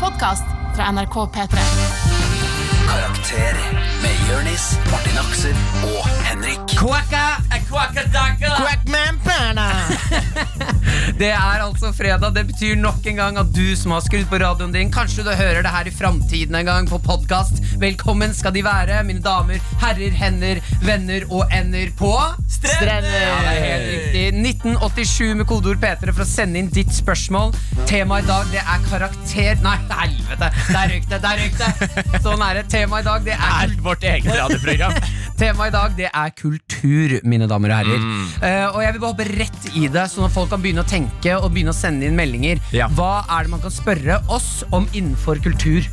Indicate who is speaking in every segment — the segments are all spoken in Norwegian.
Speaker 1: podkast fra NRK P3.
Speaker 2: Karakter med Jørnis, Martin Aksel og Henrik.
Speaker 3: Quacka, quackadacka. Det er altså fredag. Det betyr nok en gang at du som har skrudd på radioen din, kanskje du hører det her i framtiden en gang på podkast. Velkommen skal de være, mine damer, herrer, hender, venner og ender på Strender! Ja, det er helt riktig. 1987 med kodeord P3 for å sende inn ditt spørsmål. Temaet i dag det er karakter... Nei, helvete! Der røyk det! Der røyk det! Sånn er det. Temaet i dag det er
Speaker 4: vårt eget radioprogram.
Speaker 3: Temaet i dag det er kultur, mine damer og herrer.
Speaker 2: Mm.
Speaker 3: Eh, og jeg vil bare hoppe rett i det, sånn at folk kan begynne å tenke og begynne å sende inn meldinger.
Speaker 4: Ja.
Speaker 3: Hva er det man kan spørre oss om innenfor kultur?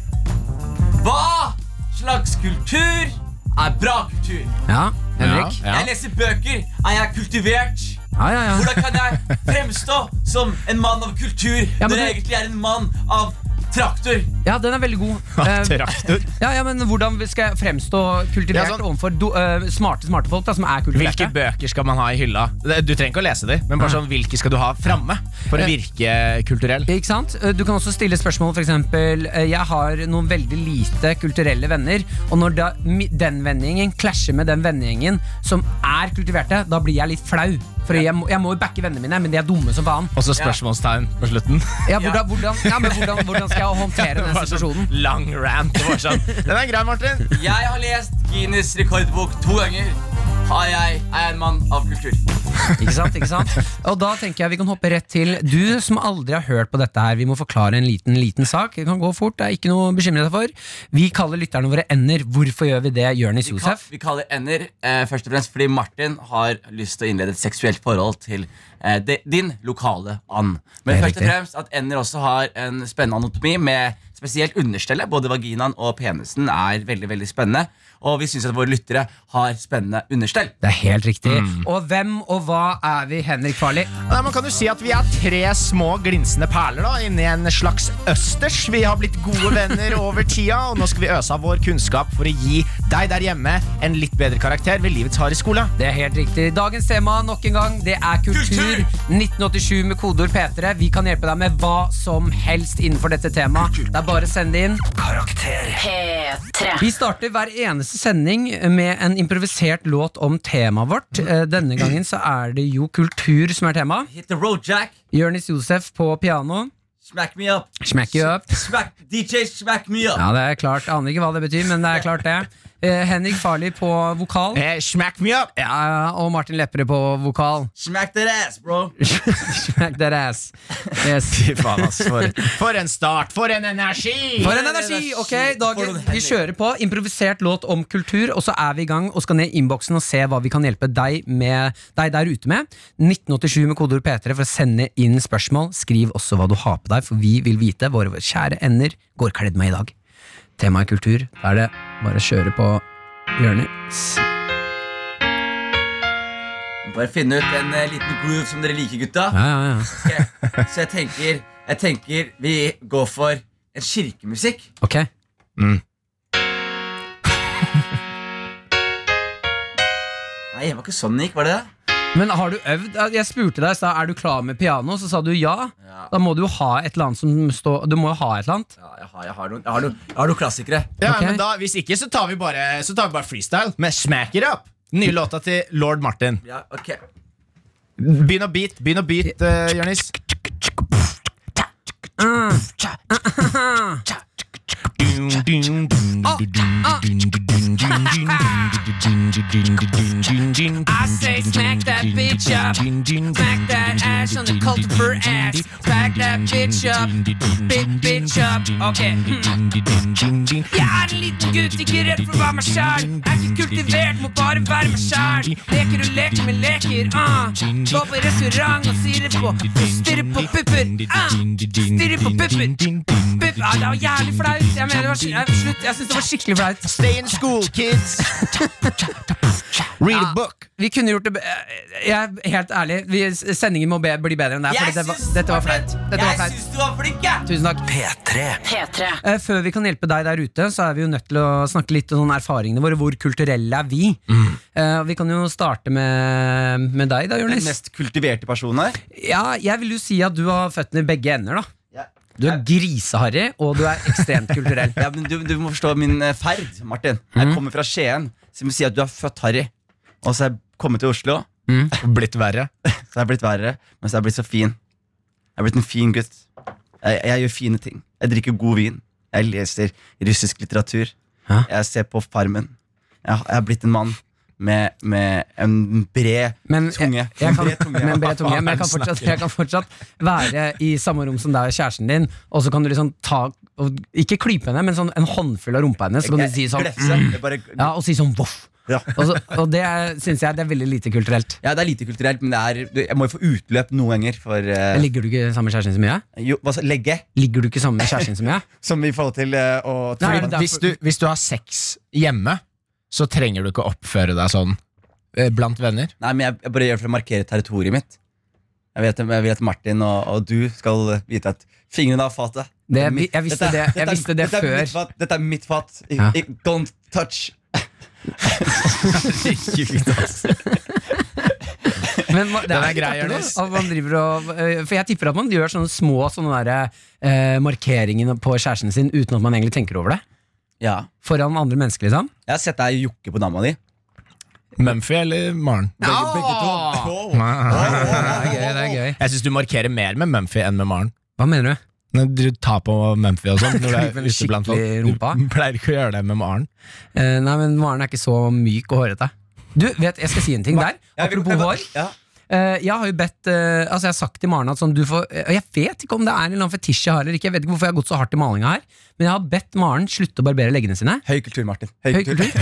Speaker 5: Hva slags kultur er bra kultur?
Speaker 3: Ja, Henrik?
Speaker 4: Ja.
Speaker 5: Jeg leser bøker. Er jeg kultivert?
Speaker 3: Ja, ja, ja.
Speaker 5: Hvordan kan jeg fremstå som en mann av kultur
Speaker 3: Ja, men
Speaker 5: når jeg
Speaker 3: du-
Speaker 5: egentlig er en mann av traktor?
Speaker 3: ja den er veldig god. Eh,
Speaker 4: Traktor.
Speaker 3: ja, ja, men Hvordan skal jeg fremstå kultivert
Speaker 4: Ja, sånn.
Speaker 3: overfor do, eh, smarte smarte folk da, som er kultiverte?
Speaker 4: Hvilke bøker skal man ha i hylla? Det- Du trenger ikke å lese dem, men bare sånn, hvilke skal du ha framme for
Speaker 3: Eh,
Speaker 4: å virke kulturell?
Speaker 3: Ikke sant? Eh, Du kan også stille spørsmål f.eks.: Jeg har noen veldig lite kulturelle venner, og når da, mi- den vennegjengen klasjer med den vennegjengen som er kultiverte, da blir jeg litt flau. For jeg må, jeg må jo backe vennene mine, men de er dumme som faen.
Speaker 4: Og så spørsmålstegn på slutten.
Speaker 3: Ja, hvordan, hvordan, ja, men hvordan, hvordan skal jeg håndtere
Speaker 4: Det
Speaker 3: den
Speaker 4: var sånn
Speaker 3: situasjonen?
Speaker 4: lang rant. Det var sånn. Den er grei, Martin.
Speaker 5: Jeg har lest Guinness rekordbok to ganger. Har jeg, er jeg en mann av kultur?
Speaker 3: Ikke sant? ikke sant? Og da tenker jeg vi kan hoppe rett til du som aldri har hørt på dette her. Vi må forklare en liten liten sak. Det kan gå fort, det er ikke noe å bekymre deg for. Vi kaller lytterne våre ender. Hvorfor gjør vi det, Jonis
Speaker 5: Vi, kal
Speaker 3: Josef?
Speaker 5: vi kaller ender eh, først og fremst fordi Martin har lyst til å innlede et seksuelt forhold til eh, de, din lokale and.
Speaker 3: Det
Speaker 5: Men
Speaker 3: er
Speaker 5: først og
Speaker 3: riktig.
Speaker 5: fremst at ender også har en spennende anatomi med spesielt understellet. Både vaginaen og penisen er veldig veldig spennende. Og vi syns at våre lyttere har spennende understell.
Speaker 3: Det er helt riktig.
Speaker 5: Mm.
Speaker 3: Og hvem og hva er vi, Henrik Farli?
Speaker 4: Nei, man kan jo si at Vi er tre små glinsende perler da, inni en slags østers. Vi har blitt gode venner over tida, og nå skal vi øse av vår kunnskap for å gi deg der hjemme en litt bedre karakter ved livets harde skole.
Speaker 3: Det er helt riktig. Dagens tema nok en gang, det er kultur.
Speaker 5: Kultur!
Speaker 3: 1987 med kodeord P3. Vi kan hjelpe deg med hva som helst innenfor dette temaet. Det er bare å sende det inn.
Speaker 2: Karakter.
Speaker 3: Vi starter hver eneste sending med en improvisert låt om temaet vårt. Eh, Denne gangen så er det jo kultur som er tema.
Speaker 5: Hit the road, Jack.
Speaker 3: Jonis Josef på piano.
Speaker 5: Smack me up.
Speaker 3: Smack you up.
Speaker 5: Smack, DJ, smack me up.
Speaker 3: Ja, det er klart. Aner ikke hva det betyr, men det er klart, det. Eh, Henrik Farli på vokal.
Speaker 4: Eh, smack me up!
Speaker 3: Ja, og Martin Lepperød på vokal.
Speaker 5: Smack that ass, bro.
Speaker 3: Smack that ass. Yes.
Speaker 4: Fy faen, ass. For, for en start! For en energi!
Speaker 3: For en energi! Ok, dagen,
Speaker 5: For en
Speaker 3: Vi kjører på. Improvisert låt om kultur, og så er vi i gang og skal ned i innboksen og se hva vi kan hjelpe deg, med, deg der ute med. 1987 med kodeord P3 for å sende inn spørsmål. Skriv også hva du har på deg, for vi vil vite. Våre kjære ender går kledd med i dag. Temaet kultur. Da er det bare å kjøre på hjørnet.
Speaker 5: Bare finne ut en eh, liten groove som dere liker, gutta.
Speaker 3: Ja, ja, ja.
Speaker 5: Ok, Så jeg tenker, jeg tenker vi går for en kirkemusikk.
Speaker 3: Ok.
Speaker 5: Nei, det var ikke sånn det gikk, var det det?
Speaker 3: Men har du øvd? Jeg spurte deg i stad er du klar med piano, så sa du ja.
Speaker 5: Ja.
Speaker 3: Da må du jo ha et eller annet som står Du må jo ha et eller annet.
Speaker 5: Ja, jeg har, jeg har, noen, jeg har, noen, jeg har noen klassikere.
Speaker 4: Ja,
Speaker 3: Ok.
Speaker 4: men da, Hvis ikke, så tar vi bare, så tar vi bare freestyle. Men smack it up! Nye låta til Lord Martin.
Speaker 5: Ja, ok
Speaker 4: Begynn å beat, begynn å beat, uh, Jonis.
Speaker 3: I say smack that bitch up. Smack that ass on the cultivar ass. Smack that bitch up. Big bitch up. Ok. Hmm. Jeg er en liten gutt, ikke redd for å være meg sjæl. Er ikke kultivert, må bare være meg sjæl. Leker og leker med leker. ah. Går på restaurant og sirer på. Stirrer på pupper. ah. Stirrer på pupper. Pupp. Ah, det var jævlig flaut. Jeg mener, det var, sk- jeg, slutt. Jeg syns det var skikkelig flaut.
Speaker 4: Stay in school, kids. Read a book.
Speaker 3: Vi kunne gjort det be- Jeg er helt ærlig. Vi, sendingen må be, bli bedre enn det. her, fordi
Speaker 5: Jeg
Speaker 3: det var,
Speaker 5: syns du
Speaker 3: dette var
Speaker 5: var
Speaker 3: flaut.
Speaker 5: flink!
Speaker 3: Dette var
Speaker 5: Jeg
Speaker 3: flaut.
Speaker 5: syns du var flink, jeg!
Speaker 3: Tusen takk.
Speaker 2: P3.
Speaker 3: Eh, Før vi kan hjelpe deg der ute, så er vi jo nødt til å snakke litt om sånn erfaringene våre. Hvor kulturelle er vi? Eh, Vi kan jo starte med, med deg, da,
Speaker 5: Den
Speaker 3: Jonis.
Speaker 5: mest kultiverte personen her.
Speaker 3: Ja, jeg vil jo si at du har føttene i begge ender, da.
Speaker 5: Ja.
Speaker 3: Du er griseharry, og du er ekstremt kulturell.
Speaker 5: Ja, men du, du må forstå min eh, ferd, Martin.
Speaker 3: Mm.
Speaker 5: Jeg kommer fra Skien, som sier at du er født harry. Og så er jeg kommet til Oslo,
Speaker 3: Mm.
Speaker 4: Blitt verre.
Speaker 5: så er jeg blitt verre, men så er jeg blitt så fin. Jeg er blitt en fin gutt. Jeg, jeg gjør fine ting. Jeg drikker god vin. Jeg leser russisk litteratur.
Speaker 3: Hæ?
Speaker 5: Jeg ser på Farmen. Jeg, har- jeg er blitt en mann med, med en bred
Speaker 3: Men
Speaker 5: tunge.
Speaker 3: jeg, jeg kan,
Speaker 5: En bred tunge.
Speaker 3: med en bred tunge men jeg kan, fortsatt, jeg kan fortsatt være i samme rom som deg og kjæresten din, og så kan du liksom ta og, Ikke klype henne, men sånn en håndfull av rumpa hennes, så kan du
Speaker 5: Jeg-
Speaker 3: si sånn
Speaker 5: glefse. Jeg bare,
Speaker 3: Ja, og si sånn voff.
Speaker 5: Ja.
Speaker 3: Og, så, og det syns jeg det er veldig lite kulturelt.
Speaker 5: ja, det er lite kulturelt, men det er, du- jeg må jo få utløp noen ganger for eh,
Speaker 3: Ligger du ikke sammen med kjæresten din så mye?
Speaker 5: jo, hva, sa- legge.
Speaker 3: Ligger du ikke sammen med kjæresten din så mye?
Speaker 5: Som i forhold til eh, å
Speaker 3: Nei,
Speaker 5: Fordi-
Speaker 3: det er
Speaker 4: Hvis du, hvis du har sex hjemme, så trenger du ikke oppføre deg sånn eh, blant venner.
Speaker 5: Nei, men jeg, jeg bare gjør det for å markere territoriet mitt. Jeg, vet, jeg vil at Martin og, og du skal vite at fingrene av fatet.
Speaker 3: Det,
Speaker 5: Dette er mitt-
Speaker 3: jeg visste
Speaker 5: dette
Speaker 3: det,
Speaker 5: er-
Speaker 3: jeg
Speaker 5: dette er-
Speaker 3: visste det
Speaker 5: dette er
Speaker 3: før.
Speaker 5: mitt fat, Dette er mitt fat. I,
Speaker 3: Ja.
Speaker 5: i, don't touch.
Speaker 3: Men hva- det
Speaker 4: Den
Speaker 3: er,
Speaker 4: er
Speaker 3: litt
Speaker 4: grei,
Speaker 3: artig da,
Speaker 4: Jonas.
Speaker 3: at man driver og, eh, For jeg tipper at man gjør sånne små sånne der, eh, markeringer på kjæresten sin uten at man egentlig tenker over det.
Speaker 5: Ja.
Speaker 3: Foran andre mennesker, liksom.
Speaker 5: Jeg har sett deg jokke på dama di.
Speaker 4: Mumphy eller Maren?
Speaker 5: Begge, begge to.
Speaker 3: Det er gøy, det er gøy.
Speaker 4: Jeg syns du markerer mer med Mumphy enn med Maren.
Speaker 3: Hva mener du?
Speaker 4: Når du tar på Mumphy og sånn. Når du
Speaker 3: Klyper
Speaker 4: er ute blant folk.
Speaker 3: skikkelig i
Speaker 4: Du
Speaker 3: rumpa.
Speaker 4: pleier ikke å gjøre det med Maren.
Speaker 3: Eh, nei, men Maren er ikke så myk og hårete. Du, vet, Jeg skal si en ting der.
Speaker 5: Ja, vi-
Speaker 3: Apropos hår.
Speaker 5: Ja.
Speaker 3: Eh, jeg har jo bedt eh, Altså jeg har sagt til Maren at sånn, du får eh, Jeg vet ikke om det er en eller annen fetisj jeg har, eller ikke. Jeg vet ikke hvorfor jeg har gått så hardt i malinga her. Men jeg har bedt Maren slutte å barbere leggene sine.
Speaker 5: Høy kultur, Martin. Høy
Speaker 3: Høy
Speaker 5: kultur.
Speaker 3: kultur?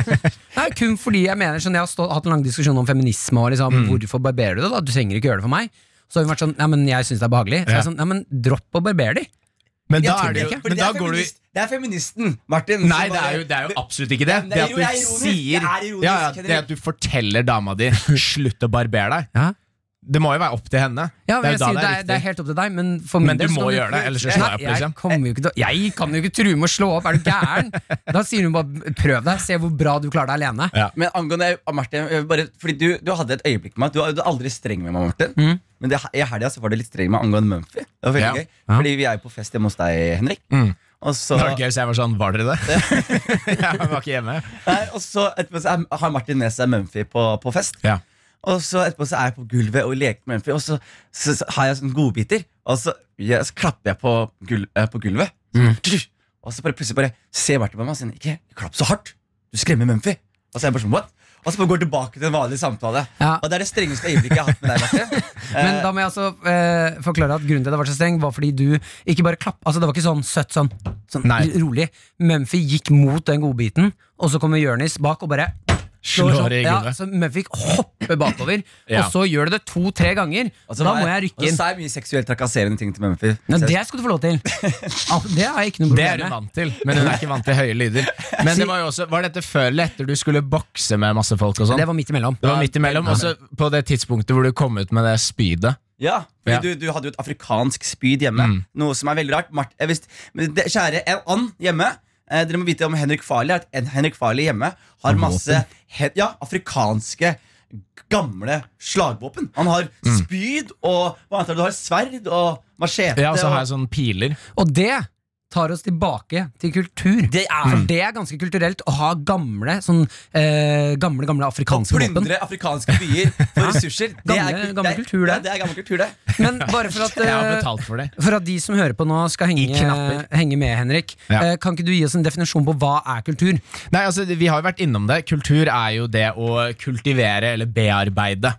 Speaker 3: Nei, kun fordi jeg mener sånn, Jeg har stå- hatt en lang diskusjon om feminisme og liksom,
Speaker 4: Mm.
Speaker 3: hvorfor barberer du det? da? Du trenger ikke gjøre det for meg. Så har hun vært sånn, nei, men jeg syns det er behagelig. Så jeg er sånn, nei, men dropp å barbere de.
Speaker 4: Men
Speaker 3: Jeg
Speaker 4: da,
Speaker 3: tror
Speaker 4: er det jo,
Speaker 3: ikke,
Speaker 5: Fordi
Speaker 4: men
Speaker 5: det,
Speaker 4: da
Speaker 5: er
Speaker 4: går du
Speaker 5: feminist, det er feministen, Martin.
Speaker 4: Nei,
Speaker 5: som
Speaker 4: det er
Speaker 5: bare-
Speaker 4: jo, det er jo absolutt ikke det.
Speaker 5: men
Speaker 4: Det
Speaker 5: det er
Speaker 4: at
Speaker 5: jo- det
Speaker 4: du
Speaker 5: er ironisk.
Speaker 4: sier
Speaker 5: Det er
Speaker 4: ja,
Speaker 5: ironisk,
Speaker 4: ja,
Speaker 5: Henrik.
Speaker 4: Det at du forteller dama di 'slutt å barbere deg',
Speaker 3: Ja.
Speaker 4: det må jo være opp til henne.
Speaker 3: Ja, men
Speaker 4: Det er
Speaker 3: jeg
Speaker 4: jo da
Speaker 3: sier, det, er, det er helt opp til deg, men for min
Speaker 4: Men du
Speaker 3: del så
Speaker 4: må
Speaker 3: kan
Speaker 4: gjøre det, ellers så slår jeg opp,
Speaker 3: Nei,
Speaker 4: liksom.
Speaker 3: kommer jo ikke til, å- jeg kan jo ikke true med å slå opp, er du gæren? Da sier hun bare prøv deg, se hvor bra du klarer deg alene.
Speaker 4: Ja.
Speaker 5: Men angående ah, Martin jeg vil bare, Fordi du, du hadde et øyeblikk med meg Du, er- du er aldri streng med meg, Martin Men det, i helga så var du litt streng med meg angående Mumphy Det var veldig
Speaker 4: Mm. Ja.
Speaker 5: gøy Fordi vi er jo på fest hjemme hos deg, Henrik
Speaker 4: Mm.
Speaker 5: Og så,
Speaker 4: Det var gøy, så jeg var sånn 'var dere det?' jeg var ikke hjemme.
Speaker 5: nei, og så etterpå så er, har Martin med seg Mumphy på, på fest
Speaker 4: Ja.
Speaker 5: Og så etterpå så er jeg på gulvet og leker med Mumphy Og så, så, så har jeg sånne godbiter Og så, ja, så klapper jeg på, gul, eh, på gulvet
Speaker 3: Mm.
Speaker 5: Og så bare plutselig bare ser Martin på meg og sier Ikke, klapp så hardt, du skremmer Mumphy Og så er jeg bare sånn, what? Og så bare går jeg tilbake til en vanlig samtale
Speaker 3: Ja.
Speaker 5: Og det er det strengeste øyeblikket jeg har hatt med deg, Martin.
Speaker 3: Men da må jeg altså eh, forklare at grunnen til at jeg var så streng, var fordi du ikke bare klapp Altså, det var ikke sånn søtt, sånn, sånn
Speaker 4: Nei.
Speaker 3: r- rolig. Mumphy gikk mot den godbiten, og så kommer Jonis bak og bare slår sånn.
Speaker 4: Slår i
Speaker 3: ja,
Speaker 4: gulvet.
Speaker 3: Så Mumphy hopper bakover,
Speaker 4: Ja.
Speaker 3: og så gjør du det to-tre ganger.
Speaker 5: Og så
Speaker 3: Da
Speaker 5: var
Speaker 3: må jeg
Speaker 5: Og
Speaker 3: rykke
Speaker 5: altså, så
Speaker 3: inn.
Speaker 5: sa jeg mye seksuelt trakasserende ting til Mumphy.
Speaker 3: Ja,
Speaker 5: Så jeg-
Speaker 3: det skal du få lov til. Al- Det har jeg ikke noe
Speaker 4: Det er
Speaker 3: problem
Speaker 4: hun
Speaker 3: med.
Speaker 4: vant til, men hun er ikke vant til høye lyder. Men det var jo også, var dette før eller etter du skulle bokse med masse folk og sånn?
Speaker 3: Det var midt imellom.
Speaker 4: Det var midt imellom, også på det tidspunktet hvor du kom ut med det spydet.
Speaker 5: Ja, fordi
Speaker 4: Ja. Mm.
Speaker 5: Du, du hadde jo et afrikansk spyd hjemme, noe som er veldig rart. Mart, jeg visst, men det, kjære en and hjemme, eh, dere må vite om Henrik Farley at en, Henrik Farley hjemme har masse he, ja, afrikanske gamle slagvåpen. Han har
Speaker 4: Mm.
Speaker 5: spyd og hva annet er det? Du har sverd og machete.
Speaker 4: Ja, og så har
Speaker 5: og-
Speaker 4: jeg sånne piler.
Speaker 3: Og det tar oss tilbake til kultur.
Speaker 5: Det er-
Speaker 3: For det er ganske kulturelt å ha gamle sånn, eh, gamle, gamle afrikanske våpen.
Speaker 5: Plyndre afrikanske byer for ressurser. Det
Speaker 3: Gamle-
Speaker 5: kul-
Speaker 3: gammel kultur, det.
Speaker 5: Ja, det er gammel kultur, det.
Speaker 3: Men bare for at,
Speaker 4: Jeg har
Speaker 3: eh,
Speaker 4: betalt for det.
Speaker 3: for at de som hører på nå, skal henge,
Speaker 4: knapper.
Speaker 3: henge med, Henrik.
Speaker 4: Ja.
Speaker 3: eh, Kan ikke du gi oss en definisjon på hva er kultur?
Speaker 4: Nei, altså, Vi har jo vært innom det. Kultur er jo det å kultivere eller bearbeide.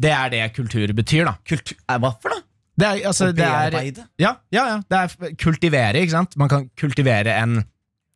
Speaker 4: Det er det kultur betyr, da.
Speaker 5: Kultur, eh, hva for noe?
Speaker 4: Det er, altså,
Speaker 5: Å
Speaker 4: det er,
Speaker 5: bearbeide?
Speaker 4: ja, ja, ja, det er f- kultivere, ikke sant? Man kan kultivere en,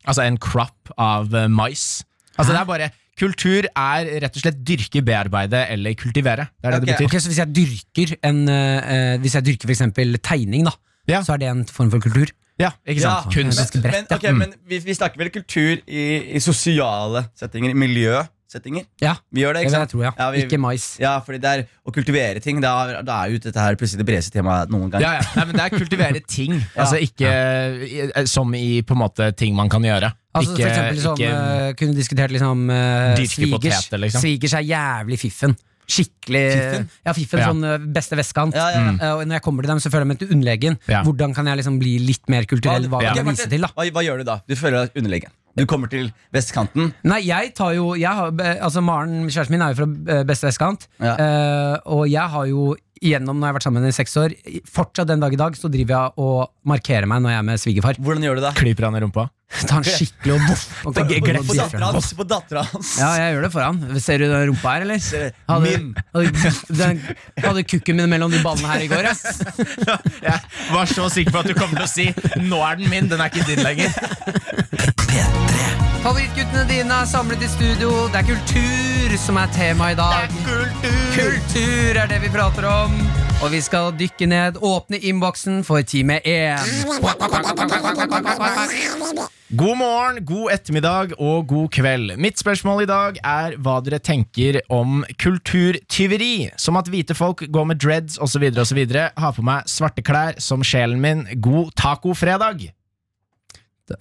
Speaker 4: altså en crop av eh, mais. Altså, det er bare, kultur er rett og slett dyrke, bearbeide eller kultivere. Det er det
Speaker 5: Ok.
Speaker 4: det
Speaker 3: Ok,
Speaker 4: betyr.
Speaker 3: så Hvis jeg dyrker en, eh, eh, Hvis jeg dyrker for eksempel tegning, da,
Speaker 4: Ja.
Speaker 3: så er det en form for kultur?
Speaker 4: Ja, ikke sant?
Speaker 5: Ja,
Speaker 4: Kunst.
Speaker 3: Ganske bredt, Mm.
Speaker 5: men, ok, men vi, vi snakker vel kultur i, i sosiale settinger, i miljøsettinger.
Speaker 3: Ja,
Speaker 5: Vi gjør
Speaker 3: det vil jeg
Speaker 5: det, ikke sant?
Speaker 3: tro, ja.
Speaker 5: Ja, vi-
Speaker 3: Ikke mais.
Speaker 5: Ja, fordi det er å kultivere ting, da, da er jo dette her plutselig det bredeste temaet noen gang.
Speaker 4: Ja, ja. Nei, men det er kultivere ting, altså ikke i- som i på en måte ting man kan gjøre.
Speaker 3: Altså
Speaker 4: ikke,
Speaker 3: for eksempel sånn,
Speaker 4: ikke-
Speaker 3: eh, Kunne diskutert liksom eh,
Speaker 4: Dyrke
Speaker 3: svigers.
Speaker 4: poteter, liksom.
Speaker 3: Svigers er jævlig fiffen. skikkelig
Speaker 5: Fiffen?
Speaker 3: Ja, fiffen,
Speaker 4: Ja.
Speaker 3: sånn ø, beste veskan.
Speaker 5: Ja, ja, ja.
Speaker 3: Eh, Og når jeg kommer til dem, så føler jeg meg til underlegen.
Speaker 4: Ja.
Speaker 3: Hvordan kan jeg liksom bli litt mer kulturell? Hva
Speaker 5: Ok,
Speaker 3: kan jeg
Speaker 5: Martin,
Speaker 3: vise til, da?
Speaker 5: Hva, hva gjør du da? Du føler deg underlegen. Du kommer til vestkanten.
Speaker 3: Nei, jeg tar jo jeg har, eh, Altså Maren, kjæresten min, er jo fra eh, beste vestkant.
Speaker 5: Ja.
Speaker 3: Eh, og jeg har jo igjennom, når jeg har vært sammen med henne i seks år, i- fortsatt den dag i dag, så driver jeg og markerer meg når jeg er med svigerfar.
Speaker 5: Hvordan gjør du det?
Speaker 4: Klyper han i rumpa?
Speaker 3: Tar han skikkelig og voff. og-
Speaker 5: På, på,
Speaker 3: og-
Speaker 5: på
Speaker 3: og-
Speaker 5: dattera hans. På dattera hans.
Speaker 3: Ja, jeg gjør det foran. Ser du den rumpa her, eller?
Speaker 5: Ser-
Speaker 3: Hadde,
Speaker 5: Min.
Speaker 3: hadde, den, hadde kukken min mellom de ballene her i går, ja.
Speaker 4: Jeg var så sikker på at du kom til å si 'nå er den min', den er ikke din lenger.
Speaker 3: Favorittguttene dine er samlet i studio. Det er kultur som er tema i dag. Kultur er det vi prater om. Og vi skal dykke ned, åpne innboksen for time én.
Speaker 4: God morgen, god ettermiddag og god kveld. Mitt spørsmål i dag er hva dere tenker om kulturtyveri. Som at hvite folk går med dreads osv. osv. Har på meg svarte klær som sjelen min. God tacofredag!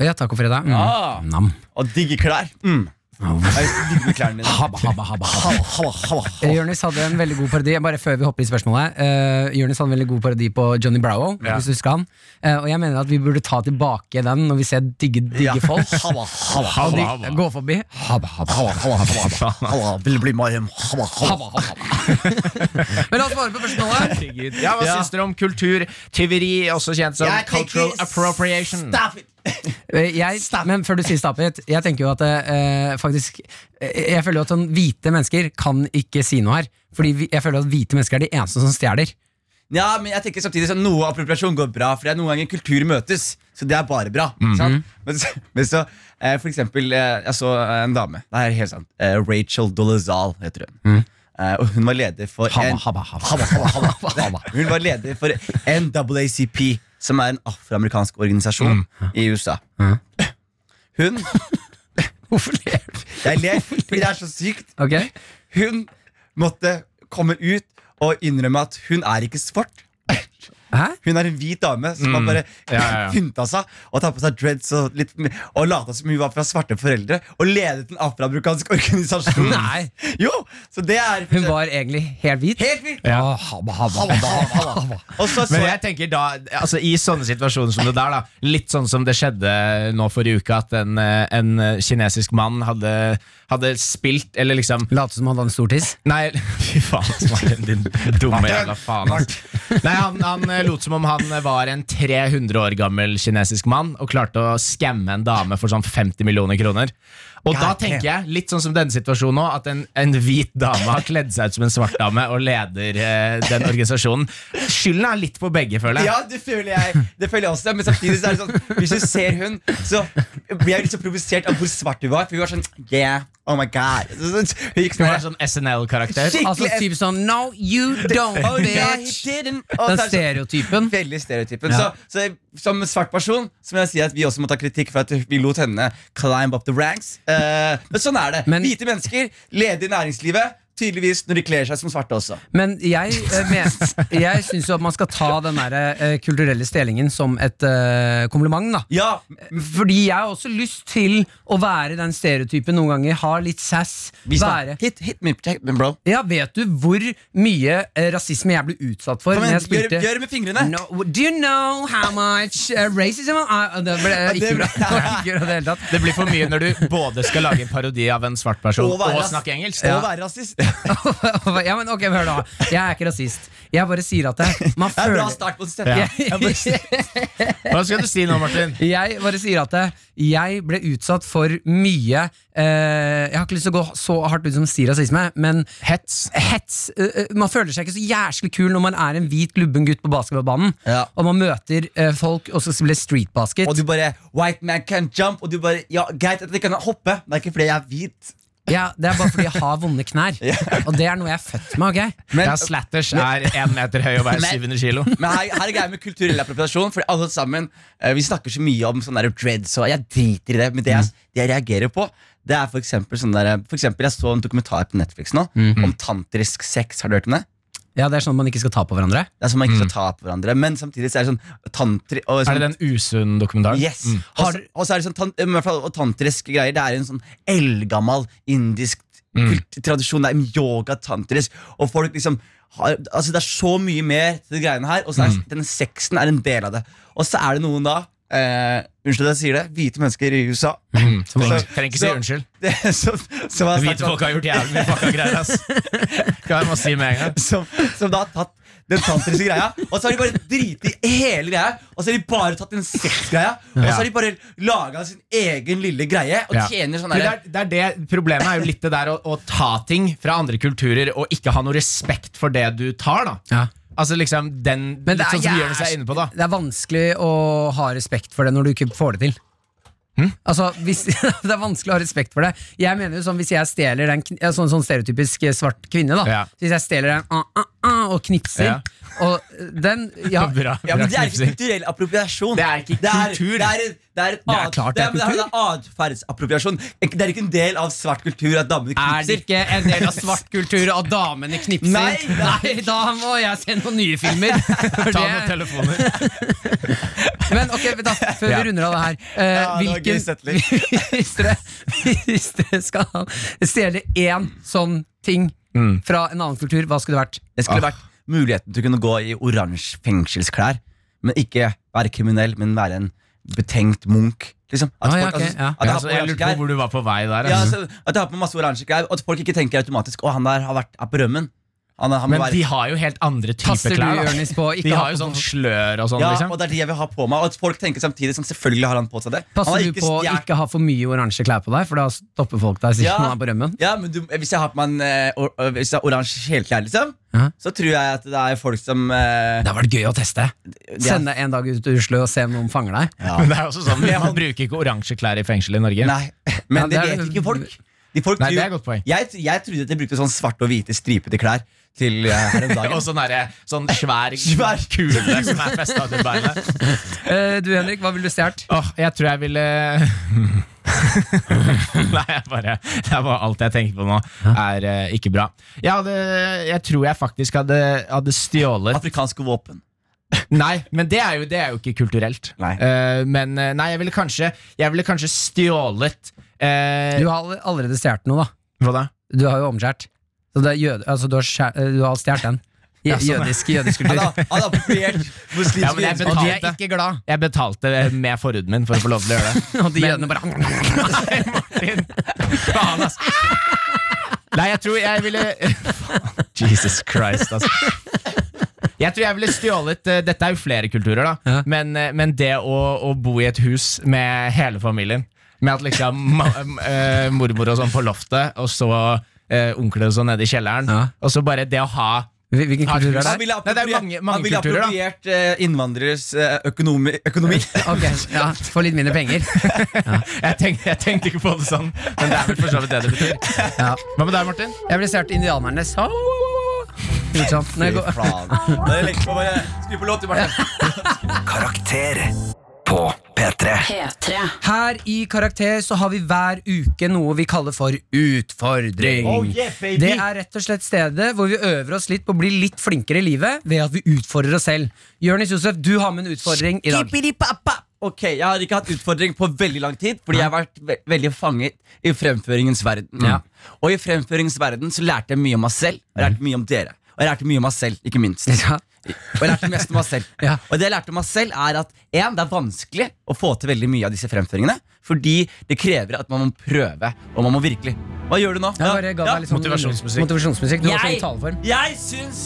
Speaker 3: Ja, takk for fredag. Mm.
Speaker 5: Ah.
Speaker 3: Nam.
Speaker 5: Og digge klær. Mm. Jeg digger klærne dine.
Speaker 3: Habba, habba, habba, habba. Eh, Jonis hadde en veldig god parodi Bare før vi hopper i spørsmålet eh, Jonis hadde en veldig god parodi på Johnny Bravo Hvis du husker han Eh, Og jeg mener at vi burde ta tilbake den Når vi ser digge, digge folk
Speaker 5: Hava, hava,
Speaker 3: Og
Speaker 5: hava,
Speaker 3: de, Gå forbi Habba, habba,
Speaker 5: hava, hava, hava, hava. Vil bli marem. Hava, hava.
Speaker 3: habba, habba. Men la oss svare på spørsmålet
Speaker 4: Ja, Hva syns dere om kulturtyveri, også kjent som cultural appropriation?
Speaker 5: Stop it!
Speaker 3: Eh, jeg, Men før du sier stop it Jeg tenker jo at eh, faktisk eh, Jeg føler jo at sånn hvite mennesker Kan ikke si noe her Fordi vi, jeg føler at hvite mennesker er de eneste som stjeler
Speaker 5: Ja, men jeg tenker samtidig sånn, Noe appropriasjon går bra, for det er noen ganger kultur møtes. Så det er bare bra. sant? Men, så- men så, eh, for eksempel, eh, jeg så eh, en dame. Det er helt sant. Eh, Rachel Dolezal heter hun. Eh, og hun var leder for
Speaker 3: Hava,
Speaker 5: en-
Speaker 3: hava, hava.
Speaker 5: Hava, hava, hava.
Speaker 3: Hava.
Speaker 5: Hun var leder for NAACP, som er en afroamerikansk organisasjon i USA. Hun
Speaker 3: Hvorfor ler du?
Speaker 5: Jeg ler, fordi det er så sykt.
Speaker 3: Ok
Speaker 5: Hun måtte komme ut og innrømme at hun er ikke svart.
Speaker 3: Hæ? Mm.
Speaker 5: Hun er en hvit dame som har bare
Speaker 4: ja, ja.
Speaker 5: pynta seg og tatt på seg dreads og, litt, og lata som hun var fra svarte foreldre, og ledet en afroamerikansk organisasjon.
Speaker 3: Nei.
Speaker 5: Jo, så det er
Speaker 3: Hun var egentlig helt hvit
Speaker 5: helt vilt!
Speaker 3: Ja, habba, habba, habba, habba.
Speaker 5: Og så så
Speaker 4: Men
Speaker 5: jeg
Speaker 4: jeg tenker da, altså I sånne situasjoner som det der, da litt sånn som det skjedde nå forrige uke, at en, eh, en eh, kinesisk mann hadde, hadde spilt, eller liksom
Speaker 3: Late som han hadde en stor tiss.
Speaker 4: Nei, fy faen, Smarten, din dumme jævla faen. ass. Nei, han, han eh, lot som om han eh, var en 300 år gammel kinesisk mann og klarte å skamme en dame for sånn 50 millioner kroner. Og da
Speaker 5: God
Speaker 4: tenker jeg, litt sånn som denne situasjonen nå, at en, en hvit dame har kledd seg ut som en svart dame og leder eh, den organisasjonen. Skylden er litt på begge, føler jeg.
Speaker 5: ja, det føler jeg Det føler jeg også, men samtidig så er det sånn hvis du ser hun, så blir jeg litt så provosert av hvor svart hun var. For hun var sånn Yeah, oh my god. Så, så, hun gikk
Speaker 4: Det
Speaker 5: sånn
Speaker 4: var sånn SNL-karakter.
Speaker 5: Skikkelig-
Speaker 3: Altså typ sånn No, you don't,
Speaker 5: Oh, yeah, he
Speaker 3: bitch!
Speaker 5: didn't. Og
Speaker 3: Den
Speaker 5: så er det sånn-
Speaker 3: stereotypen.
Speaker 5: Veldig stereotypen.
Speaker 3: Ja.
Speaker 5: Så, så som en svart person Så må jeg si at vi også må ta kritikk for at vi lot henne climb up the ranks. Eh, men sånn er det.
Speaker 3: Men-
Speaker 5: Hvite mennesker, ledige i næringslivet, tydeligvis når de kler seg som svarte også.
Speaker 3: Men jeg, eh, men- jeg syns jo at man skal ta den der, eh, kulturelle stelingen som et eh, kompliment, da.
Speaker 5: Ja,
Speaker 3: Fordi jeg har også lyst til å være den stereotypen noen ganger. Ha litt sass.
Speaker 5: vi snak-
Speaker 3: Være
Speaker 5: hit, hit me, protect me, bro.
Speaker 3: ja, Vet du hvor mye eh, rasisme jeg ble utsatt for?
Speaker 5: Kom
Speaker 3: når
Speaker 5: igjen,
Speaker 3: jeg
Speaker 5: gjør,
Speaker 3: spilte-
Speaker 5: gjør det med fingrene.
Speaker 3: No, do you know how much uh, racism I, Det ble ikke bra. Det var ikke bra i det hele tatt.
Speaker 4: Det blir for mye når du både skal lage en parodi av en svart person og,
Speaker 5: være ras-
Speaker 4: snakke engelsk.
Speaker 5: Og være rasist. Det
Speaker 3: ja, men ok, men hør da Jeg er ikke rasist Jeg bare sier at det, man
Speaker 5: er en
Speaker 3: føler
Speaker 5: bra start på en stemme.
Speaker 4: Ja.
Speaker 5: Jeg bare-
Speaker 4: Hva skal du si nå, Martin?
Speaker 3: jeg bare sier at det, jeg ble utsatt for mye eh, Jeg har ikke lyst til å gå så hardt ut som å si rasisme, men
Speaker 4: Hets.
Speaker 3: hets eh, eh, Man føler seg ikke så jæsklig kul når man er en hvit lubben gutt på basketballbanen,
Speaker 5: Ja.
Speaker 3: og man møter eh, folk og skal spille streetbasket.
Speaker 5: Og du bare White man can jump. Og du bare Ja, greit at jeg kan hoppe. Det er ikke fordi jeg er hvit.
Speaker 3: Ja, det er bare fordi jeg har vonde knær, og det er noe jeg er født med. ok?
Speaker 5: Men,
Speaker 4: ja, Slatters er én meter høy og veier
Speaker 5: Men-
Speaker 4: 700 kilo.
Speaker 5: Men her, her er greia med kulturell appropriasjon. For alle sammen, eh, Vi snakker så mye om sånn der dreads, og jeg driter i det. Men det
Speaker 3: Mm.
Speaker 5: jeg, det jeg reagerer på, det er for eksempel, sånn der, for eksempel Jeg så en dokumentar på Netflix nå om tantrisk sex. Har du hørt om det?
Speaker 3: Mhm. Ja, Det er sånn at man ikke skal ta på hverandre. Mm.
Speaker 5: Det er som man ikke skal ta på hverandre. Men samtidig så er det sånn tantri... Og,
Speaker 4: Er
Speaker 5: sånn,
Speaker 4: det den usunn dokumentaren?
Speaker 5: Yes.
Speaker 4: Mm.
Speaker 5: Og så- Og så er det sånn tan, i hvert fall, og tantriske greier. Det er en sånn eldgammel indisk
Speaker 4: Mm.
Speaker 5: kult- tradisjon der med yoga tantrisk. Og folk liksom har, altså Det er så mye mer til de greiene her, og så er
Speaker 4: Mm.
Speaker 5: denne sexen er en del av det. Og så er det noen da eh, Unnskyld at jeg sier det, hvite mennesker i USA.
Speaker 4: Som ikke-
Speaker 5: Så-
Speaker 4: Mm. Trenger ikke si
Speaker 5: så-
Speaker 4: unnskyld.
Speaker 5: Det, som, som har
Speaker 4: Det
Speaker 5: snakket
Speaker 4: hvite
Speaker 5: om-
Speaker 4: folk har gjort jævlig mye fucka greier, ass. Skal jeg må si med en gang.
Speaker 5: som, som da har tatt den tantriske greia, og så har de bare driti i hele greia. Og så har de bare tatt den sexgreia, og så har de bare laga sin egen lille greie. Og
Speaker 4: Ja.
Speaker 5: tjener sånn
Speaker 4: For
Speaker 5: der,
Speaker 4: det, er, det er det Problemet er jo litt det der å, å ta ting fra andre kulturer og ikke ha noe respekt for det du tar. da
Speaker 3: Ja.
Speaker 4: Altså liksom den
Speaker 3: Men
Speaker 4: Litt
Speaker 3: det er
Speaker 4: sånn som
Speaker 3: jæs-
Speaker 4: Jonis er inne på, da.
Speaker 3: Det er vanskelig å ha respekt for det når du ikke får det til.
Speaker 4: Hm?
Speaker 3: Altså, hvis, Det er vanskelig å ha respekt for det. Jeg mener jo sånn, Hvis jeg stjeler en kn- ja, sånn, sånn stereotypisk eh, svart kvinne, da
Speaker 4: Ja.
Speaker 3: Hvis jeg stjeler en ah, ah, ah, og knipser
Speaker 4: Ja.
Speaker 3: Og eh, den ja,
Speaker 4: Bra, bra
Speaker 5: ja, men Det er ikke
Speaker 4: knipsing.
Speaker 5: kulturell appropriasjon.
Speaker 4: Det er ikke kultur.
Speaker 5: Det er, det er, det er, et
Speaker 3: Det er
Speaker 5: ad-
Speaker 3: klart det er
Speaker 5: men det
Speaker 3: kultur.
Speaker 5: det er atferdsappropriasjon. Det er ikke en del av svart kultur at damene
Speaker 3: Er det
Speaker 5: knipser.
Speaker 3: ikke en del av svart kultur at damene knipser?
Speaker 5: Nei, nei.
Speaker 3: da må jeg se noen nye filmer. For
Speaker 4: Ta
Speaker 3: det-
Speaker 4: noen telefoner.
Speaker 3: Men ok, vent da, før
Speaker 4: Ja.
Speaker 3: vi runder av det her eh,
Speaker 5: Ja, det var gøy sett litt.
Speaker 3: hvilken, hvis, dere, hvis dere skal stjele én sånn ting
Speaker 4: Mm.
Speaker 3: fra en annen kultur, hva skulle det vært?
Speaker 5: Det skulle
Speaker 4: Ah.
Speaker 5: vært muligheten til å kunne gå i oransje fengselsklær, men ikke være kriminell, men være en betenkt munk. Liksom. At
Speaker 3: Ah, ja,
Speaker 5: folk,
Speaker 3: ok,
Speaker 5: altså,
Speaker 3: ja.
Speaker 5: at jeg har
Speaker 4: altså,
Speaker 5: på
Speaker 4: jeg
Speaker 5: oransje
Speaker 4: lurte
Speaker 5: klær.
Speaker 4: på hvor du var på vei der.
Speaker 5: Ja,
Speaker 4: Altså.
Speaker 5: altså, at jeg har på masse oransje klær, og at folk ikke tenker automatisk Å, han der har vært er på rømmen. Han, er- han må
Speaker 4: Men
Speaker 5: være
Speaker 4: de har jo helt andre typer
Speaker 3: Passer du,
Speaker 4: klær. da.
Speaker 3: Jonis, på å ikke
Speaker 4: De
Speaker 3: ha
Speaker 4: har jo
Speaker 3: på-
Speaker 4: sånn slør og sånn.
Speaker 5: ja,
Speaker 4: liksom.
Speaker 5: og det er det jeg vil ha på meg. Og at folk tenker samtidig sånn, selvfølgelig har han på seg det. Han har
Speaker 3: Passer du på å
Speaker 5: stjert-
Speaker 3: ikke ha for mye oransje klær på deg, for da stopper folk deg siden
Speaker 5: Ja.
Speaker 3: man er på rømmen?
Speaker 5: Ja, men du, Hvis jeg har på meg en, eh, or, eh, Hvis jeg har oransje helklær, liksom,
Speaker 3: Ja.
Speaker 5: så tror jeg at det er folk som eh,
Speaker 3: Det har vært gøy å teste.
Speaker 5: de er-
Speaker 3: Send deg en dag ut til Oslo og se om noen fanger deg.
Speaker 4: Men det er jo også sånn,
Speaker 5: Men han-
Speaker 4: Man bruker ikke oransje klær i fengsel i Norge.
Speaker 5: Nei, men
Speaker 3: Ja, det
Speaker 5: det
Speaker 3: er-
Speaker 5: vet ikke folk. De folk
Speaker 4: Nei, det
Speaker 5: tror-
Speaker 4: er et godt poeng.
Speaker 5: Jeg, jeg trodde at de brukte sånn svarte og hvite stripete klær til eh, her om dagen.
Speaker 4: Og sånn, derre- sånn svær,
Speaker 5: Svær
Speaker 4: kule som er festa til beinet.
Speaker 3: Eh, du, Henrik, hva ville du stjålet?
Speaker 4: Åh, jeg tror jeg ville Nei, jeg bare, jeg bare Alt jeg tenker på nå, er eh, ikke bra. Jeg, hadde, jeg tror jeg faktisk hadde, hadde stjålet
Speaker 5: Afrikanske våpen.
Speaker 4: Nei, men det er jo, det er jo ikke kulturelt.
Speaker 5: Nei.
Speaker 4: Eh, men eh, nei, jeg ville kanskje Jeg ville kanskje stjålet eh,
Speaker 3: Du har all- allerede stjålet noe, da.
Speaker 4: Hva da?
Speaker 3: Du har jo omskjært. Så det er jøde, altså, du har, skjær- eh, du har stjålet den. Jø-
Speaker 4: sånn
Speaker 3: Jødisk, jødisk
Speaker 5: Han
Speaker 3: kultur.
Speaker 5: har han har appropriert muslimske
Speaker 4: altså- Ja, men jeg
Speaker 5: jødiske-
Speaker 3: Og de
Speaker 4: betalte.
Speaker 3: er ikke glad.
Speaker 4: Jeg betalte med forhuden min for å få lov til å gjøre det.
Speaker 3: Og de
Speaker 4: Men-
Speaker 3: jødene bare
Speaker 4: Nei, Martin. Faen, ass. Nei, jeg tror jeg ville Faen, Jesus Christ, altså. Jeg tror jeg ville stjålet eh, Dette er jo flere kulturer, da.
Speaker 3: Ja.
Speaker 4: Men, eh, men det å, å bo i et hus med hele familien Med at liksom ma eh, mormor og sånn på loftet, og så eh, onkler og sånn nede i kjelleren.
Speaker 3: Ja.
Speaker 4: Og så bare det å ha
Speaker 3: Hvil- Hvilken
Speaker 4: Har du
Speaker 3: kultur er
Speaker 5: Han
Speaker 3: det?
Speaker 5: ville
Speaker 4: Nei, det er
Speaker 5: appropriert,
Speaker 4: mange- mange
Speaker 5: han ville
Speaker 4: kulturer, da.
Speaker 5: appropriert eh, innvandreres eh, økonomi. økonomi.
Speaker 3: Ok, ja, Få litt mindre penger.
Speaker 4: jeg tenkte, jeg tenkte ikke på det sånn, men det er vel for så vidt det det betyr.
Speaker 3: Ja.
Speaker 4: Hva med deg, Martin?
Speaker 3: Jeg ble stjålet indianerne. Så. Gjort sånn. Når jeg går-
Speaker 5: Faen. Da er det lenge på å bare Skru på låt, du, Martin.
Speaker 6: Karakter på P3.
Speaker 1: P3.
Speaker 3: Her i Karakter så har vi hver uke noe vi kaller for utfordring.
Speaker 5: Oh,
Speaker 3: det er rett og slett stedet hvor vi øver oss litt på å bli litt flinkere i livet ved at vi utfordrer oss selv. Jonis Josef, du har med en utfordring i dag.
Speaker 5: Kippidi-pappa. Ok, Jeg har ikke hatt utfordring på veldig lang tid, fordi jeg har vært ve veldig fanget i fremføringens verden.
Speaker 3: Ja.
Speaker 5: Og i fremføringens verden så lærte jeg mye om meg selv, og jeg lærte mye om dere. Og jeg lærte mye om meg selv, ikke minst.
Speaker 3: Ja.
Speaker 5: Og jeg lærte mest om meg selv.
Speaker 3: Ja.
Speaker 5: Og det jeg lærte om meg selv, er at en, det er vanskelig å få til veldig mye av disse fremføringene, fordi det krever at man må prøve, og man må virkelig. Hva gjør du nå?
Speaker 3: Jeg bare ga deg litt sånn
Speaker 4: motivasjonsmusikk.
Speaker 3: motivasjonsmusikk. Du var så i
Speaker 5: Jeg,
Speaker 3: taleform.
Speaker 5: jeg syns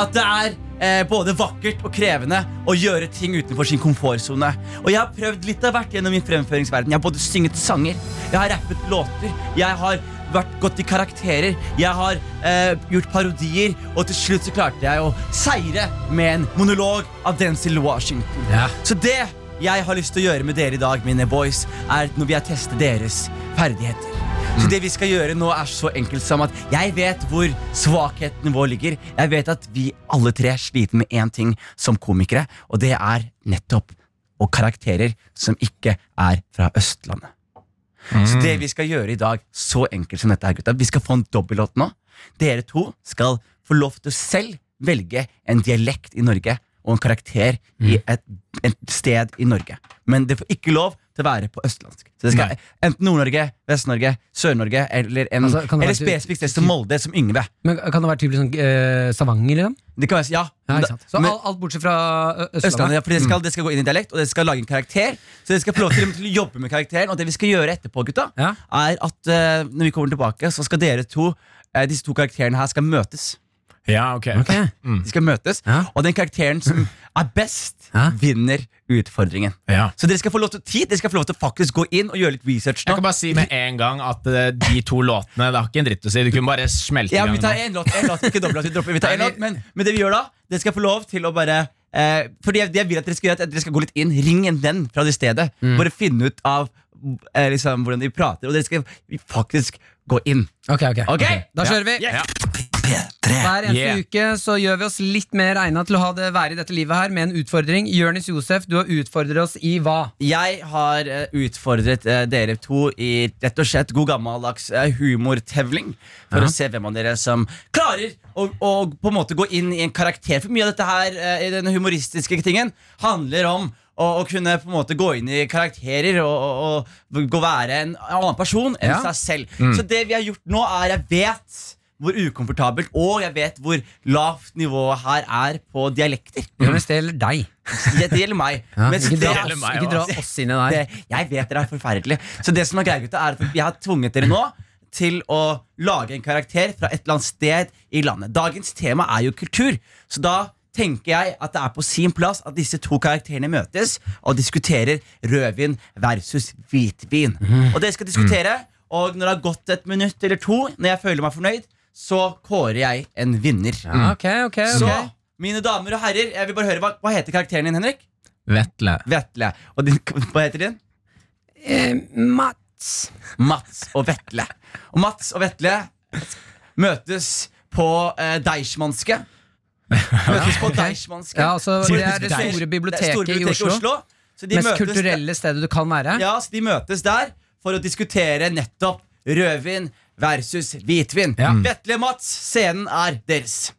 Speaker 5: at det er eh, både vakkert og krevende å gjøre ting utenfor sin komfortsone. Og jeg har prøvd litt av hvert gjennom min fremføringsverden. Jeg har både synget sanger, jeg har rappet låter, jeg har vært gått i karakterer, jeg har eh, gjort parodier, og til slutt så klarte jeg å seire med en monolog av Denzil Washington.
Speaker 3: Ja.
Speaker 5: Så det jeg har lyst til å gjøre med dere i dag, mine boys, er at når vi har testet deres ferdigheter. Så det vi skal gjøre nå er så enkelt som at jeg vet hvor svakheten vår ligger. Jeg vet at vi alle tre sliter med én ting som komikere, og det er nettopp og karakterer som ikke er fra Østlandet.
Speaker 3: Mm.
Speaker 5: Så det vi skal gjøre i dag, så enkelt som dette er, gutta. Vi skal få en dobbellåt nå. Dere to skal få lov til å selv velge en dialekt i Norge, og en karakter
Speaker 3: Mm.
Speaker 5: i et, et sted i Norge. Men det får ikke lov til å være på østlandsk. Så det skal Enten Nord-Norge, Vest-Norge, Sør-Norge eller, en-
Speaker 3: Altså, kan det
Speaker 5: eller
Speaker 3: være-
Speaker 5: spesifikt sted som Molde, som Yngve.
Speaker 3: Men kan det være typisk sånn eh, Stavanger, liksom?
Speaker 5: Det kan være, ja,
Speaker 3: Ja,
Speaker 5: men
Speaker 3: ikke
Speaker 5: da-
Speaker 3: sant? Så
Speaker 5: men-
Speaker 3: all- alt bortsett fra ø,
Speaker 5: Østlandet, ja,
Speaker 3: Østlandet? Mm.
Speaker 5: for det skal, det skal gå inn i dialekt, og det skal lage en karakter. Så det skal få lov til, til å jobbe med karakteren. Og det vi skal gjøre etterpå, gutta,
Speaker 3: Ja.
Speaker 5: er at eh, når vi kommer tilbake, så skal dere to, eh, disse to karakterene her, skal møtes.
Speaker 4: Ja, ok.
Speaker 3: Ok.
Speaker 5: De skal møtes,
Speaker 3: Ja.
Speaker 5: og den karakteren som er best,
Speaker 3: Ja.
Speaker 5: vinner utfordringen.
Speaker 4: Ja.
Speaker 5: Så dere skal få lov til tid, dere skal få lov til å faktisk gå inn og gjøre litt research
Speaker 4: Jeg
Speaker 5: nå.
Speaker 4: kan bare si med en gang at eh, de to låtene Det har ikke en dritt å si. Du kunne bare smelte i
Speaker 5: Ja,
Speaker 4: gang.
Speaker 5: vi tar
Speaker 4: nå.
Speaker 5: én låt, en låt, ikke dobbelt, vi dropper, vi tar en låt men, men det vi gjør da, dere skal få lov til å bare eh, Fordi jeg, det jeg vil at dere skal gjøre er at dere skal gå litt inn, ring en venn fra det stedet.
Speaker 3: Mm.
Speaker 5: Bare finne ut av eh, liksom, hvordan de prater, og dere skal faktisk gå inn.
Speaker 3: Ok, ok.
Speaker 5: Ok?
Speaker 3: Da
Speaker 5: Ja.
Speaker 3: kjører vi!
Speaker 4: Ja.
Speaker 6: P3.
Speaker 3: Hver eneste
Speaker 4: Yeah.
Speaker 3: uke så gjør vi oss litt mer egna til å ha det være i dette livet her med en utfordring. Jørnis Josef, du har utfordret oss i hva?
Speaker 5: Jeg har eh, utfordret eh, dere to i rett og slett god gammeldags eh, humortevling. For å se hvem av dere som klarer å, å på en måte gå inn i en karakter. For mye av dette her eh, i denne humoristiske tingen handler om å, å kunne på en måte gå inn i karakterer og, og, og gå være en annen person enn
Speaker 3: Ja. Mm.
Speaker 5: seg selv. Så det vi har gjort nå, er jeg vet hvor ukomfortabelt og jeg vet hvor lavt nivået her er på dialekter.
Speaker 3: Jørnis, det gjelder deg.
Speaker 5: Det det gjelder meg.
Speaker 3: Ja,
Speaker 5: Mens
Speaker 3: ikke, dra,
Speaker 5: dere-
Speaker 4: gjelder
Speaker 3: oss,
Speaker 4: meg
Speaker 3: ikke dra
Speaker 4: også.
Speaker 3: oss inn i det
Speaker 5: det,
Speaker 3: her.
Speaker 5: jeg vet dere er forferdelige. Så det som er greia, gutta, er at jeg har tvunget dere nå til å lage en karakter fra et eller annet sted i landet. Dagens tema er jo kultur, så da tenker jeg at det er på sin plass at disse to karakterene møtes og diskuterer rødvin versus hvitvin.
Speaker 3: Mhm.
Speaker 5: Og dere skal diskutere, og når det har gått et minutt eller to, når jeg føler meg fornøyd, så kårer jeg en vinner.
Speaker 3: Ja, ok, ok, ok.
Speaker 5: Mm. Så, mine damer og herrer, jeg vil bare høre, hva, hva heter karakteren din, Henrik?
Speaker 4: Vetle.
Speaker 5: Vetle. Og din, hva heter din?
Speaker 3: Eh, Mats.
Speaker 5: Mats og Vetle. Og Mats og Vetle møtes på eh, Deichmanske. Møtes på Deichmanske.
Speaker 3: Ja, altså, det er det
Speaker 5: Deich-
Speaker 3: store
Speaker 5: det er
Speaker 3: biblioteket
Speaker 5: store
Speaker 3: i Oslo.
Speaker 5: Så de
Speaker 3: Mest
Speaker 5: møtes,
Speaker 3: kulturelle stedet du kan være.
Speaker 5: Ja, så de møtes der for å diskutere nettopp rødvin versus hvitvin.
Speaker 3: Mm.
Speaker 5: Vetle Mats, scenen er deres.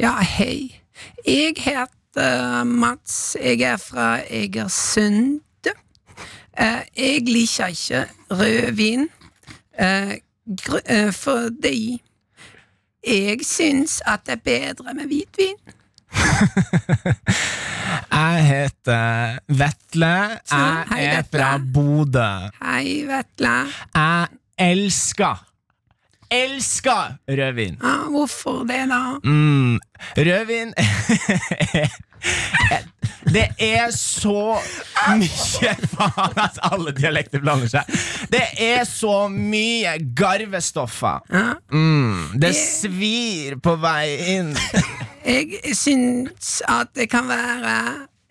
Speaker 3: Ja, hei. Jeg heter Mats. Jeg er fra Egersund. Eh, Jeg liker ikke rødvin eh, gr- eh, fordi jeg syns at det er bedre med hvitvin.
Speaker 4: Jeg heter Vetle.
Speaker 3: Jeg Hei, er Vetle. fra
Speaker 4: Bodø.
Speaker 3: Hei, Vetle.
Speaker 4: Jeg elsker Elsker rødvin.
Speaker 3: Ah, hvorfor det, da?
Speaker 4: Mm, rødvin Det er så mye Faen at alle dialekter blander seg. Det er så mye garvestoffer. Mm, det svir på vei inn.
Speaker 3: Jeg syns at det kan være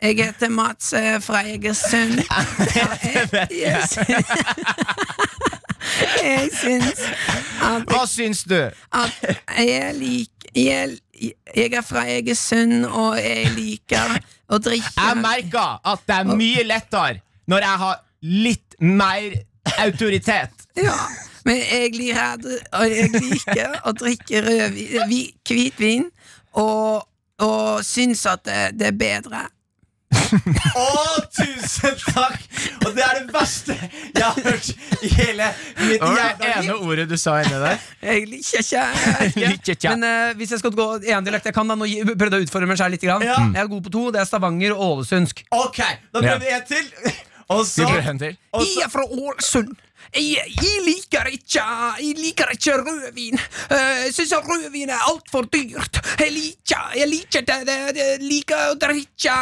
Speaker 3: Jeg heter Mats eh, fra Egersund. Jeg- Jeg syns- jeg syns at
Speaker 4: Hva syns du?
Speaker 3: at jeg liker jeg, jeg er fra Egersund, og jeg liker å drikke
Speaker 4: Jeg merker at det er mye lettere når jeg har litt mer autoritet.
Speaker 3: ja, Men jeg liker, og jeg liker å drikke rødvin, vi- hvitvin, og, og syns at det, det er bedre.
Speaker 5: Å, tusen takk! Og det er det verste jeg har hørt i hele mitt jævla liv.
Speaker 4: ordet du sa inni der?
Speaker 3: Jeg liker ikke jeg liker ikke.
Speaker 4: Liker ikke.
Speaker 3: Men eh, hvis jeg skal gå en dialekt jeg kan, da nå gi- prøvde jeg å utfordre meg selv litt. Grann.
Speaker 5: Ja.
Speaker 3: Jeg er god på to. Det er stavanger og ålesundsk.
Speaker 5: Ok, da prøver vi en til. Og så, og så
Speaker 3: Jeg er fra Ålesund. Jeg, jeg liker ikke Jeg liker ikke rødvin. Eh, Jeg syns rødvin er altfor dyrt. Jeg liker Jeg liker det, det, det liker å drikke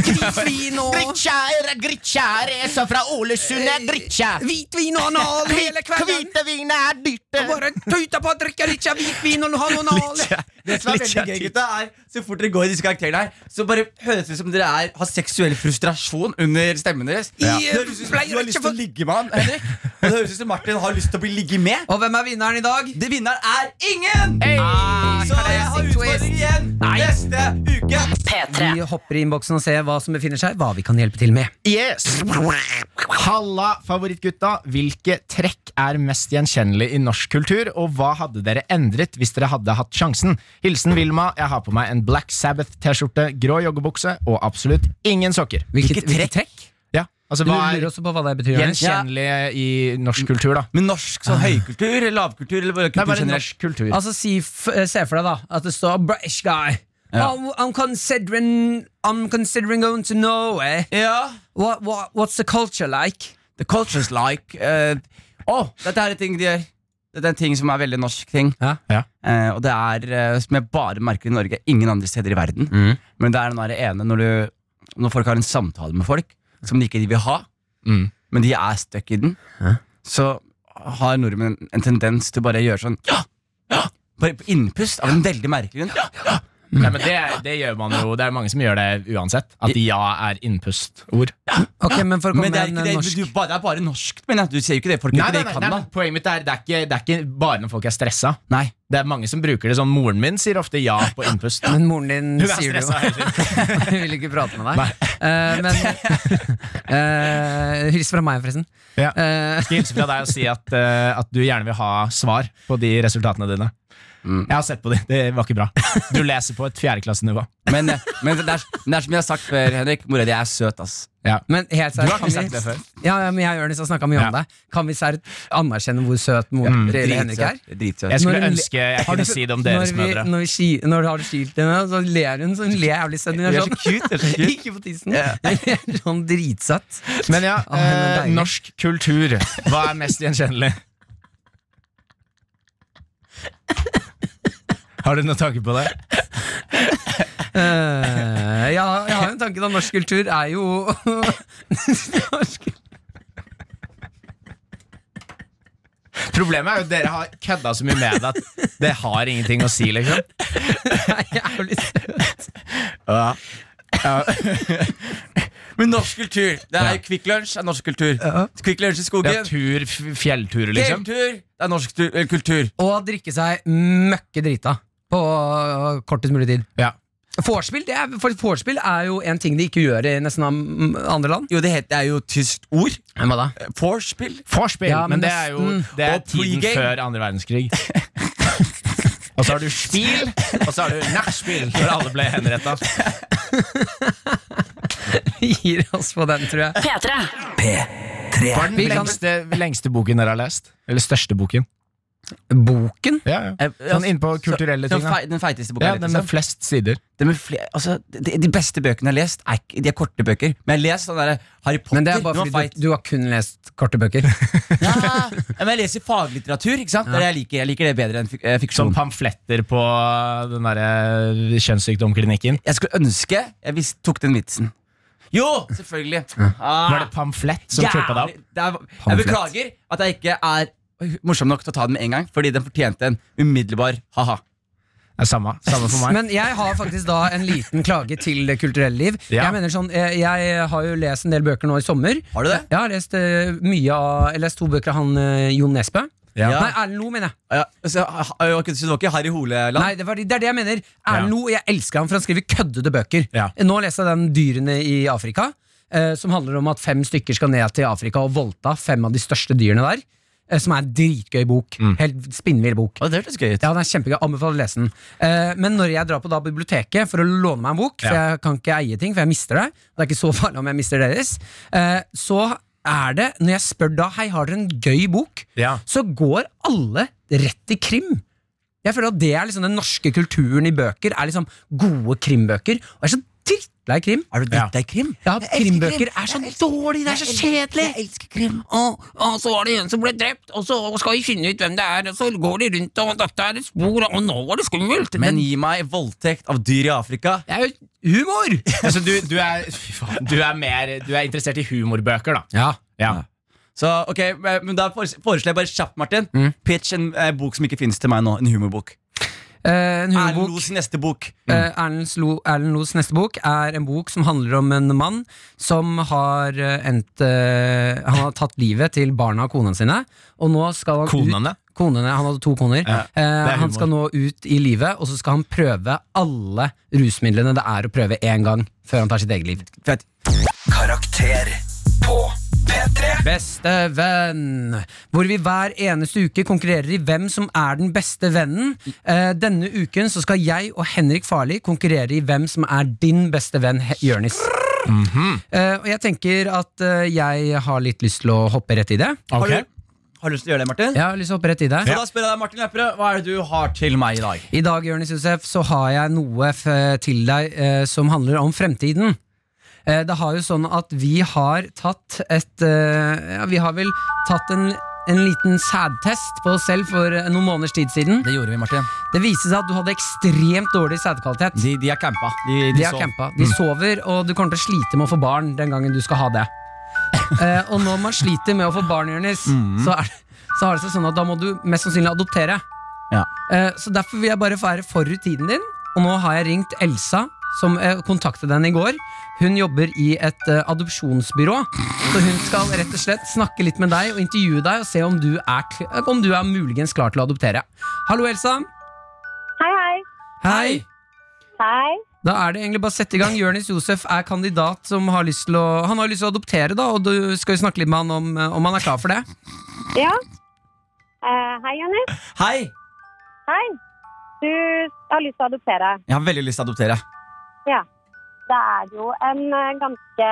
Speaker 3: hvitvin og Eh,
Speaker 4: Gritskjær, gritskjær, jeg er så fra Ålesund, jeg gritskjær.
Speaker 3: Hvitvin og anal hele kvelden.
Speaker 4: Hvitevin er dyrt.
Speaker 3: Og Bare tøyta på å drikke litt hvitvin og ha noe anal.
Speaker 5: det som er veldig gøy, gutta, er så fort dere går i disse karakterene her, så bare høres det ut som dere er, har seksuell frustrasjon under stemmen deres.
Speaker 3: Ja.
Speaker 5: Det høres ut som
Speaker 3: Pleier
Speaker 5: du har
Speaker 3: ikke
Speaker 5: lyst
Speaker 3: for-
Speaker 5: til å ligge med han, Henrik. Og det høres ut som Martin har lyst til å bli ligget med.
Speaker 3: Og hvem er vinneren i dag?
Speaker 5: Det vinneren er ingen!
Speaker 3: Ah,
Speaker 5: Så jeg har
Speaker 3: classic twist.
Speaker 5: utfordring igjen neste uke.
Speaker 1: P3.
Speaker 3: Vi hopper i innboksen og ser hva som befinner seg, hva vi kan hjelpe til med.
Speaker 4: Yes. Halla, favorittgutta. Hvilke trekk er mest gjenkjennelig i norsk kultur, og hva hadde dere endret hvis dere hadde hatt sjansen? Hilsen Vilma. Jeg har på meg en Black Sabbath-T-skjorte, grå joggebukse og absolutt ingen sokker.
Speaker 3: Hvilket, hvilket trekk?
Speaker 4: Ja, altså
Speaker 3: Du
Speaker 4: Hva
Speaker 3: lurer
Speaker 4: er
Speaker 3: også på hva det betyr. Jonis.
Speaker 4: gjenkjennelig i norsk kultur, da?
Speaker 5: Men norsk sånn høykultur, eller lavkultur eller bare
Speaker 4: Det er
Speaker 5: kultur
Speaker 4: bare
Speaker 5: generelt?
Speaker 4: norsk kultur.
Speaker 3: Altså, si, f eh, se for deg da at det står 'British guy'. Oh, I'm considering I'm considering going to Norway.
Speaker 5: Ja.
Speaker 3: What, what, what's the culture like?
Speaker 5: The culture's like eh, Å, dette er en ting de gjør. Dette er en ting som er veldig norsk ting.
Speaker 3: Ja.
Speaker 4: Ja.
Speaker 5: Eh, og det er eh, som jeg bare merker i Norge, ingen andre steder i verden.
Speaker 3: Mm.
Speaker 5: Men det er den der ene når, du, når folk har en samtale med folk som de ikke vil ha,
Speaker 4: Mm.
Speaker 5: men de er stuck i den, så har nordmenn en tendens til bare å gjøre sånn Ja! Ja! Bare på innpust av en veldig merkelig grunn. Ja!
Speaker 3: Mm.
Speaker 4: Nei, men det, det gjør man jo. Det er mange som gjør det uansett. At ja er innpustord.
Speaker 3: Ok, men for å komme
Speaker 5: Men det
Speaker 3: med
Speaker 5: er,
Speaker 3: en
Speaker 5: ikke
Speaker 3: eh,
Speaker 5: det,
Speaker 3: norsk
Speaker 5: du, bare, det er bare norsk, men jeg. du sier jo ikke det. Folk gjør
Speaker 4: Nei,
Speaker 5: ikke
Speaker 4: nei,
Speaker 5: det
Speaker 4: nei,
Speaker 5: i
Speaker 4: nei,
Speaker 5: Canada.
Speaker 4: men Poenget mitt er det er ikke, det er ikke bare når folk er stressa.
Speaker 5: Nei.
Speaker 4: Det er mange som bruker det sånn. Moren min sier ofte ja på innpust.
Speaker 3: Men moren din
Speaker 4: Hun er
Speaker 3: sier det
Speaker 4: stressa
Speaker 3: jo.
Speaker 4: hele tiden.
Speaker 3: Hun vil ikke prate med deg. Eh, men eh, Hils fra meg, forresten.
Speaker 4: Ja.
Speaker 3: Eh,
Speaker 4: Skal hilse fra deg og si at, eh, at du gjerne vil ha svar på de resultatene dine.
Speaker 5: Mm.
Speaker 4: Jeg har sett på de, det var ikke bra. Du leser på et fjerdeklassenivå.
Speaker 5: Men, eh, men det, er, det er som jeg har sagt før, Henrik. Mora di er søt, ass.
Speaker 3: men helt seriøst,
Speaker 4: har
Speaker 3: kan
Speaker 4: ikke sagt
Speaker 3: vi-
Speaker 4: det før.
Speaker 3: Ja, ja, men jeg og Jonis har snakka mye om
Speaker 4: Ja. Mm,
Speaker 3: det. Kan vi seriøst anerkjenne hvor søt moren til Henrik er?
Speaker 5: Dritsøt.
Speaker 4: Jeg
Speaker 3: Når
Speaker 4: skulle
Speaker 3: hun-
Speaker 4: ønske jeg
Speaker 3: Har du-
Speaker 4: kunne si det om deres
Speaker 3: når vi,
Speaker 4: mødre.
Speaker 3: Når, vi, ski- når du har skilt henne, så ler hun så hun ler jævlig søtt. Hun er sånn Ikke på tissen. sånn dritsøtt.
Speaker 4: Men ja,
Speaker 3: Å, hun er
Speaker 4: eh,
Speaker 3: deilig.
Speaker 4: norsk kultur. Hva er mest gjenkjennelig? Har du noen tanke på det?
Speaker 3: Eh, ja, jeg har jo en tanke da norsk kultur er jo norsk.
Speaker 4: Problemet er jo at dere har kødda så mye med det at det har ingenting å si, liksom.
Speaker 3: er jævlig søt.
Speaker 5: Men norsk kultur. Det er jo Kvikk Lunsj er norsk kultur. Kvikk Lunsj i
Speaker 4: Det er
Speaker 5: skogen.
Speaker 4: tur, f- fjellturer, liksom.
Speaker 5: Deltur. Det er norsk tu- eh, kultur.
Speaker 3: Og drikke seg møkke drita på eh, kortest mulig tid.
Speaker 4: Ja.
Speaker 3: Vorspiel det er, for vorspiel er jo en ting de ikke gjør i nesten am- andre land.
Speaker 5: Jo, det, heter, det er jo et tysk ord. Eh,
Speaker 3: Hva da?
Speaker 5: Vorspiel.
Speaker 4: Forspill,
Speaker 3: Ja, men
Speaker 4: men det er jo
Speaker 3: nesten.
Speaker 4: det er
Speaker 5: Og
Speaker 4: tiden
Speaker 5: pregame.
Speaker 4: før andre verdenskrig. Og så har du spill, og så har du nachspiel, når alle ble henretta.
Speaker 3: Vi gir oss på den, tror jeg.
Speaker 1: P3.
Speaker 6: P3.
Speaker 4: Hva er den
Speaker 3: Vi kan-
Speaker 4: lengste, lengste boken dere har lest? Eller største boken?
Speaker 3: Boken?
Speaker 4: Ja, ja.
Speaker 5: Eh,
Speaker 4: Sånn innpå kulturelle
Speaker 5: Den,
Speaker 4: ting. Da.
Speaker 5: fei, den feiteste boka.
Speaker 4: Ja,
Speaker 5: jeg
Speaker 4: den
Speaker 5: leser.
Speaker 4: med flest sider.
Speaker 5: Det med fle- altså, de, de beste bøkene jeg har lest, er, ikke- de er korte bøker. Men jeg har lest den der Harry Potter.
Speaker 3: Men det er bare
Speaker 5: den var
Speaker 3: fordi
Speaker 5: feit.
Speaker 3: du, du har kun lest korte bøker.
Speaker 5: ja, men jeg leser faglitteratur. Ikke sant? Det er det jeg, liker, jeg liker det bedre enn fik- eh,
Speaker 4: Sånn
Speaker 5: fiksjon.
Speaker 4: pamfletter på den derre kjønnssykdomklinikken.
Speaker 5: Jeg skulle ønske jeg visst, tok den vitsen. Jo, selvfølgelig! Ah,
Speaker 4: Var det pamflett som trippa deg opp?
Speaker 5: jævlig- det er- Jeg beklager at jeg ikke er morsom nok til å ta den med en gang, fordi den fortjente en umiddelbar ha-ha.
Speaker 4: Ja, samme, samme for meg.
Speaker 3: Men jeg har faktisk da en liten klage til det kulturelle liv.
Speaker 4: Ja.
Speaker 3: Jeg mener sånn, eh, jeg har jo lest en del bøker nå i sommer.
Speaker 5: Har du det?
Speaker 3: Jeg har lest, eh, mye av, jeg har lest to bøker av han eh, Jon Nesbø.
Speaker 5: Ja.
Speaker 3: Nei, Erlend Loe, mener jeg.
Speaker 5: Ja, så, ha- ha- ok, så det var ikke Harry Hole-land?
Speaker 3: Nei, det, var, det er det jeg mener.
Speaker 4: Ja.
Speaker 3: Erlend Loe, jeg elsker ham, for han skriver køddede bøker.
Speaker 4: Ja.
Speaker 3: Nå leste jeg den Dyrene i Afrika, eh, som handler om at fem stykker skal ned til Afrika og voldta fem av de største dyrene der. eh, som er en dritgøy bok. Helt spinnvill bok.
Speaker 5: Mm. Å, det hørtes gøy ut.
Speaker 3: Ja, den er kjempegøy, anbefaler å lese den Eh, Men når jeg drar på da biblioteket for å låne meg en bok For jeg kan ikke eie ting, for jeg mister det Det er ikke så farlig om jeg mister deres eh, Så er det, når jeg spør da Hei, har dere en gøy bok?
Speaker 4: Ja.
Speaker 3: Så går alle rett i krim Jeg føler at det er liksom den norske kulturen i bøker Er liksom gode krimbøker Og jeg er så drittlei krim
Speaker 5: Er du dritt deg krim?
Speaker 3: ja, krimbøker er så dårlig, det er så kjedelig! Jeg elsker krim.
Speaker 7: Og, og så var det en som ble drept, og så skal vi finne ut hvem det er, og så går de rundt, og dette er et spor, og nå var det skummelt.
Speaker 5: Men gi meg voldtekt av dyr i Afrika.
Speaker 3: Det er jo humor!
Speaker 4: Altså, du, du, er, fy faen, du, er mer, du er interessert i humorbøker, da.
Speaker 3: Ja,
Speaker 4: Ja.
Speaker 5: Så ok, men Da fores- foreslår jeg bare kjapt, Martin.
Speaker 4: Mm.
Speaker 5: Pitch en eh, bok som ikke finnes til meg nå. En humorbok.
Speaker 3: eh, en
Speaker 5: Erlend
Speaker 3: humorbok
Speaker 5: Los neste bok.
Speaker 3: Eh, Erlend Lo- Erlend Los neste bok er en bok som handler om en mann som har eh, endt eh, Han har tatt livet til barna og konene sine. Og nå skal han
Speaker 4: Konene?
Speaker 3: Ut, konene, Han hadde to koner. Eh,
Speaker 4: er humor.
Speaker 3: han skal nå ut i livet, og så skal han prøve alle rusmidlene det er å prøve én gang før han tar sitt eget liv.
Speaker 5: Fett.
Speaker 6: Karakter på P3.
Speaker 3: Beste venn. Hvor vi hver eneste uke konkurrerer i hvem som er den beste vennen. Eh, denne uken så skal jeg og Henrik Farli konkurrere i hvem som er din beste venn, He- Jørnis. Eh, og jeg tenker at eh, jeg har litt lyst til å hoppe rett i det.
Speaker 5: Har,
Speaker 4: Ok.
Speaker 5: du, har du lyst til å gjøre det, Martin?
Speaker 3: Jeg har lyst til å hoppe rett i det.
Speaker 5: Så da spør jeg deg, Martin Lepperød, hva er det du har til meg i dag?
Speaker 3: I dag, Jørnis Josef, så har jeg noe f til deg eh, som handler om fremtiden. Eh, det har jo sånn at vi har tatt et eh, ja, Vi har vel tatt en, en liten sædtest på oss selv for eh, noen måneders tid siden.
Speaker 5: Det gjorde vi, Martin.
Speaker 3: Det viste seg at du hadde ekstremt dårlig sædkvalitet.
Speaker 5: De, de er campa. De, de
Speaker 3: De har
Speaker 5: sov. Mm.
Speaker 3: campa. De sover, og du kommer til å slite med å få barn den gangen du skal ha det. Eh, og når man sliter med å få barn, Jonis,
Speaker 5: Mm.
Speaker 3: så, er, så har det seg sånn at da må du mest sannsynlig adoptere.
Speaker 5: Ja.
Speaker 3: Eh, så derfor vil jeg bare være forut tiden din, og nå har jeg ringt Elsa, som eh, kontaktet den i går. Hun jobber i et eh, adopsjonsbyrå, så hun skal rett og slett snakke litt med deg og intervjue deg og se om du er, kl- eh, om du er muligens klar til å adoptere. Hallo, Elsa.
Speaker 8: Hei, hei.
Speaker 3: Hei.
Speaker 8: Hei.
Speaker 3: Da er det egentlig bare å sette i gang. Jonis Josef er kandidat som har lyst til å Han har lyst til å adoptere, da, og du skal jo snakke litt med han om, eh, om han er klar for det.
Speaker 8: Ja. Eh, hei, Jonis.
Speaker 5: Hei!
Speaker 8: Hei. Du har lyst til å adoptere.
Speaker 5: Jeg har veldig lyst til å adoptere.
Speaker 8: Det er jo en eh, ganske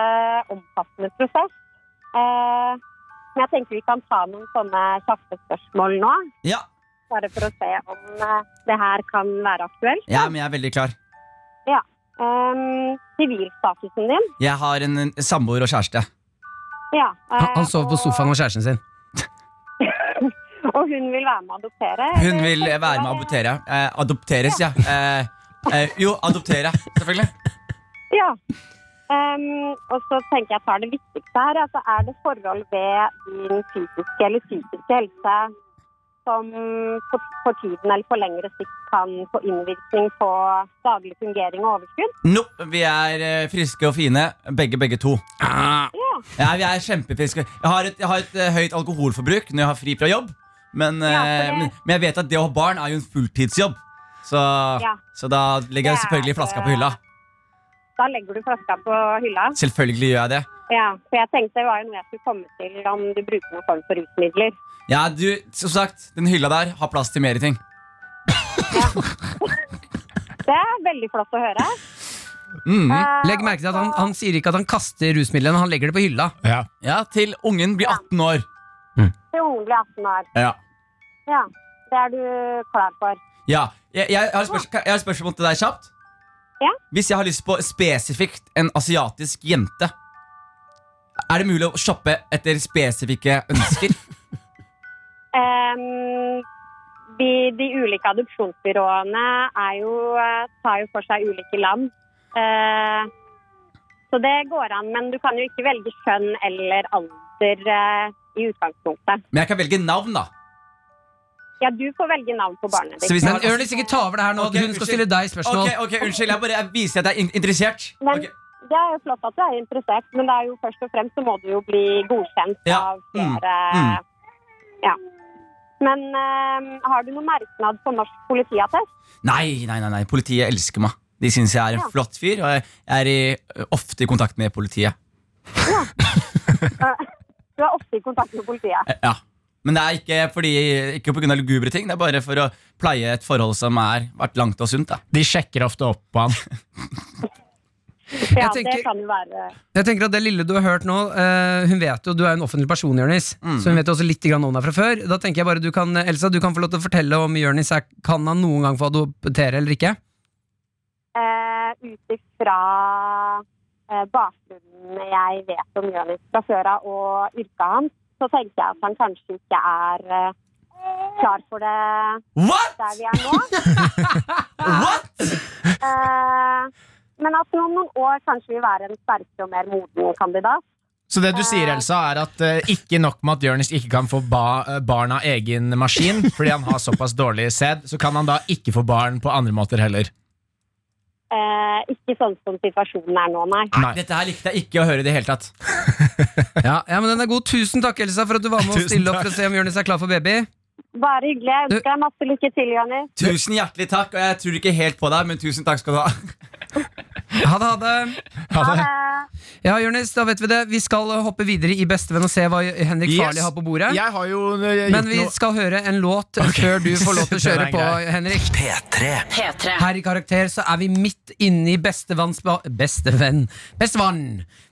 Speaker 8: omfattende prosess. Eh, men jeg tenker vi kan ta noen sånne kjappe spørsmål nå.
Speaker 5: Ja,
Speaker 8: Bare for å se om eh, det her kan være aktuelt.
Speaker 5: ja men jeg er veldig klar.
Speaker 8: Ehm, Sivilstatusen din.
Speaker 5: Jeg har en, en samboer og kjæreste.
Speaker 8: Ja. eh,
Speaker 3: Han, han sover på sofaen med kjæresten sin.
Speaker 8: Og, og hun vil være med å adoptere.
Speaker 5: Hun vil eh, være med å adoptere. Eh, adopteres, ja. Eh, eh, jo, adoptere, selvfølgelig.
Speaker 8: Ja. Ehm, og så tenker jeg jeg tar det viktigste her. Altså, er det forhold ved din fysiske eller psykiske helse som på, på tiden eller på lengre sikt kan få innvirkning på daglig fungering og overskudd?
Speaker 5: No, vi er eh, friske og fine, begge begge to.
Speaker 8: Ja.
Speaker 5: Ja, vi er kjempefriske. Jeg har et, jeg har et eh, høyt alkoholforbruk når jeg har fri fra jobb. Men,
Speaker 8: Ja, for
Speaker 5: eh,
Speaker 8: det-
Speaker 5: men, men jeg vet at det å ha barn er jo en fulltidsjobb. Så,
Speaker 8: Ja.
Speaker 5: så da legger jeg
Speaker 8: Det er
Speaker 5: selvfølgelig
Speaker 8: det.
Speaker 5: flaska på hylla.
Speaker 8: Da legger du flaska på hylla.
Speaker 5: Selvfølgelig gjør jeg det.
Speaker 8: Ja, for jeg tenkte det var jo noe jeg skulle komme til om du bruker noen form for rusmidler.
Speaker 5: Ja, du, som sagt, Den hylla der har plass til mer ting.
Speaker 8: Det er veldig flott å høre. Eh,
Speaker 3: Mm. Legg merke til at han, han sier ikke at han kaster rusmidlene, han legger det på hylla.
Speaker 4: Ja.
Speaker 5: Ja, Til ungen blir 18 år.
Speaker 8: Til ungen blir 18 år.
Speaker 5: Ja,
Speaker 8: Ja, det er du klar for.
Speaker 5: ja. Jeg, jeg, har et spørs- jeg har et spørsmål til deg kjapt.
Speaker 8: Ja.
Speaker 5: Hvis jeg har lyst på spesifikt en asiatisk jente, er det mulig å shoppe etter spesifikke ønsker?
Speaker 8: Ehm, de, de ulike adopsjonsbyråene er jo, eh, tar jo for seg ulike land. Eh, så det går an, men du kan jo ikke velge kjønn eller alder eh, i utgangspunktet.
Speaker 5: Men jeg kan velge navn, da.
Speaker 8: Ja, du får velge navn på barnet
Speaker 5: Så
Speaker 8: ditt.
Speaker 5: hvis jeg
Speaker 3: Men
Speaker 5: har-
Speaker 3: Jonis, ikke ta over det her nå. Hun
Speaker 5: Ok,
Speaker 3: skal
Speaker 5: unnskyld.
Speaker 3: stille deg spørsmål.
Speaker 5: Ok, ok, Unnskyld, jeg bare jeg viser at jeg er in interessert.
Speaker 8: Men
Speaker 5: Ok.
Speaker 8: det er jo flott at du er interessert, men det er jo først og fremst så må du jo bli godkjent
Speaker 5: Ja,
Speaker 8: av
Speaker 5: mm,
Speaker 8: flere Ja. Men eh, har du noen merknad på norsk politiattest?
Speaker 5: Nei, nei, nei, nei, politiet elsker meg. De syns jeg er en
Speaker 8: Ja.
Speaker 5: flott fyr, og jeg er i, eh, ofte i kontakt med politiet.
Speaker 8: Du er ofte i kontakt med politiet.
Speaker 5: Eh, Ja. Men det er ikke, fordi, ikke på grunn av lugubre ting, det er bare for å pleie et forhold som har vært langt og sunt. Da.
Speaker 4: De sjekker ofte opp på han.
Speaker 8: Ja,
Speaker 3: tenker-
Speaker 8: det kan jo være
Speaker 3: Jeg tenker at Det lille du har hørt nå eh, Hun vet jo, Du er jo en offentlig person, Jørnis.
Speaker 5: Mm.
Speaker 3: Så hun vet jo også litt grann om deg fra før. Da tenker jeg bare du kan, Elsa, du kan få lov til å fortelle om Jørnis er- kan han noen gang få adoptere eller ikke.
Speaker 8: Eh, ut ifra eh, bakgrunnen jeg vet om Jonis fra før av og yrket hans, så tenker jeg at han kanskje ikke er eh, klar for det
Speaker 5: What?!
Speaker 8: der vi er nå.
Speaker 5: What?!
Speaker 8: Eh, men at om noen år kanskje vil være en sterkere og mer moden kandidat.
Speaker 4: Så det du sier, Elsa, er at eh, ikke nok med at Jonis ikke kan få ba eh, barn av egen maskin, fordi han har såpass dårlig sæd, så kan han da ikke få barn på andre måter heller.
Speaker 8: Eh, ikke sånn som situasjonen er nå, nei.
Speaker 5: Nei. Dette her likte jeg ikke å høre i det hele tatt.
Speaker 3: Ja, ja, men den er god. Tusen takk, Elsa, for at du var med og
Speaker 4: Tusen
Speaker 3: stille opp
Speaker 4: takk.
Speaker 3: for å se om Jonis er klar for baby.
Speaker 8: Bare hyggelig. Jeg ønsker deg masse lykke til, Jonis.
Speaker 5: Tusen hjertelig takk, og jeg tror ikke helt på deg, men tusen takk skal du ha.
Speaker 3: Ha det, ha det.
Speaker 4: Ha det.
Speaker 3: Ja, Jonis, da vet vi det. Vi skal eh, hoppe videre i Bestevenn og se hva Henrik
Speaker 4: Yes.
Speaker 3: Farley har på bordet.
Speaker 4: Jeg har jo eh, gjort
Speaker 3: Men vi
Speaker 4: noe
Speaker 3: skal høre en låt før du får lov til å
Speaker 4: Den er
Speaker 3: kjøre på,
Speaker 4: grei.
Speaker 3: Henrik.
Speaker 6: P3.
Speaker 1: P3.
Speaker 3: Her i Karakter så er vi midt inne i bestevannsba... Bestevenn. Bestevann!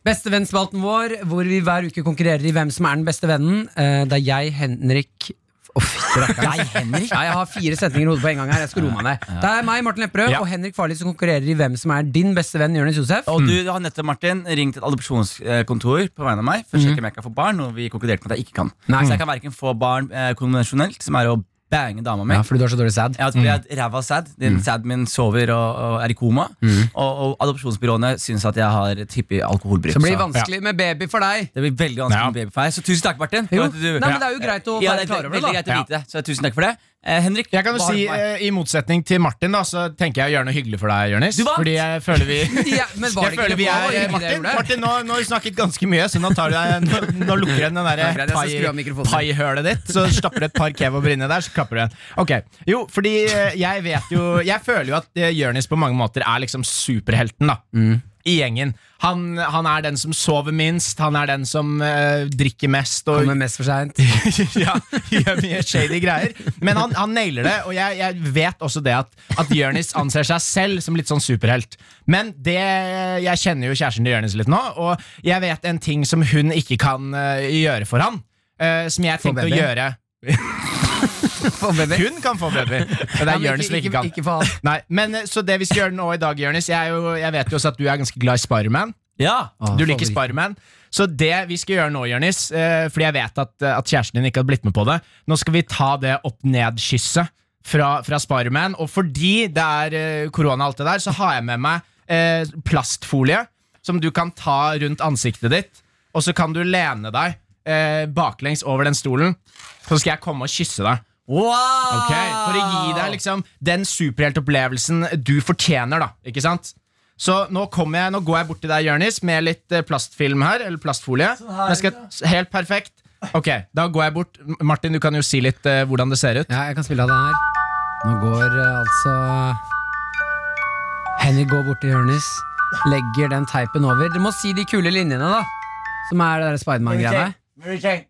Speaker 3: Bestevennspalten vår, hvor vi hver uke konkurrerer i hvem som er den beste vennen. Eh, Det er jeg, Henrik Å, fy, det rakk jeg. Ja, jeg har fire setninger i hodet på en gang her. Jeg skal roe meg ned. Det er meg, Martin Lepperød,
Speaker 4: Ja.
Speaker 3: og Henrik Farley som konkurrerer i hvem som er din beste venn, Jonis Josef. Mm.
Speaker 5: Og du har nettopp Martin, ringt et adopsjonskontor på vegne av meg for å sjekke om jeg kan få barn, og vi konkluderte med at jeg ikke kan.
Speaker 3: Mhm. Nei.
Speaker 5: Så jeg kan verken få barn eh, konvensjonelt, som er å bange dama mi.
Speaker 3: Ja, fordi du har så dårlig Mm. sæd.
Speaker 5: Jeg har blitt ræva sad. Den sad min sover og, og er i koma.
Speaker 3: Mm.
Speaker 5: Og, og adopsjonsbyråene syns at jeg har et hyppig alkoholbruk.
Speaker 3: Så det blir
Speaker 5: så
Speaker 3: vanskelig med baby for deg.
Speaker 5: det blir veldig vanskelig
Speaker 4: Ja.
Speaker 5: med babyfeil. Så tusen takk, Martin. for
Speaker 3: Jo,
Speaker 5: at du-
Speaker 3: nei, men Det er jo greit å
Speaker 5: Ja,
Speaker 3: være
Speaker 5: det er
Speaker 3: klar over
Speaker 5: veldig
Speaker 3: det, da.
Speaker 5: greit å vite. Så tusen takk for det. Eh, Henrik,
Speaker 4: Jeg kan jo
Speaker 5: hva har
Speaker 4: si,
Speaker 5: du for meg?
Speaker 4: eh, I motsetning til Martin, da så tenker jeg å gjøre noe hyggelig for deg, Jonis.
Speaker 5: Du vant!
Speaker 4: Fordi jeg føler vi
Speaker 3: Ja, men var
Speaker 4: Jeg
Speaker 3: det
Speaker 4: føler
Speaker 3: ikke
Speaker 4: vi
Speaker 3: var
Speaker 4: er
Speaker 3: det ikke
Speaker 4: eh,
Speaker 3: det jeg
Speaker 4: Martin,
Speaker 3: gjorde?
Speaker 4: Martin nå, nå har du snakket ganske mye, så nå, tar du deg, nå, nå lukker du igjen den
Speaker 3: Ja, greit, jeg
Speaker 4: der
Speaker 3: skal skru av
Speaker 4: pai-
Speaker 3: mikrofonen.
Speaker 4: paihølet ditt. Så stapper du et par kebab inni der, så klapper du igjen. Ok, Jo, fordi eh, jeg vet jo Jeg føler jo at eh, Jonis på mange måter er liksom superhelten, da.
Speaker 3: Mm.
Speaker 4: I gjengen. Han, han er den som sover minst, han er den som eh, drikker mest og
Speaker 3: Kommer mest for seint.
Speaker 4: ja, gjør mye shady greier. Men han, han nailer det, og jeg, jeg vet også det at, at Jonis anser seg selv som litt sånn superhelt. Men det, jeg kjenner jo kjæresten til Jonis litt nå, og jeg vet en ting som hun ikke kan eh, gjøre for han. eh, som jeg tenkte å
Speaker 3: baby.
Speaker 4: gjøre. Hun kan få baby, men det er Jonis som ikke kan.
Speaker 3: Ikke for alt.
Speaker 4: Nei, men eh, Så det vi skal gjøre nå i dag, Jonis Jeg, er jo- jeg vet jo også at du er ganske glad i Spiderman.
Speaker 5: Ja.
Speaker 4: Du liker Spiderman. Så det vi skal gjøre nå, Jørnis, eh, fordi jeg vet at, at kjæresten din ikke har blitt med på det, nå skal vi ta det opp-ned-kysset fra, fra Spiderman. Og fordi det er eh, korona og alt det der, så har jeg med meg eh, plastfolie som du kan ta rundt ansiktet ditt, og så kan du lene deg eh, baklengs over den stolen, så skal jeg komme og kysse deg.
Speaker 5: Wow!
Speaker 4: Ok, For å gi deg liksom den superheltopplevelsen du fortjener, da. Ikke sant? Så nå, kommer jeg, nå går jeg bort til deg, Jørnis, med litt eh, plastfilm her. Eller plastfolie.
Speaker 5: Sånn her,
Speaker 4: Jeg skal, helt perfekt. Ok, Da går jeg bort. M- Martin, du kan jo si litt eh, hvordan det ser ut.
Speaker 3: Ja, jeg kan spille av det her. Nå går eh, altså Henny går bort til Jonis, legger den teipen over. Dere må si de kule linjene, da. Som er det der Spiderman-greiene.
Speaker 5: Mary Jane.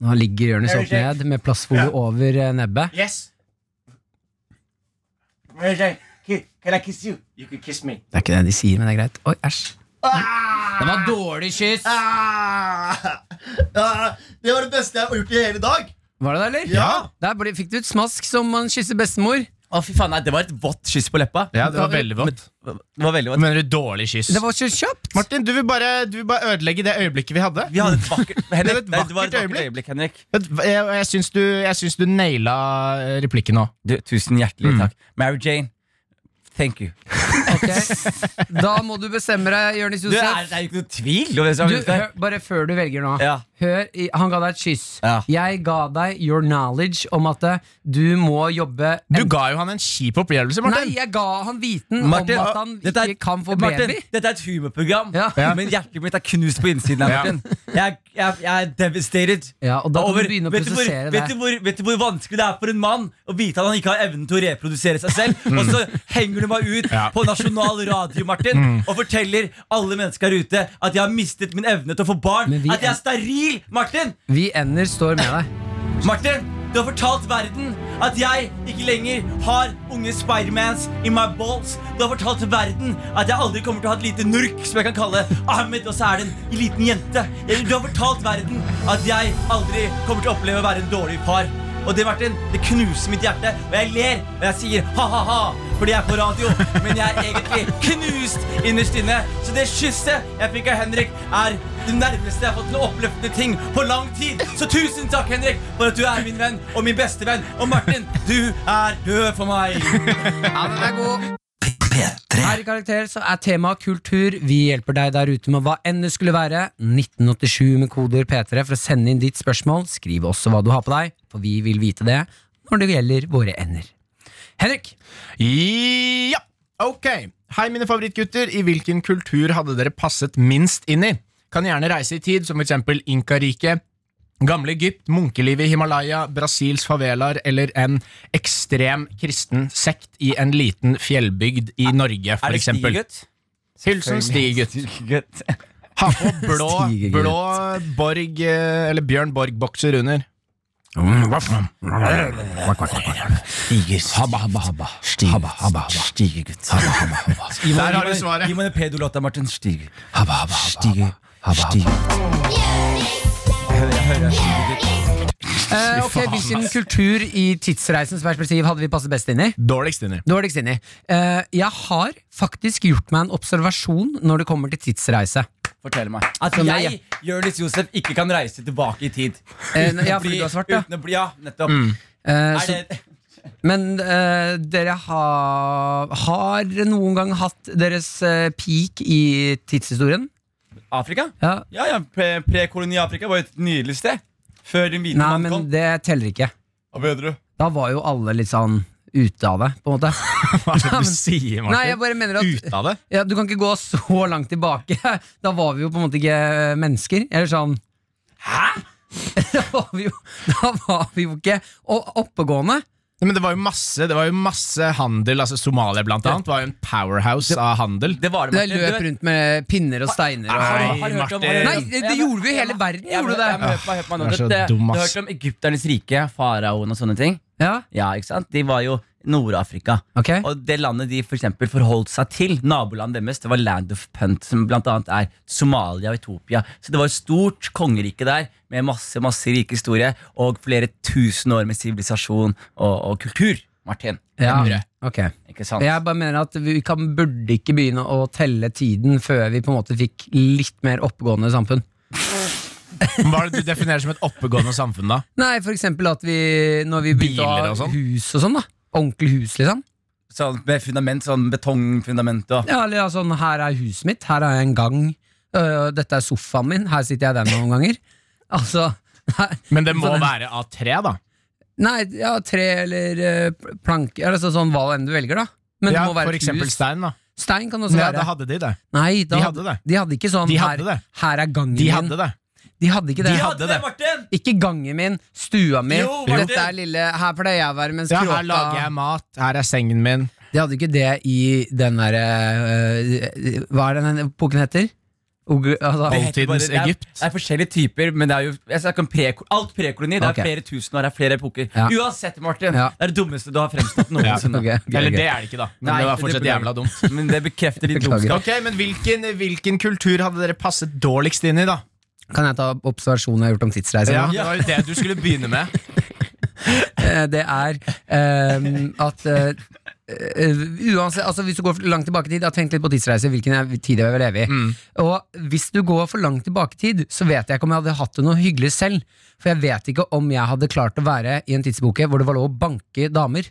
Speaker 3: Nå ligger Jonis opp ned med plastfolie over eh, nebbet.
Speaker 4: Yes,
Speaker 5: Mary Jane. Ki- Can I kiss you?
Speaker 4: you can kiss me.
Speaker 3: Det er ikke det de sier, men det er greit. Oi, æsj.
Speaker 5: Ah!
Speaker 3: Det var dårlig kyss.
Speaker 9: Det var det beste jeg har gjort i hele dag.
Speaker 3: Var det det, eller?
Speaker 9: Ja.
Speaker 3: Der ble, fikk du et smask som man kysser bestemor.
Speaker 5: Å, fy faen, nei, det var et vått kyss på leppa.
Speaker 4: Ja, det var veldig vondt.
Speaker 5: Det var veldig vått.
Speaker 4: Mener du dårlig kyss?
Speaker 3: Det var så kjapt!
Speaker 4: Martin, du vil, bare, du vil bare ødelegge det øyeblikket vi hadde.
Speaker 5: Vi hadde et vakkert,
Speaker 4: Det var
Speaker 5: Henrik,
Speaker 4: et
Speaker 5: det var et
Speaker 4: vakkert
Speaker 5: vakkert
Speaker 4: øyeblikk.
Speaker 5: øyeblikk, Henrik.
Speaker 4: Vet du hva, Jeg, jeg, syns du, jeg syns du naila eh, replikken nå. Mm.
Speaker 5: Du, tusen hjertelig takk. Mary Jane, thank you.
Speaker 3: Ok. Da må du bestemme deg, Jonis
Speaker 5: Du, er,
Speaker 3: Josef.
Speaker 5: det er jo ikke noe tvil om det som
Speaker 3: Du,
Speaker 5: er ute
Speaker 3: hør,
Speaker 5: der.
Speaker 3: bare før du velger nå.
Speaker 5: Ja.
Speaker 3: Hør, i- han ga deg et kyss.
Speaker 5: Ja.
Speaker 3: Jeg ga deg your knowledge om at eh, du må jobbe
Speaker 4: Du ga jo han en kjip opplevelse,
Speaker 3: Nei,
Speaker 4: Martin.
Speaker 3: jeg ga han viten
Speaker 5: Martin,
Speaker 3: om at han
Speaker 5: dette er-
Speaker 3: ikke kan få
Speaker 5: Martin,
Speaker 3: baby.
Speaker 5: dette er et humorprogram,
Speaker 3: Ja.
Speaker 5: men hjertet mitt er knust på innsiden. Her,
Speaker 4: Ja.
Speaker 5: Martin. Jeg, jeg, jeg er devastated.
Speaker 3: Ja, og da kan
Speaker 5: Over-
Speaker 3: du begynne å
Speaker 5: vet, du hvor,
Speaker 3: prosessere
Speaker 5: vet, du
Speaker 3: det.
Speaker 5: hvor, vet du hvor vanskelig det er for en mann å vite at han ikke har evnen til å reprodusere seg selv?
Speaker 3: Mm.
Speaker 5: Og så henger du meg ut
Speaker 4: Ja.
Speaker 5: på nasjonal radio Martin
Speaker 3: Mm.
Speaker 5: og forteller alle mennesker her ute at jeg har mistet min evne til å få barn.
Speaker 3: Men vi
Speaker 5: At jeg
Speaker 3: er-
Speaker 5: er steril! Martin!
Speaker 3: Vi ender står med deg.
Speaker 5: Martin, du har fortalt verden at jeg ikke lenger har unge Spidermans in my balls. Du har fortalt verden at jeg aldri kommer til å ha et lite nurk som jeg kan kalle Ahmed, og så er det en liten jente. Du har fortalt verden at jeg aldri kommer til å oppleve å være en dårlig far. Og det, Martin, det knuser mitt hjerte, og jeg ler, og jeg sier ha-ha-ha fordi jeg er på radio, men jeg er egentlig knust innerst inne. Så det kysset jeg fikk av Henrik, er det nærmeste jeg har fått til å oppløfte ting på lang tid. Så tusen takk, Henrik, for at du er min venn og min beste venn. Og Martin, du er død for meg.
Speaker 3: Ja, den er god.
Speaker 6: P3.
Speaker 3: Her i Karakter så er temaet kultur. Vi hjelper deg der ute med hva enn det skulle være. 1987 med kodeord P3 for å sende inn ditt spørsmål. Skriv også hva du har på deg, for vi vil vite det når det gjelder våre ender. Henrik,
Speaker 4: Ja, ok Hei mine favorittgutter, i hvilken kultur hadde dere passet minst inn i? Kan gjerne reise i tid, som for eksempel Inkarike, Gamle Egypt, munkelivet i Himalaya, Brasils favelaer eller en ekstrem kristen sekt i en liten fjellbygd i Norge, for eksempel. Hilsen Stig, gutt.
Speaker 5: Gutt.
Speaker 4: Ha på blå,
Speaker 3: Stiger, gutt.
Speaker 4: blå Borg, eh, eller Bjørn Borg-bokser under. Eh,
Speaker 3: Habba, habba, habba. Habba, habba, habba.
Speaker 5: Stige, gutt.
Speaker 4: Der har du svaret.
Speaker 5: Gi meg en pedo-låta, Martin. Stige.
Speaker 3: Habba, habba, habba.
Speaker 5: Stige. Stige.
Speaker 3: Eh, ok, Hvilken kultur i tidsreisens perspektiv hadde vi passet best inn i?
Speaker 4: Dårligst inni.
Speaker 3: Dårligst inn i. Eh, jeg har faktisk gjort meg en observasjon når det kommer til tidsreise.
Speaker 5: Fortell meg. At
Speaker 3: Som
Speaker 5: jeg,
Speaker 3: Altså, jeg-
Speaker 5: Jonis Josef, ikke kan reise tilbake i tid.
Speaker 3: Eh, ja,
Speaker 5: Uten å
Speaker 3: fordi
Speaker 5: bli-
Speaker 3: du har svart, ja.
Speaker 5: Uten å bli, ja, nettopp.
Speaker 3: Eh,
Speaker 5: Er
Speaker 3: så,
Speaker 5: det,
Speaker 3: men eh, dere har, har noen gang hatt deres eh, peak i tidshistorien?
Speaker 5: Afrika?
Speaker 3: Ja.
Speaker 5: Ja, ja, pre- Prekoloni Afrika var jo et nydelig sted. Før den hvite
Speaker 3: Nei,
Speaker 5: mannen
Speaker 3: men
Speaker 5: kom.
Speaker 3: det teller ikke.
Speaker 5: Hva mener du?
Speaker 3: Da var jo alle litt sånn ute av det, på en måte.
Speaker 4: Hva er det du sier,
Speaker 3: Nei, jeg
Speaker 4: Martin?
Speaker 3: bare mener at
Speaker 4: Ut av det?
Speaker 3: ja, Du kan ikke gå så langt tilbake. Da var vi jo på en måte ikke mennesker. Eller sånn Hæ?! Da var vi jo, da var vi jo ikke og oppegående.
Speaker 4: Men det var jo masse, det var jo masse handel. altså Somalia blant annet var jo en powerhouse av handel.
Speaker 5: Det var det,
Speaker 3: Jeg
Speaker 5: Martin.
Speaker 3: løp
Speaker 5: Du vet-
Speaker 3: rundt med pinner og steiner.
Speaker 5: Har
Speaker 3: Og,
Speaker 5: du- har du hørt om- har du hørt om-
Speaker 3: nei, det, det gjorde vi jo i hele verden!
Speaker 5: Ja, men-
Speaker 3: gjorde
Speaker 5: ja,
Speaker 3: det
Speaker 5: men hør på meg, hør på meg nå.
Speaker 4: Du er så
Speaker 5: Du vet,
Speaker 4: dum,
Speaker 5: Du har
Speaker 4: ass.
Speaker 5: hørt om egypternes rike, faraoen og sånne ting?
Speaker 3: Ja,
Speaker 5: Ja, ikke sant? De var jo Nord-Afrika.
Speaker 3: ok
Speaker 5: Og det landet de for eksempel forholdt seg til, nabolandet deres, det var Land of Punt, som blant annet er Somalia og Etopia. Så det var et stort kongerike der, med masse masse rik historie og flere tusen år med sivilisasjon og, og kultur. Martin.
Speaker 3: ja, ok.
Speaker 5: Ikke sant?
Speaker 3: Jeg bare mener at vi kan, burde ikke begynne å telle tiden før vi på en måte fikk litt mer oppegående samfunn.
Speaker 4: Hva er det du definerer som et oppegående samfunn, da?
Speaker 3: Nei, for eksempel at vi Når vi begynte å
Speaker 4: Biler og
Speaker 3: ha
Speaker 4: sånn?
Speaker 3: hus og sånn da Ordentlig hus liksom
Speaker 5: Sånn, med fundament, sånn betongfundament og
Speaker 3: Ja, eller ja, sånn, her er huset mitt Her er en gang øh, Dette er sofaen min Her sitter jeg der noen ganger Altså Nei,
Speaker 4: Men det må være av tre, da.
Speaker 3: nei ja, tre eller øh, planke Eller så, sånn hva enn du velger da Men
Speaker 4: Ja,
Speaker 3: det må være
Speaker 4: for
Speaker 3: et
Speaker 4: eksempel
Speaker 3: hus
Speaker 4: stein, da.
Speaker 3: Stein kan også
Speaker 4: Ja,
Speaker 3: være
Speaker 4: da hadde de det.
Speaker 3: Nei, da
Speaker 4: De
Speaker 3: hadde,
Speaker 4: hadde det.
Speaker 3: de hadde ikke sånn
Speaker 4: De hadde
Speaker 3: her,
Speaker 4: det.
Speaker 3: her er gangen
Speaker 4: De hadde det.
Speaker 3: min De hadde ikke det
Speaker 4: De hadde det.
Speaker 5: Martin!
Speaker 3: Ikke gangen min, stua mi
Speaker 5: Jo, Martin!
Speaker 3: Dette er lille, her pleier jeg å være Mens
Speaker 4: Ja,
Speaker 3: kråka
Speaker 4: her lager jeg mat. Her er sengen min.
Speaker 3: De hadde ikke det i den derre øh, Hva er den boken heter? Og, altså,
Speaker 5: Det heter
Speaker 4: Oldtidens
Speaker 5: bare- det er-
Speaker 4: Egypt.
Speaker 5: Det er forskjellige typer, men det er jo jeg snakker om pre, alt prekoloni. Det er
Speaker 3: Ok.
Speaker 5: flere tusen år, det er flere epoker.
Speaker 3: Ja.
Speaker 5: Uansett, Martin,
Speaker 3: Ja.
Speaker 5: det er det dummeste du har fremstått noensinne.
Speaker 3: ok, ok,
Speaker 4: Eller
Speaker 3: ok.
Speaker 4: det er det ikke, da. Men
Speaker 5: Nei,
Speaker 4: det
Speaker 5: det
Speaker 4: var fortsatt
Speaker 5: beklager.
Speaker 4: jævla dumt.
Speaker 5: Men det bekrefter din
Speaker 3: Beklager.
Speaker 5: dumskap.
Speaker 4: Ok, Men hvilken, hvilken kultur hadde dere passet dårligst inn i, da?
Speaker 3: Kan jeg ta observasjonen jeg har gjort om tidsreiser?
Speaker 4: Ja,
Speaker 3: nå?
Speaker 4: det var jo det du skulle begynne med.
Speaker 3: Eh, Det er ehm, at eh, eh, uansett, altså Hvis du går for langt tilbake i tid, jeg har tenkt litt på tidsreiser. Hvilken er- tid jeg vil leve i. Og hvis du går for langt tilbake i tid, så vet jeg ikke om jeg hadde hatt det noe hyggelig selv. For jeg vet ikke om jeg hadde klart å være i en tidsboke hvor det var lov å banke damer.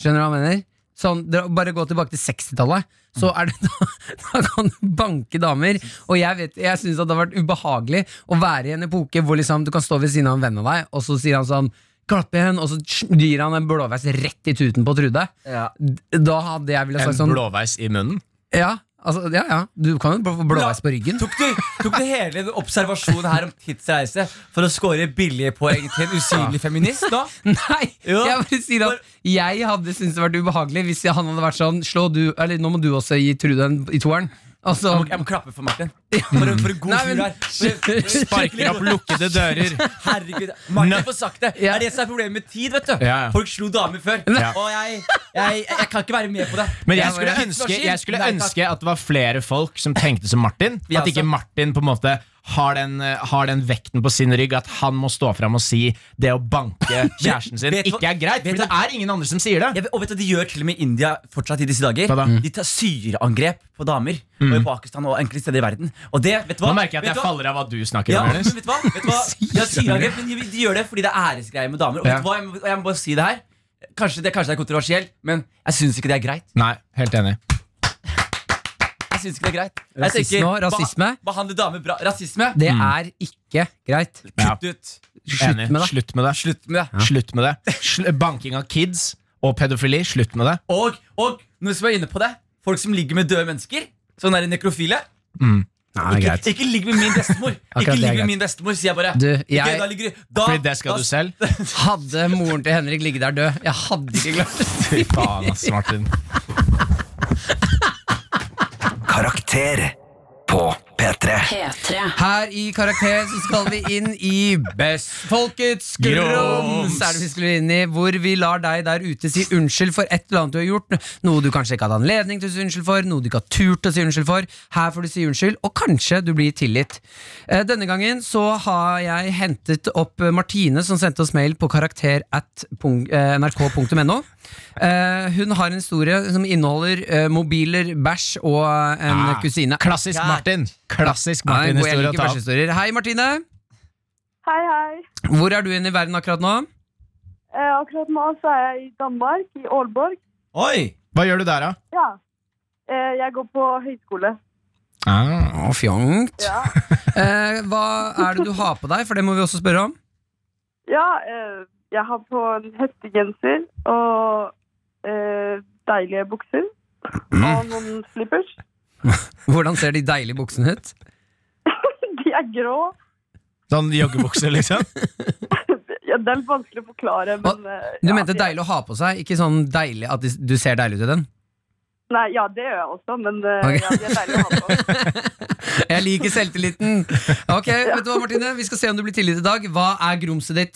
Speaker 3: Skjønner du hva jeg mener? Sånn, dra- bare gå tilbake til 60-tallet, så
Speaker 5: Mm.
Speaker 3: er det da, da kan du banke damer. Og jeg, vet- jeg syns det hadde vært ubehagelig å være i en epoke hvor liksom, du kan stå ved siden av en venn av deg, og så sier han sånn Klapp igjen, og så tsk- gir han en blåveis rett i tuten på Trude.
Speaker 5: Ja.
Speaker 3: D- Da hadde jeg ville
Speaker 4: En
Speaker 3: sagt sånn
Speaker 4: blåveis i munnen.
Speaker 3: ja, altså, ja, ja, du kan jo få blåveis på ryggen.
Speaker 5: Tok du, tok du hele den observasjonen her om tidsreise for å score billige poeng til en usynlig feminist? da?
Speaker 3: Nei!
Speaker 5: Ja.
Speaker 3: Jeg bare sier at jeg hadde syntes det vært ubehagelig hvis jeg- han hadde vært sånn Slå du, eller nå må du også gi Trude en i toeren. Altså,
Speaker 5: Jeg må, jeg må klappe for Martin. For, en- for en god
Speaker 3: Nei, men-
Speaker 5: fyr her. For- for-
Speaker 4: Sparker opp lukkede dører.
Speaker 5: Herregud, Martin får sagt det. Det
Speaker 3: Ja.
Speaker 5: er det som er problemet med tid. vet du
Speaker 4: Ja, ja.
Speaker 5: Folk slo damer før.
Speaker 4: Ja.
Speaker 5: Og jeg, jeg, jeg kan ikke være med på det.
Speaker 4: Men jeg
Speaker 5: Jeg
Speaker 4: skulle,
Speaker 5: bare-
Speaker 4: ønske,
Speaker 5: Tidsmaskin?
Speaker 4: jeg skulle
Speaker 5: Nei, takk.
Speaker 4: ønske at det var flere folk som tenkte som Martin.
Speaker 5: Ja,
Speaker 4: At ikke
Speaker 5: altså.
Speaker 4: Martin på en måte har den, eh, har den vekten på sin rygg at han må stå fram og si det å banke kjæresten sin
Speaker 5: vet du hva-
Speaker 4: ikke er greit.
Speaker 5: vet
Speaker 4: For
Speaker 5: du-
Speaker 4: det er ingen andre som sier det.
Speaker 5: Jeg vet, og vet du, De gjør til og med i India fortsatt i disse dager.
Speaker 4: Hva da? Mm.
Speaker 5: De tar syreangrep på damer. Og i Pakistan og enkelte steder i verden. Og det, vet du hva?
Speaker 4: Nå merker jeg at
Speaker 5: Vet du
Speaker 4: jeg
Speaker 5: hva?
Speaker 4: faller av hva du snakker
Speaker 5: Ja,
Speaker 4: om.
Speaker 5: men
Speaker 4: Jonas.
Speaker 5: vet du hva? Vet du hva? Ja, syreangrep, men de, de gjør det fordi det er æresgreier med damer. Og
Speaker 4: Ja.
Speaker 5: vet du hva? Jeg må, jeg må bare si det her. Kanskje det, kanskje det er kontroversielt, men jeg syns ikke det er greit.
Speaker 4: Nei, helt enig.
Speaker 5: Jeg synes ikke det er greit Jeg
Speaker 3: Rasisme
Speaker 5: tenker,
Speaker 3: og rasisme.
Speaker 5: beha- Behandle damer bra.
Speaker 4: Mm.
Speaker 5: Rasisme.
Speaker 3: det er ikke greit.
Speaker 5: Kutt ut.
Speaker 3: Slutt
Speaker 4: Enig.
Speaker 3: med det.
Speaker 4: Slutt med det.
Speaker 5: Slutt med det.
Speaker 4: Slutt med det. Sl- Banking av kids og pedofili. Slutt med det.
Speaker 5: Og, og noe som er inne på det, folk som ligger med døde mennesker. Sånn er nekrofile.
Speaker 3: Nei,
Speaker 5: Ikke, ikke ligg med min bestemor!
Speaker 3: Ah, Akkurat det
Speaker 5: Ikke
Speaker 3: er
Speaker 5: ligg med
Speaker 3: greit.
Speaker 5: min bestemor, sier jeg bare.
Speaker 3: Du,
Speaker 5: Ikke,
Speaker 3: jeg-
Speaker 5: da ligger du da,
Speaker 4: Fordi det skal du selv.
Speaker 3: Hadde moren til Henrik ligget der død, jeg hadde ikke klart det.
Speaker 4: Fy faen, ass, Martin.
Speaker 6: Karakter på P3.
Speaker 10: P3.
Speaker 3: Her i Karakter så skal vi inn i Best folkets grums, er det vi skulle inn i, hvor vi lar deg der ute si unnskyld for et eller annet du har gjort, noe du kanskje ikke hadde anledning til å si unnskyld for, noe du ikke har turt å si unnskyld for. Her får du si unnskyld, og kanskje du blir tilgitt. Eh, Denne gangen så har jeg hentet opp eh, Martine, som sendte oss mail på karakter at punk- eh, nrk.no. Eh, Hun har en historie som inneholder eh, mobiler, bæsj og eh, en
Speaker 4: Ah,
Speaker 3: kusine.
Speaker 4: Klassisk Martin. Klassisk
Speaker 3: Nei, god, jeg
Speaker 4: Martin-historie å
Speaker 3: liker
Speaker 4: ta opp.
Speaker 3: bæsjehistorier. Hei, Martine.
Speaker 11: Hei, hei.
Speaker 3: Hvor er du inne i verden akkurat nå?
Speaker 11: Eh, akkurat nå så er jeg i Danmark, i Aalborg.
Speaker 5: Oi!
Speaker 4: Hva gjør du der, da?
Speaker 11: Ja. Eh, jeg går på høyskole.
Speaker 3: Å, Ah, fjongt.
Speaker 11: Ja,
Speaker 3: Eh, hva er det du har på deg? For det må vi også spørre om.
Speaker 11: ja eh, jeg har på en hettegenser og eh, deilige bukser. Og noen slippers.
Speaker 3: Hvordan ser de deilige buksene ut?
Speaker 11: De er grå.
Speaker 4: Sånn joggebukse, liksom?
Speaker 11: Ja, det er litt vanskelig å forklare, men eh,
Speaker 3: Du
Speaker 11: ja,
Speaker 3: mente deilig å ha på seg, ikke sånn deilig at de- du ser deilig ut i den.
Speaker 11: Nei, ja, det gjør jeg også, men eh,
Speaker 3: Ok.
Speaker 11: ja, de er deilige å ha på.
Speaker 3: Jeg liker selvtilliten. Ok, vet du hva, Martine? Vi skal se om du blir tilgitt i dag. Hva er grumset ditt?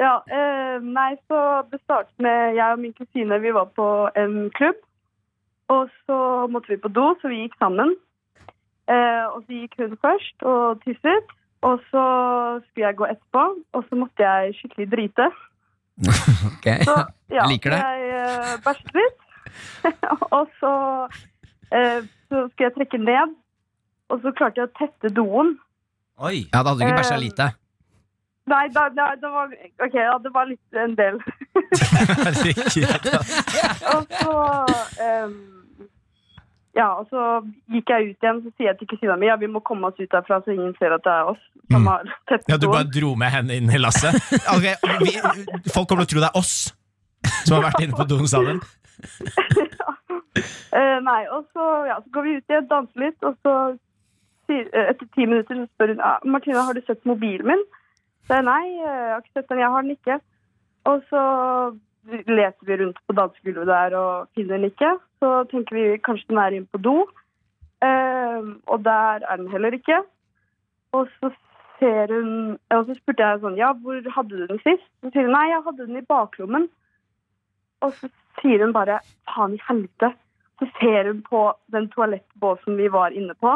Speaker 11: Ja, eh, nei, så det startet med jeg og min kusine, vi var på en klubb. Og så måtte vi på do, så vi gikk sammen. Eh, og så gikk hun først og tisset. Og så skulle jeg gå etterpå, og så måtte jeg skikkelig drite.
Speaker 3: Ok.
Speaker 11: Så ja,
Speaker 3: Jeg liker det.
Speaker 11: jeg eh, bæsjet litt. og så, eh, så skulle jeg trekke ned, og så klarte jeg å tette doen.
Speaker 5: Oi.
Speaker 3: Ja, da hadde du ikke
Speaker 12: Eh.
Speaker 3: bæsja lite.
Speaker 11: Nei, da, da, det var Ok, ja, det var litt en del. Og så ehm, Ja, og så gikk jeg ut igjen, så sier jeg til kusina mi ja, vi må komme oss ut derfra så ingen ser at det er oss. Som har tett
Speaker 4: Mm. Ja, du bare
Speaker 11: skoen.
Speaker 4: dro med henne inn i lasset? Ok, vi, Folk kommer til å tro det er oss som har vært inne på doen sammen.
Speaker 11: Eh, nei, og så, ja, så går vi ut igjen, danser litt, og så sier, eh, etter ti minutter så spør hun ja, Martina, har du sett mobilen min? Så jeg nei, eh, jeg har ikke sett den, jeg har den ikke. Og så leter vi rundt på dansegulvet der og finner den ikke. Så tenker vi kanskje den er inne på do, Eh, og der er den heller ikke. Og så ser hun, og så spurte jeg sånn, ja, hvor hadde du den sist? Så sier hun, nei, jeg hadde den i baklommen. Og så sier hun bare, faen i helvete. Så ser hun på den toalettbåsen vi var inne på.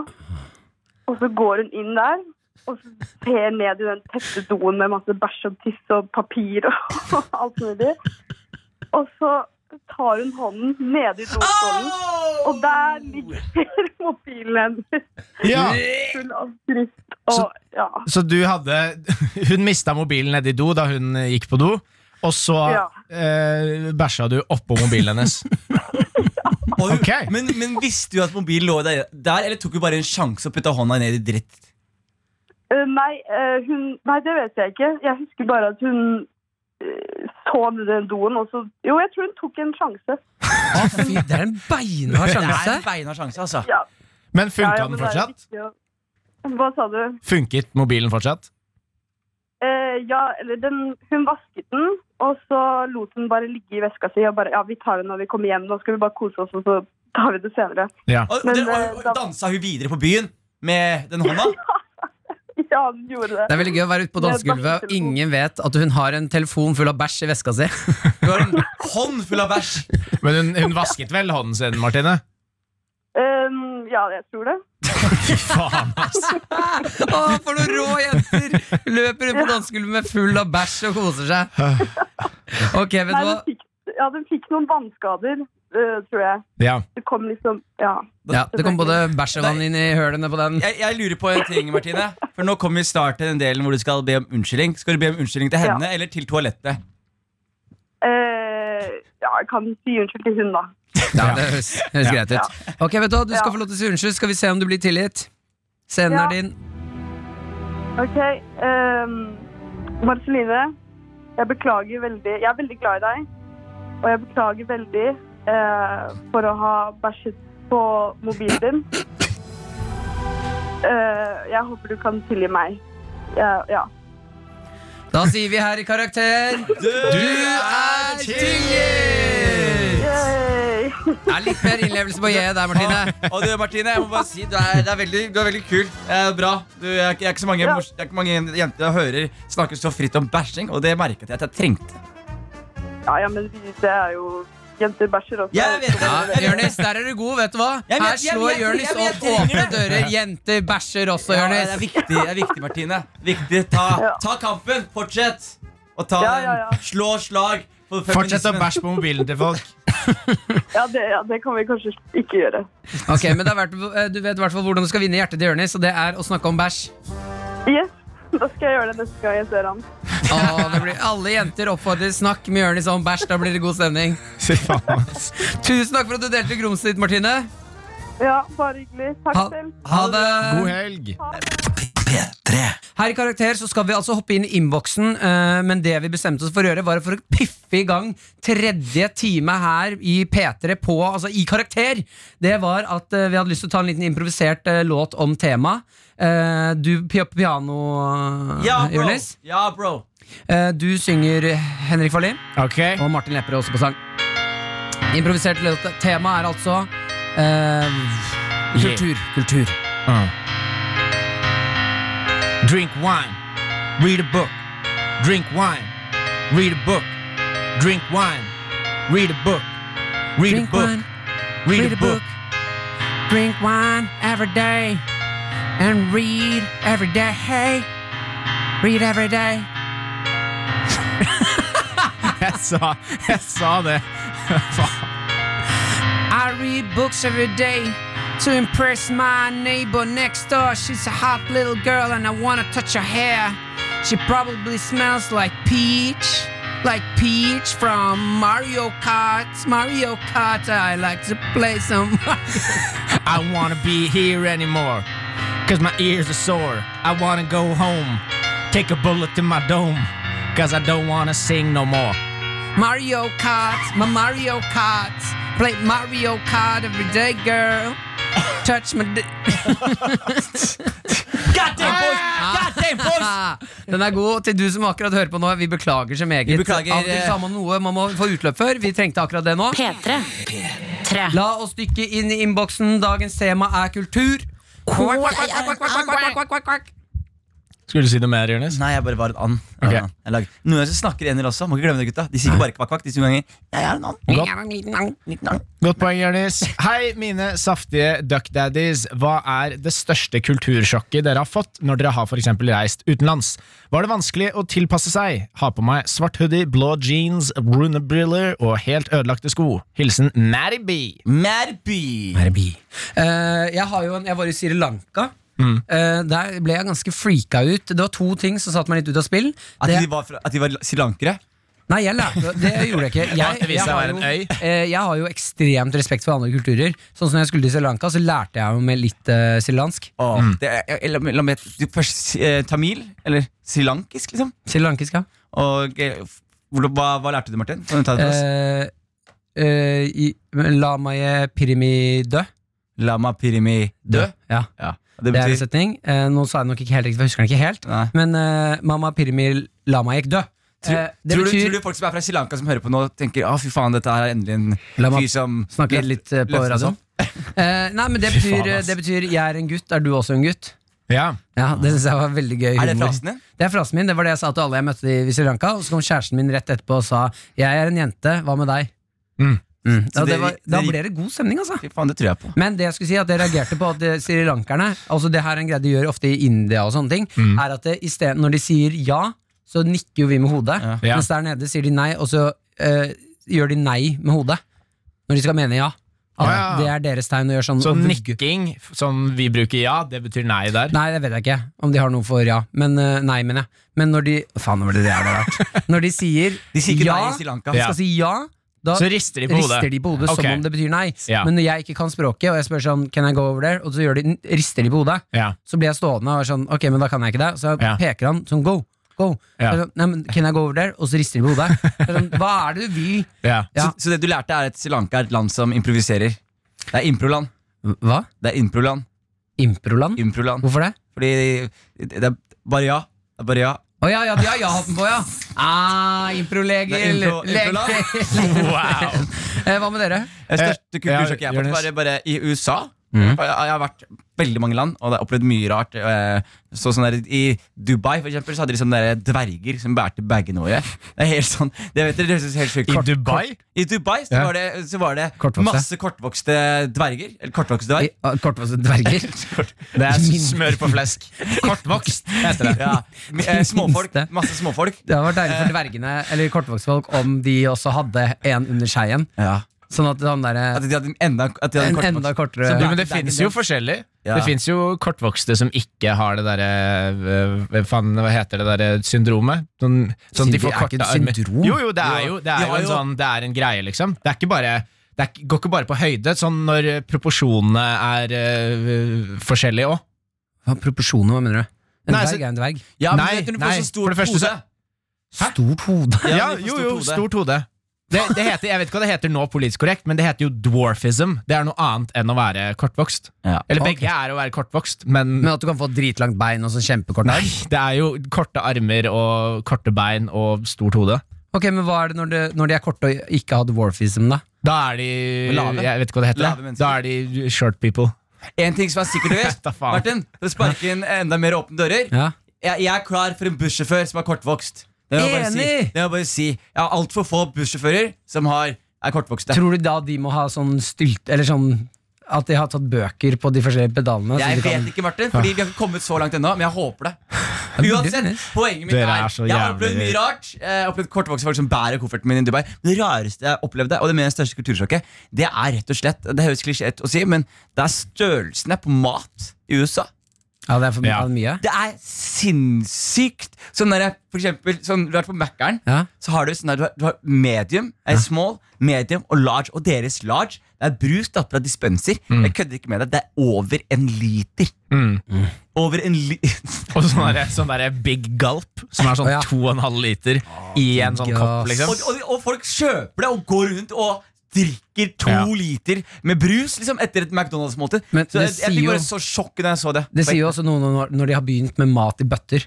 Speaker 11: Og så går hun inn der, og så ser ned i den tette doen med masse bæsj og tiss og papir og alt mulig. Og så tar hun hånden ned i doskålen, og der ligger mobilen hennes.
Speaker 4: Ja,
Speaker 11: Full av skrift og ja.
Speaker 4: Så du hadde Hun mista mobilen nedi do da hun gikk på do, og så
Speaker 11: Ja.
Speaker 4: eh, bæsja du oppå mobilen hennes.
Speaker 5: Og hun,
Speaker 4: Ok.
Speaker 5: men, men visste du at mobilen lå der, der, eller tok du bare en sjanse og putta hånda ned i dritt?
Speaker 11: Eh, Nei, eh, hun, nei, det vet jeg ikke. Jeg husker bare at hun eh, så ned i den doen, og så Jo, jeg tror hun tok en sjanse.
Speaker 3: Å, fy, det er en beinhard
Speaker 5: Det er en
Speaker 3: sjanse.
Speaker 5: beinhard sjanse, altså.
Speaker 11: Ja.
Speaker 4: Men funka
Speaker 11: Ja, ja, men
Speaker 4: den
Speaker 11: det er jo
Speaker 4: fortsatt?
Speaker 11: viktig å- Hva sa du?
Speaker 4: Funket mobilen fortsatt?
Speaker 11: Eh, ja, eller den, hun vasket den, og så lot hun bare ligge i veska si og bare Ja, vi tar det når vi kommer hjem, nå skal vi bare kose oss, og så tar vi det senere.
Speaker 4: Ja.
Speaker 5: Og,
Speaker 11: Men,
Speaker 5: det-
Speaker 11: eh,
Speaker 5: og, og dansa hun videre på byen med den hånda?
Speaker 11: Ja, hun gjorde det.
Speaker 3: Det er veldig gøy å være ute på dansegulvet, og ingen vet at hun har en telefon full av bæsj i veska si.
Speaker 5: Du har en hånd full av bæsj!
Speaker 4: Men hun, hun vasket vel hånden sin, Martine?
Speaker 11: Um, ja, jeg tror det.
Speaker 4: Fy faen, ass.
Speaker 3: Å, for noen rå jenter! Løper rundt på dansegulvet med full av bæsj og koser seg. Ok, vet
Speaker 11: Nei,
Speaker 3: du hva?
Speaker 11: den fikk, ja, den fikk noen vannskader, eh, tror jeg.
Speaker 4: Ja.
Speaker 11: Det kom liksom Ja.
Speaker 3: Ja, det kom både bæsj og vann inn i hølene på den.
Speaker 5: Jeg, jeg lurer på en ting, Martine. For nå kommer vi snart til den delen hvor du skal be om unnskyldning. Skal du be om unnskyldning til henne eller til toalettet?
Speaker 11: Eh, ja, jeg kan si unnskyld til hun, da.
Speaker 3: Ja, det høres, høres greit ut. Ok, vet Du hva, du skal
Speaker 11: Ja.
Speaker 3: få lov til å si unnskyld. Skal vi se om du blir tilgitt? Scenen
Speaker 11: Ja.
Speaker 3: er din.
Speaker 11: OK. ehm, Marceline, jeg beklager veldig Jeg er veldig glad i deg. Og jeg beklager veldig eh, for å ha bæsjet på mobilen din. Eh, jeg håper du kan tilgi meg. Ja, ja.
Speaker 3: Da sier vi her i karakter Du er tilgitt!
Speaker 11: Yay!
Speaker 3: Det er litt mer innlevelse på J der, Martine.
Speaker 5: Og du, Martine, jeg må bare si du er, det er veldig, du er veldig kul. Eh, bra. Du, jeg, er ikke- jeg, er ikke så mange, mors- jeg er ikke mange jenter jeg hører snakke så fritt om bæsjing, og det merket jeg at jeg trengte.
Speaker 11: Ja, ja, men vi- det er jo Jenter bæsjer også.
Speaker 5: Jeg vet det.
Speaker 3: Ja,
Speaker 5: Jeg vet det.
Speaker 3: Jonis, der er du god, vet du hva?
Speaker 5: Jeg vet-
Speaker 3: Her
Speaker 5: jeg
Speaker 3: slår
Speaker 5: vet-
Speaker 3: Jonis
Speaker 5: jeg vet-
Speaker 3: opp
Speaker 5: jeg trenger
Speaker 3: åpne
Speaker 5: det.
Speaker 3: dører. Jenter bæsjer også,
Speaker 5: Ja, det er
Speaker 3: Jonis.
Speaker 5: viktig, det er viktig Martine. Viktig. Ta,
Speaker 11: Ja.
Speaker 5: ta kampen. Fortsett. Og ta
Speaker 11: Ja, ja, ja.
Speaker 5: en slå slag. for
Speaker 4: Fortsett å
Speaker 5: feminismen.
Speaker 4: bæsje på mobilen til folk.
Speaker 11: Ja, det, ja, det kan vi kanskje ikke gjøre.
Speaker 3: Ok, men det er verdt, eh, Du vet i hvert fall hvordan du skal vinne hjertet til Jonis, og det er å snakke om bæsj.
Speaker 11: Yes, da skal jeg gjøre det neste gang jeg ser han.
Speaker 3: Åh, det blir, alle jenter oppfordrer snakk med Jonis om bæsj. Da blir det god stemning.
Speaker 4: Fy faen, ass.
Speaker 3: Tusen takk for at du delte grumset ditt, Martine.
Speaker 11: Ja, bare hyggelig. Takk
Speaker 3: Ha,
Speaker 11: selv.
Speaker 3: ha det.
Speaker 4: God helg.
Speaker 6: P3.
Speaker 3: Her i Karakter så skal vi altså hoppe inn i innboksen, eh, men det vi bestemte oss for å gjøre, var for å piffe i gang tredje time her i P3 på, altså i Karakter. Det var at eh, vi hadde lyst til å ta en liten improvisert eh, låt om temaet. Eh, du pi- piano, eh,
Speaker 5: Ja, bro.
Speaker 3: Jonis.
Speaker 5: Ja, bro.
Speaker 3: Eh, du synger Henrik Farlin,
Speaker 4: Ok.
Speaker 3: og Martin Lepperød også på sang. Improvisert låt. Temaet er altså eh, kultur. Kultur.
Speaker 4: Uh. Drink wine, read a book. Drink wine, read a book. Drink wine, read a book. Read a
Speaker 3: Drink
Speaker 4: book.
Speaker 3: wine.
Speaker 4: Read, a book.
Speaker 3: Drink wine every day. And read every day. Read every day.
Speaker 4: Jeg sa, jeg sa det. Faen.
Speaker 3: I read books every day to impress my neighbor next door. She's a hot little girl and I wanna touch her hair. She probably smells like peach. Like Peach from Mario Kart. Mario Kart, I like to play some.
Speaker 4: I wanna be here anymore. Cause my ears are sore. I wanna go home. Take a bullet to my dome. Cause I don't wanna sing no more.
Speaker 3: Mario Kart, my Mario Kart. Play Mario Kart every day, girl. Touch my dick.
Speaker 5: God damn, boys! God damn, boys!
Speaker 3: Den er god til du som akkurat hører på nå. Vi beklager så meget.
Speaker 5: Vi beklager,
Speaker 3: Av og til så har man noe man må få utløp for. Vi trengte akkurat det nå.
Speaker 1: P3. Tre.
Speaker 3: La oss dykke inn i innboksen. Dagens tema er kultur. Kvakk, kvakk, kvakk, kvakk, kvakk, kvakk, kvakk, kvakk, kvakk.
Speaker 4: Skulle du si noe mer, Jonis?
Speaker 5: Nei, jeg bare var en and.
Speaker 4: Ok.
Speaker 5: Ja, jeg lag- Noen ganger så snakker ener også. Må ikke glemme det, gutta. De sier ikke bare kvakk, kvakk. De sier noen ganger Jeg er en and.
Speaker 3: Jeg er en liten mann.
Speaker 4: Godt poeng, Jonis. Hei, mine saftige duckdaddies. Hva er det største kultursjokket dere har fått når dere har for eksempel reist utenlands? Var det vanskelig å tilpasse seg? Ha på meg svart hoodie, blå jeans, runebriller og helt ødelagte sko. Hilsen Matty B.
Speaker 5: Merby. Merby.
Speaker 3: Eh, jeg, har jo en, jeg var i Sri Lanka.
Speaker 5: Mm.
Speaker 3: Eh, der ble jeg ganske freaka ut. Det var to ting som satte meg litt ut av spill.
Speaker 5: At,
Speaker 3: Det-
Speaker 5: de var fra, at de var srilankere?
Speaker 3: Nei, jeg lærte det gjorde jeg ikke. Jeg,
Speaker 4: Det viste seg å være en øy.
Speaker 3: eh, jeg har jo ekstremt respekt for andre kulturer. Sånn som når jeg skulle til Sri Lanka, så lærte jeg jo med litt uh, srilansk.
Speaker 5: Åh, Mm.
Speaker 4: Mm.
Speaker 5: det er, jeg- jeg- la meg- la meg først eh, tamil, eller srilankisk, liksom.
Speaker 3: Srilankisk, ja.
Speaker 5: Og eh, f- hvordan- hva, hva lærte du, Martin? Kan du ta det for oss?
Speaker 3: Eh, eh, i- La meg eh, pirimi dø.
Speaker 5: Lama pirimi dø.
Speaker 3: Ja,
Speaker 5: Ja. Det
Speaker 3: det er en
Speaker 5: betyr
Speaker 3: setning. Eh, nå sa jeg nok ikke helt riktig, for jeg husker den ikke helt.
Speaker 5: Nei.
Speaker 3: Men eh, mamma pirimi la meg ikke dø. Eh, det
Speaker 5: tror, du,
Speaker 3: betyr
Speaker 5: tror du folk som er fra Sri Lanka som hører på nå, tenker Å fy faen, dette her er endelig en
Speaker 3: La meg
Speaker 5: fyr som
Speaker 3: Snakke
Speaker 5: lø-
Speaker 3: litt eh, på
Speaker 5: løfter
Speaker 3: radioen.
Speaker 5: sånn? oss opp?»
Speaker 3: Eh, nei, men det
Speaker 4: Fy faen,
Speaker 3: betyr,
Speaker 4: ass.
Speaker 3: det betyr 'jeg er en gutt', er du også en gutt?
Speaker 4: Ja.
Speaker 3: Ja, Det syns jeg var veldig gøy
Speaker 5: Er det
Speaker 3: humor.
Speaker 5: frasen din?
Speaker 3: Det er frasen min, det var det jeg sa til alle jeg møtte i Sri Lanka. Og så kom kjæresten min rett etterpå og sa 'Jeg er en jente, hva med deg?'
Speaker 4: Mm.
Speaker 3: Mm.
Speaker 5: Så
Speaker 3: Ja, det
Speaker 5: det-
Speaker 3: var,
Speaker 5: det-
Speaker 3: da ble det god stemning, altså.
Speaker 5: Fy faen, det tror jeg på.
Speaker 3: Men det jeg skulle si at jeg reagerte på at eh, srilankerne altså Det her er en greie de gjør ofte i India, og sånne ting
Speaker 4: Mm.
Speaker 3: er at det, i sted, når de sier ja, så nikker jo vi med hodet.
Speaker 5: Ja.
Speaker 4: Ja.
Speaker 3: Mens der nede sier de nei, og så eh, gjør de nei med hodet. Når de skal mene ja. At
Speaker 4: Å, ja.
Speaker 3: Det er deres tegn å gjøre sånn.
Speaker 4: Så
Speaker 3: og vugge.
Speaker 4: nikking, f- som vi bruker ja, det betyr nei der.
Speaker 3: Nei, det vet jeg ikke. Om de har noe for ja. Men eh, nei, mener jeg. Men når de Faen, var det det jævla rart. Når de sier
Speaker 5: De sier ikke
Speaker 3: ja,
Speaker 5: nei i Sri Lanka.
Speaker 3: skal si ja, da
Speaker 4: Så rister de på hodet.
Speaker 3: rister de på hodet
Speaker 4: Ok.
Speaker 3: som om det betyr nei.
Speaker 4: Ja.
Speaker 3: Men når jeg ikke kan språket, og jeg spør sånn Can I go over there? Og så gjør de, rister de på hodet.
Speaker 4: Ja.
Speaker 3: Så blir jeg stående og er sånn Ok, men da kan jeg ikke det. Så
Speaker 4: Ja.
Speaker 3: peker han sånn go, go.
Speaker 4: Ja.
Speaker 3: Så er jeg Sånn, Nei, men Can I go over there? Og så rister de på hodet. Så er jeg Sånn, Hva er det du vil?
Speaker 4: Ja.
Speaker 3: Ja.
Speaker 5: Så, så det du lærte, er at Sri Lanka er et land som improviserer. Det er improland.
Speaker 3: Hva?
Speaker 5: Det er improland.
Speaker 3: Improland?
Speaker 5: Improland.
Speaker 3: Hvorfor det?
Speaker 5: Fordi det er bare ja. Det er bare ja.
Speaker 3: sånn, Å ja, ja, de har ja-hatten på, ja! Ah, Improlegel.
Speaker 5: Det er impro-
Speaker 3: Leg-
Speaker 5: improlag.
Speaker 4: Wow.
Speaker 3: Eh, Hva med dere?
Speaker 5: Det største
Speaker 4: Eh, ja,
Speaker 5: kultursjokket jeg har fått,
Speaker 4: Jonas.
Speaker 5: var bare i USA. Jeg, jeg har vært veldig mange land, og jeg har opplevd mye rart. eh, Så sånn der, I Dubai for eksempel, så hadde de sånne der dverger som bærte bagene våre. Det er helt sånn, det vet dere, det høres helt sjukt
Speaker 4: I
Speaker 5: kort-
Speaker 4: Dubai?
Speaker 5: I Dubai så
Speaker 4: Ja.
Speaker 5: var det, så var det
Speaker 3: Kortvokste.
Speaker 5: masse kortvokste dverger. Eller kortvokste dverg.
Speaker 3: I- ah, Kortvokste dverger.
Speaker 4: Det er smør på flesk. Kortvokst heter det.
Speaker 5: Ja. eh, Småfolk.
Speaker 3: minste.
Speaker 5: Masse småfolk.
Speaker 3: Det hadde vært deilig for dvergene Eller kortvokstfolk om de også hadde en under seg igjen.
Speaker 5: Ja.
Speaker 3: Sånn at han
Speaker 5: At
Speaker 3: derre
Speaker 5: de hadde enda, at de hadde
Speaker 3: En
Speaker 5: kortvokst-
Speaker 3: enda kortere-
Speaker 5: Så
Speaker 4: Du,
Speaker 5: det er
Speaker 4: men det
Speaker 5: ikke- er
Speaker 4: finnes
Speaker 5: ikke
Speaker 4: jo
Speaker 5: det.
Speaker 4: forskjellig.
Speaker 5: Ja.
Speaker 4: Det finnes jo kortvokste som ikke har det derre øh, hva faen, Hva heter det derre syndromet? Sånn, sånn at de
Speaker 3: Syndrom-
Speaker 4: får
Speaker 3: er ikke
Speaker 4: korte
Speaker 3: det
Speaker 4: armer.
Speaker 3: syndrom?
Speaker 4: Jo, jo, det er jo, det
Speaker 5: De
Speaker 4: er
Speaker 5: har
Speaker 4: jo en
Speaker 5: jo-
Speaker 4: sånn Det er en greie, liksom. Det er ikke bare det er, ikke- går ikke bare på høyde, sånn når øh, proporsjonene er øh, forskjellige òg.
Speaker 3: Hva er proporsjoner, hva mener du? En
Speaker 4: Nei,
Speaker 3: dverg
Speaker 4: så-
Speaker 3: er en dverg.
Speaker 5: Ja, men
Speaker 4: Nei,
Speaker 5: vet du, du
Speaker 4: nei,
Speaker 5: får
Speaker 3: sånn
Speaker 5: så
Speaker 4: for
Speaker 5: stort
Speaker 4: det første så-
Speaker 5: hode.
Speaker 3: Stort hode.
Speaker 5: Ja,
Speaker 4: Ja,
Speaker 5: de
Speaker 4: jo,
Speaker 5: får stort
Speaker 4: jo,
Speaker 5: hode.
Speaker 4: stort hode. Det, det heter, jeg vet ikke hva det heter nå politisk korrekt, men det heter jo dwarfism. Det er noe annet enn å være kortvokst.
Speaker 5: Ja.
Speaker 4: Eller
Speaker 3: Ok.
Speaker 4: begge er å være kortvokst, men
Speaker 3: Men at du kan få dritlangt bein og sånn kjempekort
Speaker 4: Nei, det er jo korte armer og korte bein og stort hode.
Speaker 3: Ok, men hva er det når de, når de er korte og ikke har dwarfism, da?
Speaker 4: Da er de
Speaker 5: Lave.
Speaker 4: Jeg vet ikke hva det
Speaker 5: Lave
Speaker 4: heter.
Speaker 5: mennesker.
Speaker 4: Da er de short people.
Speaker 5: En ting som er sikkert og visst,
Speaker 4: Da faen.
Speaker 5: Martin, for å sparke inn enda mer åpne dører
Speaker 3: Ja.
Speaker 5: jeg, jeg er klar for en bussjåfør som er kortvokst. Det må jeg bare si.
Speaker 3: Enig!
Speaker 5: Det må jeg bare si. Jeg har altfor få bussjåfører som har, er kortvokste.
Speaker 3: Tror du da de må ha sånn stylt Eller sånn at de har tatt bøker på de forskjellige pedalene? så de
Speaker 5: Jeg
Speaker 3: kan-
Speaker 5: vet ikke, Martin, fordi vi har ikke kommet så langt ennå, men jeg håper det.
Speaker 3: men
Speaker 5: Uansett,
Speaker 3: det-
Speaker 5: poenget mitt
Speaker 4: Dere
Speaker 5: er,
Speaker 4: er så
Speaker 5: Jeg har
Speaker 4: jævlig-
Speaker 5: opplevd mye rart. Jeg har opplevd kortvokste folk som bærer kofferten min i Dubai. Men det rareste jeg opplevde, og det med det største kultursjokket, det er rett og slett Det høres klisjé ut å si, men det er størrelsene på mat i USA.
Speaker 3: Ja, det er for
Speaker 4: Ja.
Speaker 3: er det mye.
Speaker 5: Det er sinnssykt! Sånn der, for eksempel, sånn, du har vært på Mækkern,
Speaker 3: Ja.
Speaker 5: så har du sånn der, du har, du har medium, eh, small, medium og large. Og deres large det er brus tatt fra dispenser.
Speaker 3: Mm.
Speaker 5: Jeg kødder ikke med deg, det er over en liter. Over en li
Speaker 4: Og sånn derre sånn der big gulp, som er sånn
Speaker 3: Å, ja.
Speaker 4: 2,5 liter i en sånn
Speaker 3: Gass.
Speaker 4: kopp,
Speaker 5: og,
Speaker 4: liksom.
Speaker 5: og, og folk kjøper det og går rundt og drikker to
Speaker 4: Ja.
Speaker 5: liter med brus liksom etter et McDonald's-måltid.
Speaker 3: Men
Speaker 5: Så jeg,
Speaker 3: det
Speaker 5: jeg
Speaker 3: sier
Speaker 5: fikk
Speaker 3: jo-
Speaker 5: bare så sjokk da jeg så det.
Speaker 3: Det sier jo også noe når, når de har begynt med mat i bøtter.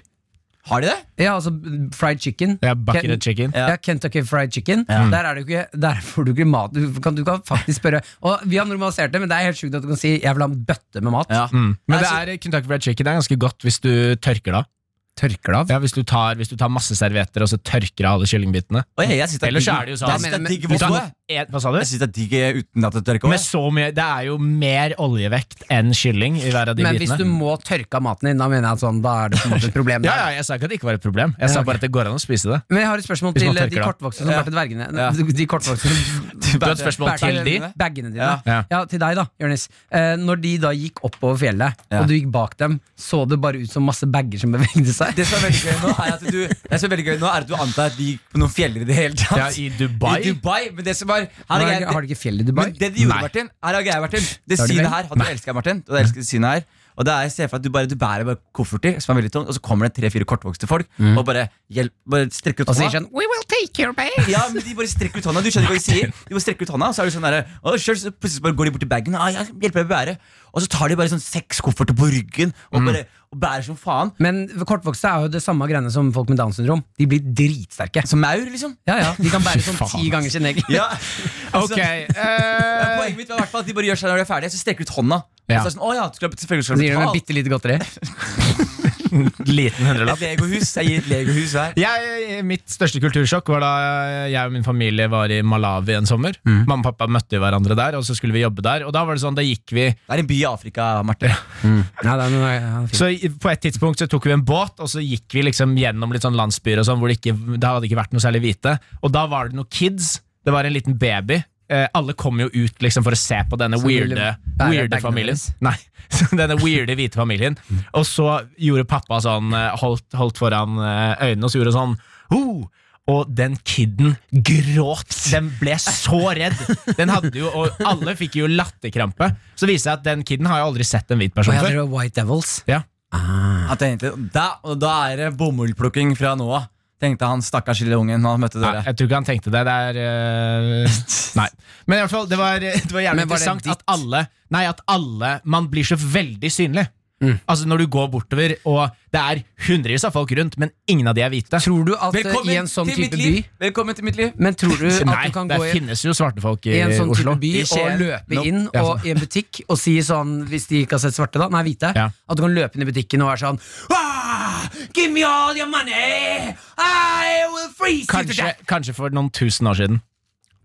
Speaker 5: Har de det?
Speaker 3: Ja, altså b- fried chicken.
Speaker 4: Det er bucket
Speaker 3: Ken-
Speaker 4: of chicken.
Speaker 3: Ja. Kentucky Fried Chicken. Der, er det jo ikke, der får du ikke mat. Du kan, du kan faktisk spørre Og Vi har normalisert det, men det er helt sjukt at du kan si 'jeg vil ha en bøtte med mat'.
Speaker 5: Ja.
Speaker 4: Mm. Men det
Speaker 5: Altså-
Speaker 4: er Kentucky Fried Chicken det er ganske godt hvis du tørker det av.
Speaker 3: Tørker det av?
Speaker 4: Ja, hvis, du tar- hvis du tar masse servietter og så tørker av alle kyllingbitene.
Speaker 5: Og jeg, jeg synes det
Speaker 4: Ellers
Speaker 5: digg-
Speaker 4: er det jo sånn-
Speaker 5: Jeg synes det
Speaker 3: Men-
Speaker 5: er digg
Speaker 4: Du
Speaker 5: vått
Speaker 4: tar-
Speaker 5: også, jeg.
Speaker 4: Eh, Hva sa du?
Speaker 5: Jeg synes det er digg eh, uten at det tørker
Speaker 4: Med
Speaker 5: over.
Speaker 4: så mye, det er jo mer oljevekt enn kylling i hver av de
Speaker 3: Men hvis
Speaker 4: bitene.
Speaker 3: du må tørke av maten din, da mener jeg at sånn, da er det på en måte et problem.
Speaker 4: Ja,
Speaker 3: der.
Speaker 4: ja, Jeg sa ikke at det ikke var et problem. Jeg sa
Speaker 3: ok.
Speaker 4: bare at det går an å spise det.
Speaker 3: Men jeg har et spørsmål
Speaker 4: Hvis man
Speaker 3: til eh, de
Speaker 4: tørker det av.
Speaker 3: kortvokste som
Speaker 5: Ja.
Speaker 3: bærte dvergene.
Speaker 5: Ja.
Speaker 3: De, de kortvokste som
Speaker 4: Du har et spørsmål
Speaker 3: bærte
Speaker 4: til de?
Speaker 3: Bagene dine.
Speaker 5: Ja.
Speaker 3: Ja.
Speaker 4: Ja.
Speaker 3: til deg da, Jonis. Eh, når de da gikk oppover fjellet,
Speaker 5: Ja.
Speaker 3: og du gikk bak dem, så det bare ut som masse bager som bevegde seg?
Speaker 5: Det som er veldig gøy nå, er at du, det som er veldig gøy nå, er at du antar at de gikk på noen fjeller i det hele tatt.
Speaker 4: Ja, I Dubai?
Speaker 5: I Dubai, men det som var
Speaker 3: Har
Speaker 5: her
Speaker 3: de
Speaker 5: er
Speaker 3: ikke-
Speaker 5: greia-
Speaker 3: har de ikke fjell i Dubai?
Speaker 5: Men det de gjorde,
Speaker 4: Nei.
Speaker 5: Martin, her er greia, Martin. Det
Speaker 3: Har de
Speaker 5: synet
Speaker 3: vel?
Speaker 5: her hadde du elsket, Martin. Og jeg elsker det synet her. Og det er, jeg ser for at du bare, du bærer bare kofferter som er veldig tungt, og så kommer det tre-fire kortvokste folk og bare, hjelp, bare strekker ut
Speaker 3: Mm. Og så sier
Speaker 5: hånda.
Speaker 3: sånn We will take your bag!
Speaker 5: Ja, men de bare strekker ut hånda. Du skjønner ikke hva de sier. De bare strekker ut hånda, og så er det sånn der, og så så plutselig bare går de bort til bagen. Ah, jeg hjelper deg med å bære. Og så tar de bare sånn seks kofferter på ryggen og bare og bærer som faen.
Speaker 3: Mm. Men kortvokste er jo det samme greiene som folk med Downs syndrom. De blir dritsterke.
Speaker 5: Som maur, liksom. altså.
Speaker 3: Ja, ja, De kan bære sånn
Speaker 4: Fy faen.
Speaker 3: ti ganger sin egen.
Speaker 5: Ja.
Speaker 4: Ok,
Speaker 5: Ja,
Speaker 4: eh,
Speaker 5: Altså, Poenget mitt var i hvert fall at de bare gjør seg når de er ferdige, så strekker de ut hånda.
Speaker 4: Ja.
Speaker 5: Og så er det sånn, å ja, du skal, selvfølgelig
Speaker 3: Så
Speaker 5: skal du
Speaker 3: gir de med
Speaker 5: betale.
Speaker 3: bitte lite godteri.
Speaker 4: Liten hundrelapp.
Speaker 5: Et legohus. Jeg gir et legohus hver.
Speaker 4: Jeg, mitt største kultursjokk var da jeg og min familie var i Malawi en sommer.
Speaker 5: Mm.
Speaker 4: Mamma og pappa møtte hverandre der, og så skulle vi jobbe der. Og da var det sånn, da gikk vi
Speaker 5: Det er en by i Afrika, Marte.
Speaker 13: Mm.
Speaker 3: Ja, det er noe, ja, fint.
Speaker 4: Så i- på et tidspunkt så tok vi en båt, og så gikk vi liksom gjennom litt sånn landsbyer og sånn, hvor det ikke, da hadde det ikke vært noe særlig hvite. Og da var det noen kids, det var en liten baby. Eh, alle kom jo ut liksom for å se på denne
Speaker 3: Så ville
Speaker 4: weirde,
Speaker 3: bære
Speaker 4: weirde
Speaker 3: bagene
Speaker 4: familien.
Speaker 3: deres.
Speaker 4: Nei, så denne weirde hvite familien. Og så gjorde pappa sånn, eh, holdt, holdt foran eh, øynene og så gjorde sånn, «Ho!» Og den kidden gråt. Den ble så redd. Den hadde jo, og alle fikk jo latterkrampe. Så viser det seg at den kidden har jo aldri sett en hvit
Speaker 3: Og
Speaker 4: person
Speaker 3: jeg
Speaker 4: før.
Speaker 3: tror det var White Devils.
Speaker 4: Ja.
Speaker 13: Ah,
Speaker 5: Han tenkte, da, og da er det bomullplukking fra nå av. Tenkte han stakkars lille ungen når han møtte
Speaker 4: Nei,
Speaker 5: dere.
Speaker 4: jeg tror ikke han tenkte det. Det er eh, Nei. Men i hvert fall, det var, det var jævlig
Speaker 3: Men var det
Speaker 4: interessant
Speaker 3: ditt-
Speaker 4: at alle Nei, at alle Man blir så veldig synlig.
Speaker 3: Mm.
Speaker 13: Altså Når du går bortover, og det er hundrevis av folk rundt, men ingen av de er hvite.
Speaker 3: Tror du at eh, i en sånn
Speaker 5: til mitt
Speaker 3: type
Speaker 5: liv.
Speaker 3: by
Speaker 5: Velkommen til mitt liv.
Speaker 3: Men tror du at
Speaker 13: Nei,
Speaker 3: du kan
Speaker 13: det
Speaker 3: gå i
Speaker 13: finnes jo svarte folk i,
Speaker 3: i en sånn
Speaker 13: Oslo.
Speaker 3: type by
Speaker 5: I Skien.
Speaker 3: og løpe
Speaker 5: Nå.
Speaker 3: inn
Speaker 13: Ja,
Speaker 3: og i en butikk og si sånn, hvis de ikke har sett svarte, da, nei, hvite,
Speaker 13: Ja.
Speaker 3: at du kan løpe inn i butikken og være sånn
Speaker 2: Ah, give me all your money! I will freeze you to
Speaker 13: Kanskje,
Speaker 2: death!
Speaker 13: kanskje for noen tusen år siden.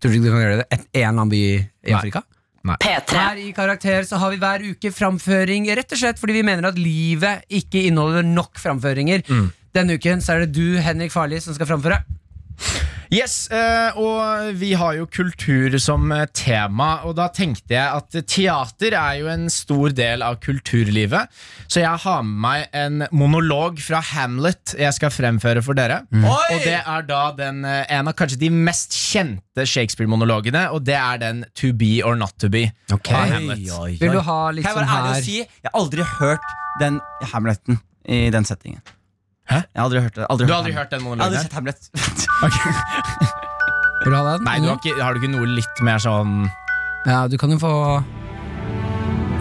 Speaker 3: Tror du ikke du kan gjøre det et, en eller annen by i
Speaker 13: Nei.
Speaker 3: Afrika?
Speaker 14: P3.
Speaker 3: Her i Karakter så har vi hver uke framføring, rett og slett fordi vi mener at livet ikke inneholder nok framføringer.
Speaker 13: Mm.
Speaker 3: Denne uken så er det du, Henrik Farli, som skal framføre.
Speaker 13: Yes, eh, og vi har jo kultur som eh, tema, og da tenkte jeg at teater er jo en stor del av kulturlivet. Så jeg har med meg en monolog fra Hamlet jeg skal fremføre for dere.
Speaker 5: Mm.
Speaker 13: Og det er da den, eh, en av kanskje de mest kjente Shakespeare-monologene, og det er den To be or not to be. av Hamlet.
Speaker 3: Vil du ha litt
Speaker 5: Kan jeg
Speaker 3: sånn
Speaker 5: være ærlig
Speaker 3: her
Speaker 5: og si jeg har aldri hørt den Hamleten i den settingen.
Speaker 13: Hæ?
Speaker 5: Jeg har aldri hørt det. Aldri
Speaker 13: Du har aldri
Speaker 5: Hamlet.
Speaker 13: hørt den
Speaker 5: Jeg har aldri
Speaker 13: monologen?
Speaker 5: sett Hamlet.
Speaker 3: Vil du ha den?
Speaker 13: Nei, du har, ikke, har du ikke noe litt mer sånn
Speaker 3: Ja, du kan jo få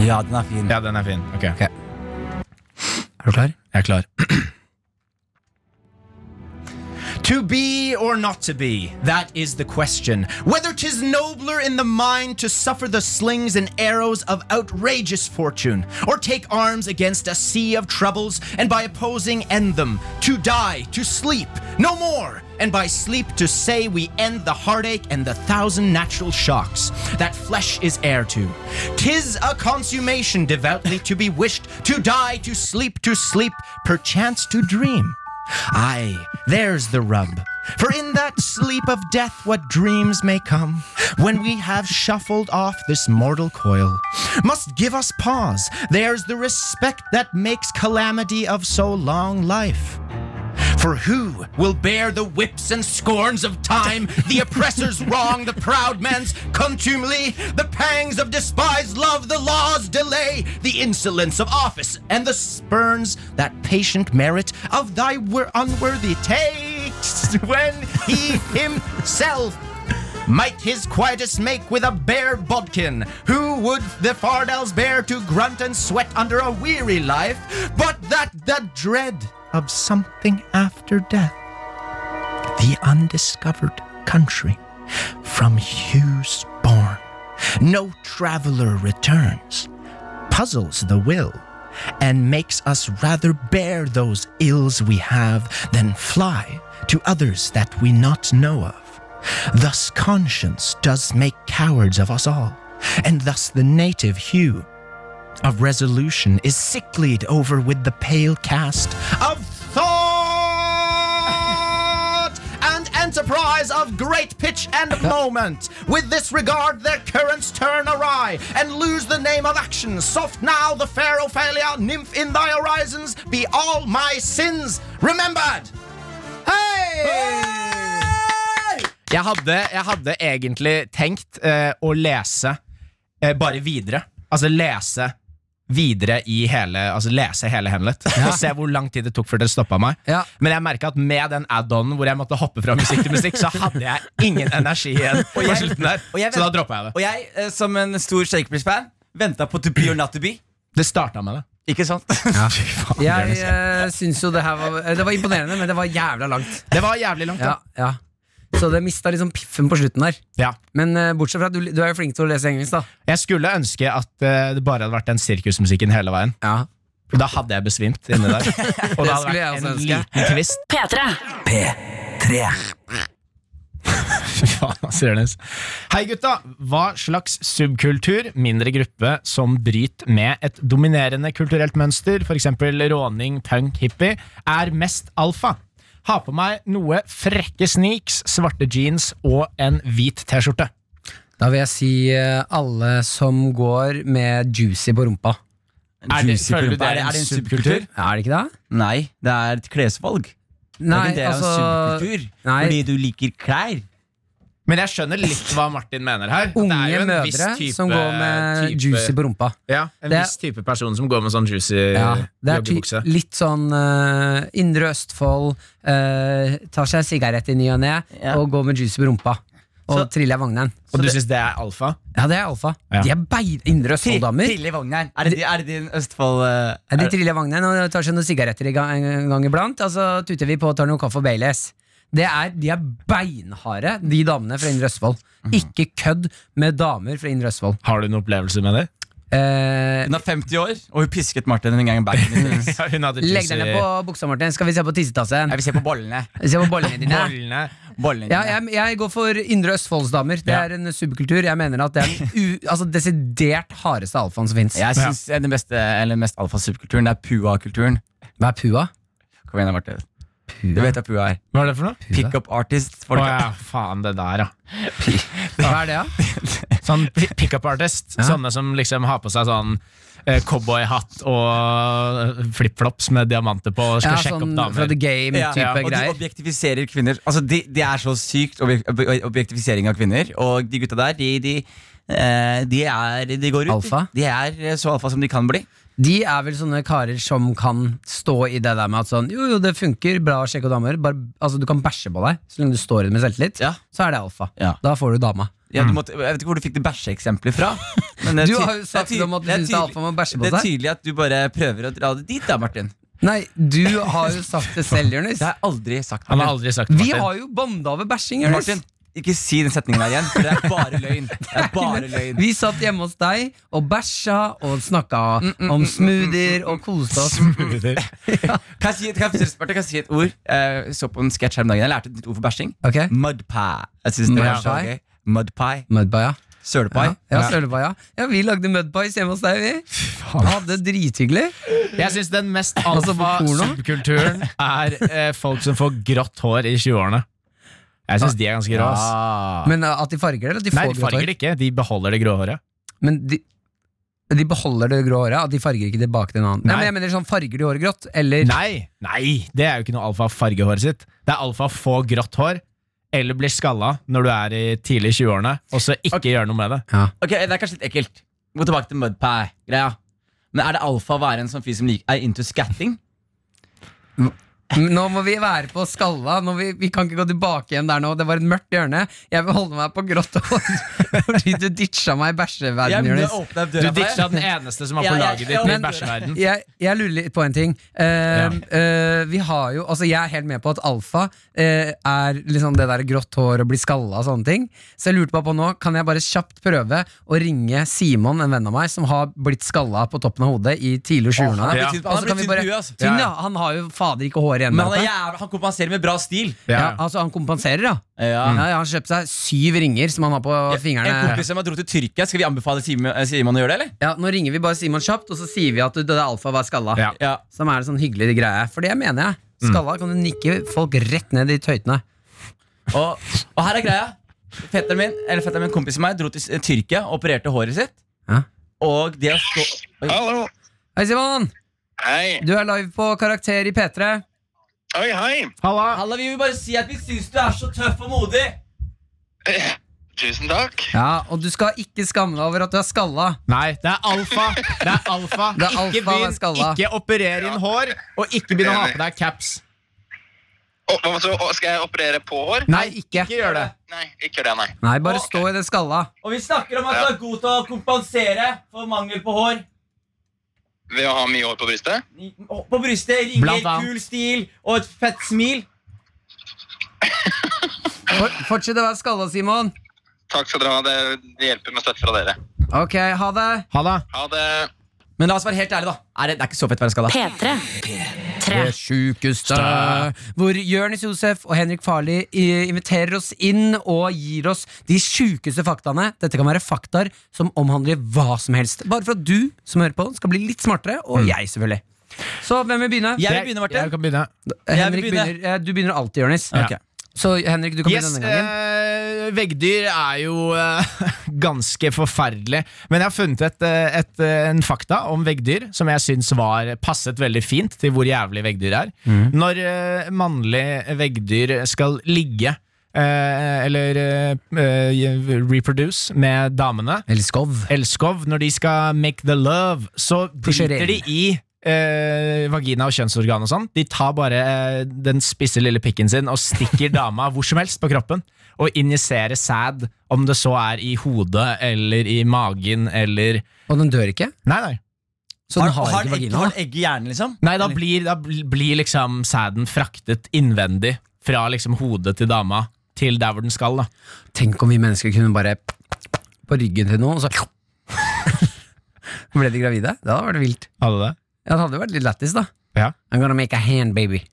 Speaker 5: ja, den er fin.
Speaker 13: Ja, den er fin. Ok.
Speaker 3: Er du klar?
Speaker 13: Jeg er klar. To be or not to be, that is the question. Whether 'tis nobler in the mind to suffer the slings and arrows of outrageous fortune, or take arms against a sea of troubles, and by opposing end them. To die, to sleep, no more, and by sleep to say we end the heartache and the thousand natural shocks that flesh is heir to. 'Tis a consummation devoutly to be wished, to die, to sleep, to sleep, perchance to dream. Aye, there's the rub. For in that sleep of death, what dreams may come, when we have shuffled off this mortal coil, must give us pause. There's the respect that makes calamity of so long life. For who will bear the whips and scorns of time, the oppressor's wrong, the proud man's contumely, the pangs of despised love, the law's delay, the insolence of office, and the spurns that patient merit of thy wor- unworthy takes when he himself might his quietest make with a bare bodkin? Who would the fardels bear to grunt and sweat under a weary life? But that the dread of something after death, the undiscovered country from Hughes born, no traveller returns, puzzles the will. And makes us rather bear those ills we have than fly to others that we not know of. Thus conscience does make cowards of us all, and thus the native hue of resolution is sicklied over with the pale cast of thought and enterprise of great pitch
Speaker 4: Uh,
Speaker 13: and moment. With this regard, their currents turn awry and lose the name of action. Soft now, the fair Ophelia, nymph in thy horizons, be all my sins remembered. Hei! Jeg hadde, jeg hadde egentlig tenkt eh, å lese eh, bare videre. Altså lese videre i hele Altså lese hele Hamlet. Og se hvor lang tid det tok før dere stoppa meg.
Speaker 3: Ja.
Speaker 13: Men jeg merka at med den add-on hvor jeg måtte hoppe fra musikk til musikk, så hadde jeg ingen energi igjen. på
Speaker 5: jeg-
Speaker 13: slutten der
Speaker 5: og jeg vet-
Speaker 13: Så da droppa jeg det.
Speaker 5: Og jeg, eh, som en stor Shakespeare-fan, venta på To be or not to be.
Speaker 13: Det starta med det.
Speaker 5: Ikke sant?
Speaker 3: Jeg eh, syns jo det her var eh, Det var imponerende, men det var jævla langt.
Speaker 13: Det var jævlig langt.
Speaker 3: Ja, ja. Så det mista liksom piffen på slutten der.
Speaker 13: Ja.
Speaker 3: Men eh, bortsett fra at du, du er jo flink til å lese engelsk, da.
Speaker 13: Jeg skulle ønske at eh, det bare hadde vært den sirkusmusikken hele veien.
Speaker 3: Ja.
Speaker 13: Da hadde jeg besvimt inni der. Og
Speaker 3: Det
Speaker 13: da hadde
Speaker 3: skulle
Speaker 13: det
Speaker 3: jeg også
Speaker 13: vært en
Speaker 3: ønske.
Speaker 13: liten twist.
Speaker 14: P3.
Speaker 4: P3
Speaker 13: Fy faen, ass, Jonis. Hei gutta, hva slags subkultur, mindre gruppe, som bryter med et dominerende kulturelt mønster, f.eks. råning, punk, hippie, er mest alfa? Ha på meg noe frekke sneaks, svarte jeans og en hvit T-skjorte.
Speaker 3: Da vil jeg si eh, alle som går med juicy på rumpa.
Speaker 13: Er det-
Speaker 5: Juicy
Speaker 13: føler du
Speaker 5: pulpa.
Speaker 13: det er
Speaker 5: Er det-
Speaker 13: en
Speaker 5: er det en
Speaker 13: subkultur?
Speaker 5: subkultur?
Speaker 3: Er det ikke det?
Speaker 5: Nei, det er et klesvalg.
Speaker 3: Nei,
Speaker 5: det er jo
Speaker 3: altså
Speaker 5: subkultur.
Speaker 3: nei.
Speaker 5: Fordi du liker klær.
Speaker 13: Men jeg skjønner litt hva Martin mener her.
Speaker 3: Unge mødre som går med juicy på rumpa.
Speaker 13: Ja, En
Speaker 3: Det-
Speaker 13: viss type person som går med sånn juicy
Speaker 4: eh,
Speaker 3: Ja, det er
Speaker 13: joggebukse.
Speaker 3: ty- litt sånn eh, Indre Østfold, eh, tar seg en sigarett i ny og ne
Speaker 5: Ja.
Speaker 3: og går med juicy på rumpa. og triller jeg vognen.
Speaker 4: Og du syns det er alfa?
Speaker 3: Ja, det er alfa.
Speaker 4: Ja.
Speaker 3: De er bein, indre østfolddamer.
Speaker 5: Trille i vognen. Er det, er det din Østfold
Speaker 3: Ja,
Speaker 5: eh, er
Speaker 3: De
Speaker 5: det-
Speaker 3: triller vognen og tar seg noen sigaretter i ga- en gang iblant. Og så tuter vi på og tar noe kaffe og Baileys. Det er, de er beinharde, de damene fra Indre Østfold. Ikke kødd med damer fra Indre Østfold.
Speaker 4: Mhm. Har du noen opplevelser med det?
Speaker 3: Eh,
Speaker 5: Hun er 50 år, og hun pisket Martin en gang i bagen.
Speaker 4: Hun hadde
Speaker 3: legg deg ned på buksa, Martin. Skal vi se på tissetassen?
Speaker 5: Jeg vil se på bollene.
Speaker 3: Se på bollene dine.
Speaker 4: bollene.
Speaker 5: bollene
Speaker 3: Ja,
Speaker 5: dine.
Speaker 3: jeg, jeg går for Indre Østfoldsdamer. Det
Speaker 4: Ja.
Speaker 3: er en subkultur. Jeg mener at det er den u, altså desidert hardeste alfaen som fins.
Speaker 5: Jeg syns den beste, eller den mest alfasubkulturen, det er pua-kulturen.
Speaker 3: Hva er pua?
Speaker 5: Kom igjen, da, Martin. Du vet hva pua er.
Speaker 4: Hva er det for noe?
Speaker 5: Pick up artist. Folk.
Speaker 4: Å ja, faen det der, ja.
Speaker 3: Hva er det, da?
Speaker 4: Sånn pi- pickup artist.
Speaker 3: Ja.
Speaker 4: Sånne som liksom har på seg sånn eh, cowboyhatt og flipflops med diamanter på og skal
Speaker 3: Ja,
Speaker 4: sjekke
Speaker 3: sånn
Speaker 4: opp
Speaker 3: fra
Speaker 4: damer.
Speaker 3: The Game-type
Speaker 5: Ja, Og de
Speaker 3: greier.
Speaker 5: objektifiserer kvinner. Altså, Det de er så sykt objek- ob- objektifisering av kvinner. Og de gutta der, de, de, eh, de, er, de går ut.
Speaker 3: Alfa?
Speaker 5: De er så alfa som de kan bli.
Speaker 3: De er vel sånne karer som kan stå i det der med at sånn Jo, jo, det funker, bra å sjekke damer. Bare, altså, du kan bæsje på deg så lenge du står i det med selvtillit.
Speaker 5: Ja.
Speaker 3: Så er det alfa.
Speaker 5: Ja.
Speaker 3: Da får du dama.
Speaker 5: Ja,
Speaker 4: Mm.
Speaker 5: du måtte, jeg vet ikke hvor du fikk det bæsjeeksempelet fra. men det er
Speaker 3: Du
Speaker 5: ty-
Speaker 3: har jo sagt
Speaker 5: det er tydelig-
Speaker 3: om at du
Speaker 5: det er
Speaker 3: synes det er
Speaker 5: tydelig-
Speaker 3: alfa med å bæsje på
Speaker 5: Det er
Speaker 3: seg.
Speaker 5: tydelig at du bare prøver å dra det dit, da, Martin.
Speaker 3: Nei, du har jo sagt det selv, Jonis.
Speaker 5: Det har jeg aldri sagt.
Speaker 4: Han har
Speaker 5: Martin.
Speaker 4: aldri sagt
Speaker 3: Vi
Speaker 4: Martin.
Speaker 3: har jo bonda over bæsjing, Jonis.
Speaker 5: Martin, ikke si den setningen der igjen, for det er bare løgn. Det er bare løgn.
Speaker 3: Vi satt hjemme hos deg og bæsja og snakka
Speaker 4: Mm,
Speaker 3: om smoothier og koste oss.
Speaker 5: Kan jeg si, kan jeg, Martin, kan jeg si et ord? Jeg så på en sketsj her om dagen. Jeg lærte et nytt ord for bæsjing.
Speaker 3: Ok,
Speaker 5: Mudpie. Jeg synes det var så
Speaker 3: Mudpie?
Speaker 5: gøy. Mudpie.
Speaker 3: Mudpie, ja.
Speaker 5: Sølepai.
Speaker 3: Ja, ja, sølepai, ja. ja, vi lagde mudpies hjemme hos deg, vi. Hadde det drithyggelig.
Speaker 4: Jeg syns den mest
Speaker 3: Altså, på porno?
Speaker 4: alfa-subkulturen er eh, folk som får grått hår i 20-årene. Jeg syns de er ganske rå. ass.
Speaker 3: Men uh, at de farger det? Eller at de
Speaker 4: Nei,
Speaker 3: får
Speaker 4: de
Speaker 3: grått hår?
Speaker 4: farger det ikke. De beholder det grå håret.
Speaker 3: Men de, de beholder det grå håret, at de farger ikke tilbake til en annen. Nei.
Speaker 4: Nei.
Speaker 3: men jeg mener sånn, Farger de håret grått, eller
Speaker 4: Nei, nei, det er jo ikke noe alfa farge håret sitt. Det er alfa få grått hår, eller blir skalla når du er i tidlig 20-årene, og så ikke gjøre noe med det.
Speaker 5: Ok, Det er kanskje litt ekkelt. Gå tilbake til mudpie-greia. Men er det alfa å være en sånn fyr som lik- er into scatting?
Speaker 3: Nå må vi være på skalla. Nå vi, vi kan ikke gå tilbake igjen der nå. Det var et mørkt hjørne. Jeg vil holde meg på grått hår fordi du ditcha meg i
Speaker 5: Jeg
Speaker 3: bæsjeverdenen,
Speaker 5: må
Speaker 3: Jonis.
Speaker 5: åpne opp
Speaker 4: Du
Speaker 5: døra for deg.
Speaker 4: ditcha den eneste som var
Speaker 5: Ja,
Speaker 4: på
Speaker 5: ja,
Speaker 4: laget
Speaker 5: ja,
Speaker 4: ditt i
Speaker 5: men-
Speaker 4: bæsjeverden.
Speaker 3: jeg, jeg lurer litt på en ting. Eh, eh, vi har jo, altså Jeg er helt med på at alfa eh, er liksom det der grått hår og bli skalla og sånne ting. Så jeg lurte bare på nå, kan jeg bare kjapt prøve å ringe Simon, en venn av meg, som har blitt skalla på toppen av hodet i tidlig 20-årene.
Speaker 4: Ja.
Speaker 5: Han
Speaker 3: Og så
Speaker 5: har
Speaker 3: kan
Speaker 5: blitt
Speaker 3: vi bare-
Speaker 5: tynn due, altså.
Speaker 3: Tynn,
Speaker 4: Ja,
Speaker 3: ja. Han har jo fader ikke hår igjen.
Speaker 5: Men han, er
Speaker 3: vet du.
Speaker 5: jævla, han kompenserer med bra stil.
Speaker 4: Ja.
Speaker 3: ja, altså Han kompenserer, ja.
Speaker 5: Ja.
Speaker 3: ja. Han har kjøpt seg syv ringer som han har på
Speaker 5: En
Speaker 3: fingrene.
Speaker 5: kompis som har dro til Tyrkia. Skal vi anbefale Simon, eh, Simon å gjøre det, eller?
Speaker 3: Ja, Nå ringer vi bare Simon kjapt, og så sier vi at det er alfa var skalla.
Speaker 4: Ja.
Speaker 5: Ja.
Speaker 3: Som er en sånn hyggelig greie. For det mener jeg. Skalla kan du nikke folk rett ned i tøytene.
Speaker 5: Og, og her er greia. Fetteren min, eller fetteren min, kompisen min, dro til eh, Tyrkia og opererte håret sitt.
Speaker 3: Ja.
Speaker 5: Og det å stå Oi.
Speaker 10: Hallo.
Speaker 3: Hei, Simon!
Speaker 10: Hei.
Speaker 3: Du er live på Karakter i P3.
Speaker 10: Hei, hei.
Speaker 4: Halla!
Speaker 5: Halla, vi vil bare si at vi syns du er så tøff og modig.
Speaker 10: Tusen takk.
Speaker 3: Ja, Og du skal ikke skamme deg over at du er skalla.
Speaker 4: Nei, det er alfa! Det er alfa.
Speaker 3: Det er alfa,
Speaker 4: Ikke,
Speaker 3: det er skalla.
Speaker 4: ikke operere inn hår, og ikke begynn å ha på deg caps.
Speaker 10: Og, og, så, og skal jeg operere på hår?
Speaker 3: Nei, ikke.
Speaker 4: Ikke gjør det.
Speaker 10: Nei, ikke det, nei.
Speaker 3: Nei, bare stå i det skalla.
Speaker 5: Og vi snakker om at du er god til å kompensere for mangel på hår.
Speaker 10: Ved å ha mye hår på brystet?
Speaker 5: I- På brystet, ringer,
Speaker 4: Blant annet.
Speaker 5: kul stil og et fett smil.
Speaker 3: For, fortsett å være skalla, Simon.
Speaker 10: Takk skal dere ha. Det, det hjelper med støtte fra dere.
Speaker 3: Ok, ha det.
Speaker 4: Ha det.
Speaker 10: Ha det.
Speaker 5: Men la oss være helt ærlige, da. Er det, det er ikke så fett å være skada.
Speaker 1: P3.
Speaker 3: Det sjukeste Hvor Jørnis Josef og Henrik Farli inviterer oss inn og gir oss de sjukeste faktaene. Dette kan være faktaer som omhandler hva som helst. Bare for at du som hører på, skal bli litt smartere, og jeg selvfølgelig. Så hvem vil begynne?
Speaker 5: Jeg vil begynne,
Speaker 4: Mm. Jeg
Speaker 5: Martin.
Speaker 4: kan begynne.
Speaker 5: jeg vil
Speaker 3: Henrik
Speaker 5: begynne.
Speaker 3: begynner, eh, du begynner alltid, Jørnis.
Speaker 4: Ja.
Speaker 3: Ok. Så Henrik, du kan
Speaker 4: Yes,
Speaker 3: begynne denne gangen.
Speaker 4: eh, veggdyr er jo eh, ganske forferdelig. Men jeg har funnet et, eh, et, eh, en fakta om veggdyr som jeg syns var passet veldig fint til hvor jævlig veggdyr er. Når uh, mannlige veggdyr skal ligge eh, eller eh, eh, reproduce med damene
Speaker 3: Eller skov.
Speaker 4: Elskov, når de skal make the love, så
Speaker 3: Pusher
Speaker 4: driter de i eh, vagina og kjønnsorgan og sånn. De tar bare eh, den spisse lille pikken sin og stikker dama hvor som helst på kroppen. Og injiserer sæd, om det så er i hodet eller i magen eller
Speaker 3: Og den dør ikke?
Speaker 4: Nei, nei.
Speaker 3: Så den har, ikke
Speaker 5: egg-
Speaker 3: vagina?
Speaker 5: har
Speaker 3: da?
Speaker 5: den egg i hjernen, liksom?
Speaker 4: Nei, da blir, da bl- blir liksom sæden fraktet innvendig fra liksom hodet til dama til der hvor den skal, da.
Speaker 3: Tenk om vi mennesker kunne bare på ryggen til noen, og så Ble de gravide? Det hadde vært vilt.
Speaker 4: Hadde det?
Speaker 3: Ja, det hadde vært litt lættis, da.
Speaker 4: Ja.
Speaker 3: I'm gonna make a hand, baby.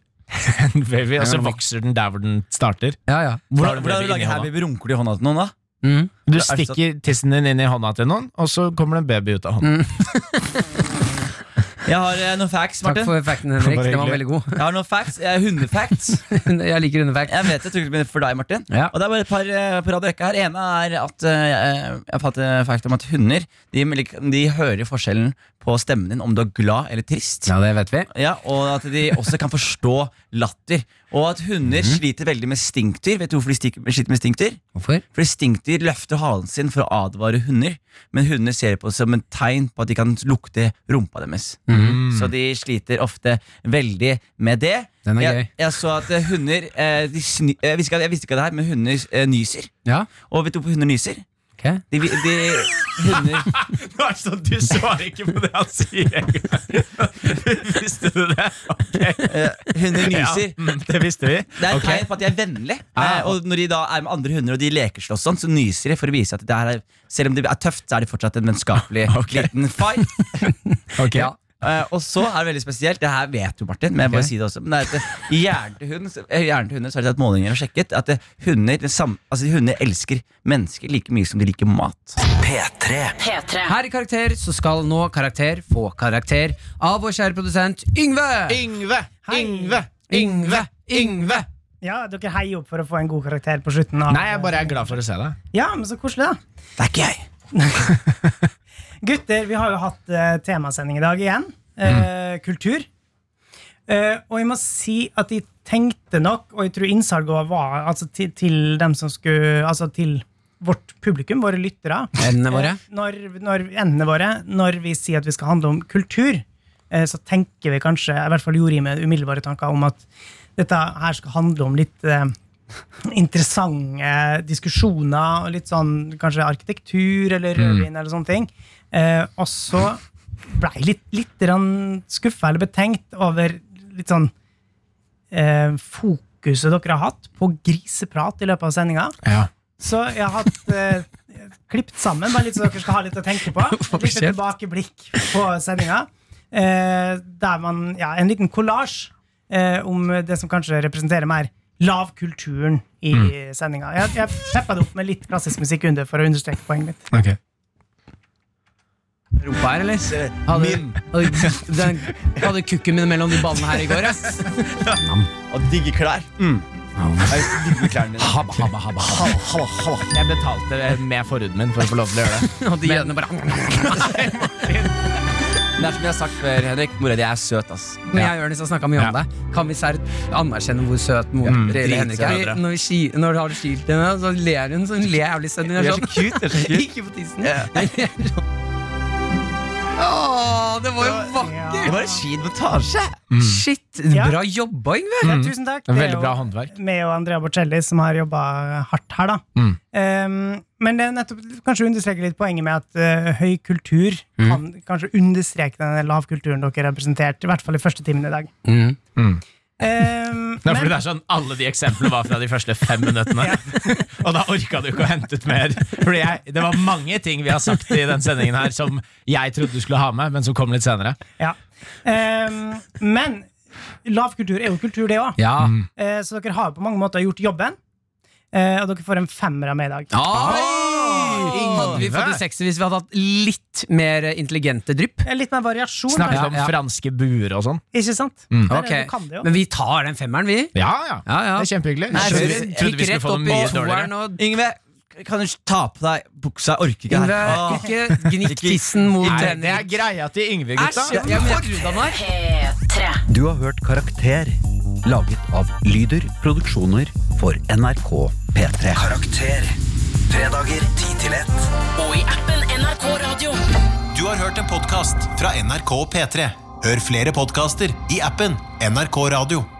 Speaker 4: Baby, og
Speaker 3: Ja,
Speaker 4: så
Speaker 3: men-
Speaker 4: vokser den der hvor den starter.
Speaker 3: Ja, ja.
Speaker 4: Da har du
Speaker 5: Hvordan, hvordan
Speaker 4: baby
Speaker 5: du lager
Speaker 4: inni
Speaker 5: her,
Speaker 4: hånda.
Speaker 5: baby? Runker du i hånda til noen, da?
Speaker 3: Mm.
Speaker 4: Du
Speaker 5: er det
Speaker 4: stikker tissen din inn i hånda til noen, og så kommer det en baby ut av hånda.
Speaker 3: Mm.
Speaker 5: Jeg har eh, noen facts,
Speaker 3: Takk
Speaker 5: Martin.
Speaker 3: for facten, Henrik.
Speaker 4: Bare
Speaker 3: Den var
Speaker 4: hyggelig.
Speaker 3: veldig god.
Speaker 5: Jeg har noen facts, jeg er hundefacts.
Speaker 3: Jeg liker underfact.
Speaker 5: Jeg vet jeg tror det blir for deg, Martin.
Speaker 3: Ja.
Speaker 5: Og det er bare et par eh, på rad og rekke her. Ene er at eh, jeg- jeg fant et fact om at hunder de, de hører forskjellen på stemmen din om du er glad eller trist.
Speaker 3: Ja, det vet vi.
Speaker 5: Ja, Og at de også kan forstå latter. Og at hunder
Speaker 3: Mhm.
Speaker 5: sliter veldig med stinkdyr. Vet du hvorfor de stik- sliter med stinkdyr?
Speaker 3: Hvorfor?
Speaker 5: Fordi stinkdyr løfter halen sin for å advare hunder. Men hunder ser på det som en tegn på at de kan lukte rumpa deres.
Speaker 3: Mhm.
Speaker 5: Så de sliter ofte veldig med det.
Speaker 3: Den er
Speaker 5: jeg,
Speaker 3: gøy.
Speaker 5: jeg så at eh, hunder eh, de sny, jeg, visste ikke, jeg visste ikke det her, men hunder eh, nyser.
Speaker 3: Ja,
Speaker 5: Og vet du hvorfor hunder nyser?
Speaker 3: ok.
Speaker 5: De, vi- de, hunder
Speaker 4: sånn, du svarer ikke på det han sier engang! Visste du det? Mm,
Speaker 5: eh, Hunder nyser.
Speaker 4: det visste vi.
Speaker 5: Det er et
Speaker 4: Ok.
Speaker 5: tegn på at de er vennlige.
Speaker 4: Ah.
Speaker 5: Eh, og når de da er med andre hunder og de lekeslåss sånn, så nyser de for å vise at det her er, selv om det er tøft, så er det fortsatt en vennskapelig
Speaker 4: Ok.
Speaker 5: liten fight.
Speaker 4: Ok.
Speaker 3: Ja.
Speaker 5: Eh, og så er det veldig spesielt, det her vet du, Martin, men jeg
Speaker 3: Ok.
Speaker 5: må bare si det også. Men det er at eh, i hjernen til hund, eh, i hjernen til hunder så har de tatt målinger og sjekket at eh, hunder, det sam- altså, hunder elsker mennesker like mye som de liker mat.
Speaker 6: P3
Speaker 3: Her i Karakter så skal nå karakter få karakter av vår kjære produsent Yngve.
Speaker 4: Yngve!
Speaker 12: Hei.
Speaker 3: Yngve! Yngve!
Speaker 12: Ja, dere heier opp for å få en god karakter på slutten. Av,
Speaker 4: Nei, jeg bare er glad for å se deg.
Speaker 12: Ja, men så koselig, da.
Speaker 5: Det er ikke jeg.
Speaker 12: Gutter, vi har jo hatt eh, temasending i dag igjen. Eh, Kultur. Eh, og jeg må si at jeg tenkte nok, og jeg tror innsalget var altså, til, til dem som skulle Altså til vårt publikum, våre lyttere.
Speaker 3: Endene våre.
Speaker 12: Eh, Når, når endene våre, når vi sier at vi skal handle om kultur, eh, så tenker vi kanskje, i hvert fall gjorde jeg med umiddelbare tanker, om at dette her skal handle om litt eh, interessante diskusjoner, og litt sånn kanskje arkitektur eller rødvin eller sånne ting. Eh, og så ble jeg litt, litt skuffa eller betenkt over litt sånn eh, fokuset dere har hatt på griseprat i løpet av sendinga.
Speaker 4: Ja.
Speaker 12: Så jeg har hatt eh, klippet sammen, bare litt så dere skal ha litt å tenke på.
Speaker 3: Får
Speaker 12: Litt
Speaker 3: kjeft.
Speaker 12: tilbakeblikk på sendinga. Eh, der man, ja, en liten kollasj eh, om det som kanskje representerer mer lavkulturen i
Speaker 3: Mm.
Speaker 12: sendinga. Jeg, jeg peppa det opp med litt klassisk musikk under for å understreke poenget mitt.
Speaker 4: Ok.
Speaker 3: Rumpa her, eller? Hadde, hadde, den, hadde kukken min mellom de ballene her i går, ass.
Speaker 5: Og digge klær.
Speaker 3: Mm.
Speaker 5: Jeg digger klærne dine.
Speaker 3: Habba, habba, habba, habba.
Speaker 4: Jeg betalte med forhuden min for å få lov til å gjøre det.
Speaker 3: Og de jødene bare
Speaker 5: Det er som jeg har sagt før, Henrik. Mora di er søt, ass.
Speaker 3: Når jeg og Jonis har snakket mye om
Speaker 4: Ja. Mm,
Speaker 3: deg, kan vi sært anerkjenne hvor søt mor reelle Henrik er?
Speaker 5: dritsøt,
Speaker 3: Når, vi, ski- når du har skilt henne, så ler hun sånn ler jævlig sønn. Hun er
Speaker 5: Du er så
Speaker 3: sånn
Speaker 5: cute. Du er så cute.
Speaker 3: Ikke på tissen. sånn- Åh, det var jo
Speaker 5: Det
Speaker 3: vakkert! Mm.
Speaker 5: var en fin montasje.
Speaker 3: Shit,
Speaker 12: Ja.
Speaker 3: bra jobba, Yngve!
Speaker 12: Ja, tusen takk. Det er
Speaker 4: Veldig
Speaker 12: jo-
Speaker 4: bra håndverk.
Speaker 12: meg og Andrea Bocelli som har jobba hardt her, da.
Speaker 4: Mm.
Speaker 12: Ehm, men det er nettopp kanskje understreker litt poenget med at eh, høy kultur
Speaker 3: Mm.
Speaker 12: kan kanskje understreke den lavkulturen dere representerte, i hvert fall i første timen i dag.
Speaker 3: Mm.
Speaker 12: Ehm,
Speaker 4: Det er Mm. fordi
Speaker 12: men,
Speaker 4: det er sånn, Alle de eksemplene var fra de første fem minuttene. Og da orka du ikke å hente ut mer. Fordi jeg, Det var mange ting vi har sagt i den sendingen her som jeg trodde du skulle ha med, men som kom litt senere.
Speaker 12: ja. Ehm, men lavkultur er jo kultur, det òg.
Speaker 3: Ja.
Speaker 12: så dere har på mange måter gjort jobben. eh, og dere får en femmer av meg i dag.
Speaker 3: Oi! Hadde vi fått en sekser hvis vi hadde hatt litt mer intelligente drypp?
Speaker 12: Eh, Litt mer variasjon,
Speaker 4: Snakket
Speaker 12: kanskje.
Speaker 4: om
Speaker 3: ja.
Speaker 4: franske buer og sånn.
Speaker 12: ikke sant? Der er-
Speaker 3: Ok,
Speaker 12: Du kan det jo.
Speaker 3: Men vi tar den femmeren, vi.
Speaker 4: Ja, ja.
Speaker 3: Ja, ja.
Speaker 4: Det er kjempehyggelig.
Speaker 3: Nei,
Speaker 4: Jeg
Speaker 3: jeg
Speaker 4: trodde, trodde
Speaker 3: gikk
Speaker 4: vi skulle
Speaker 3: rett
Speaker 4: få
Speaker 3: opp
Speaker 4: det
Speaker 3: i
Speaker 4: mye
Speaker 3: toeren
Speaker 4: dårligere.
Speaker 3: og
Speaker 5: Yngve, kan du ta på deg buksa? Jeg orker ikke
Speaker 3: Yngve,
Speaker 5: her. Åh.
Speaker 3: ikke gnikk tissen mot
Speaker 4: Nei, det
Speaker 3: Henrik.
Speaker 4: er greia til Yngve, gutta.
Speaker 3: Æsj! Jeg forhånda meg.
Speaker 6: Du har hørt Karakter Laget av Lyder Produksjoner for NRK P3 Karakter Fredager 10 til 1
Speaker 1: Og i appen NRK Radio.
Speaker 15: Du har hørt en podcast fra NRK P3
Speaker 4: Hør flere podkaster i appen NRK Radio.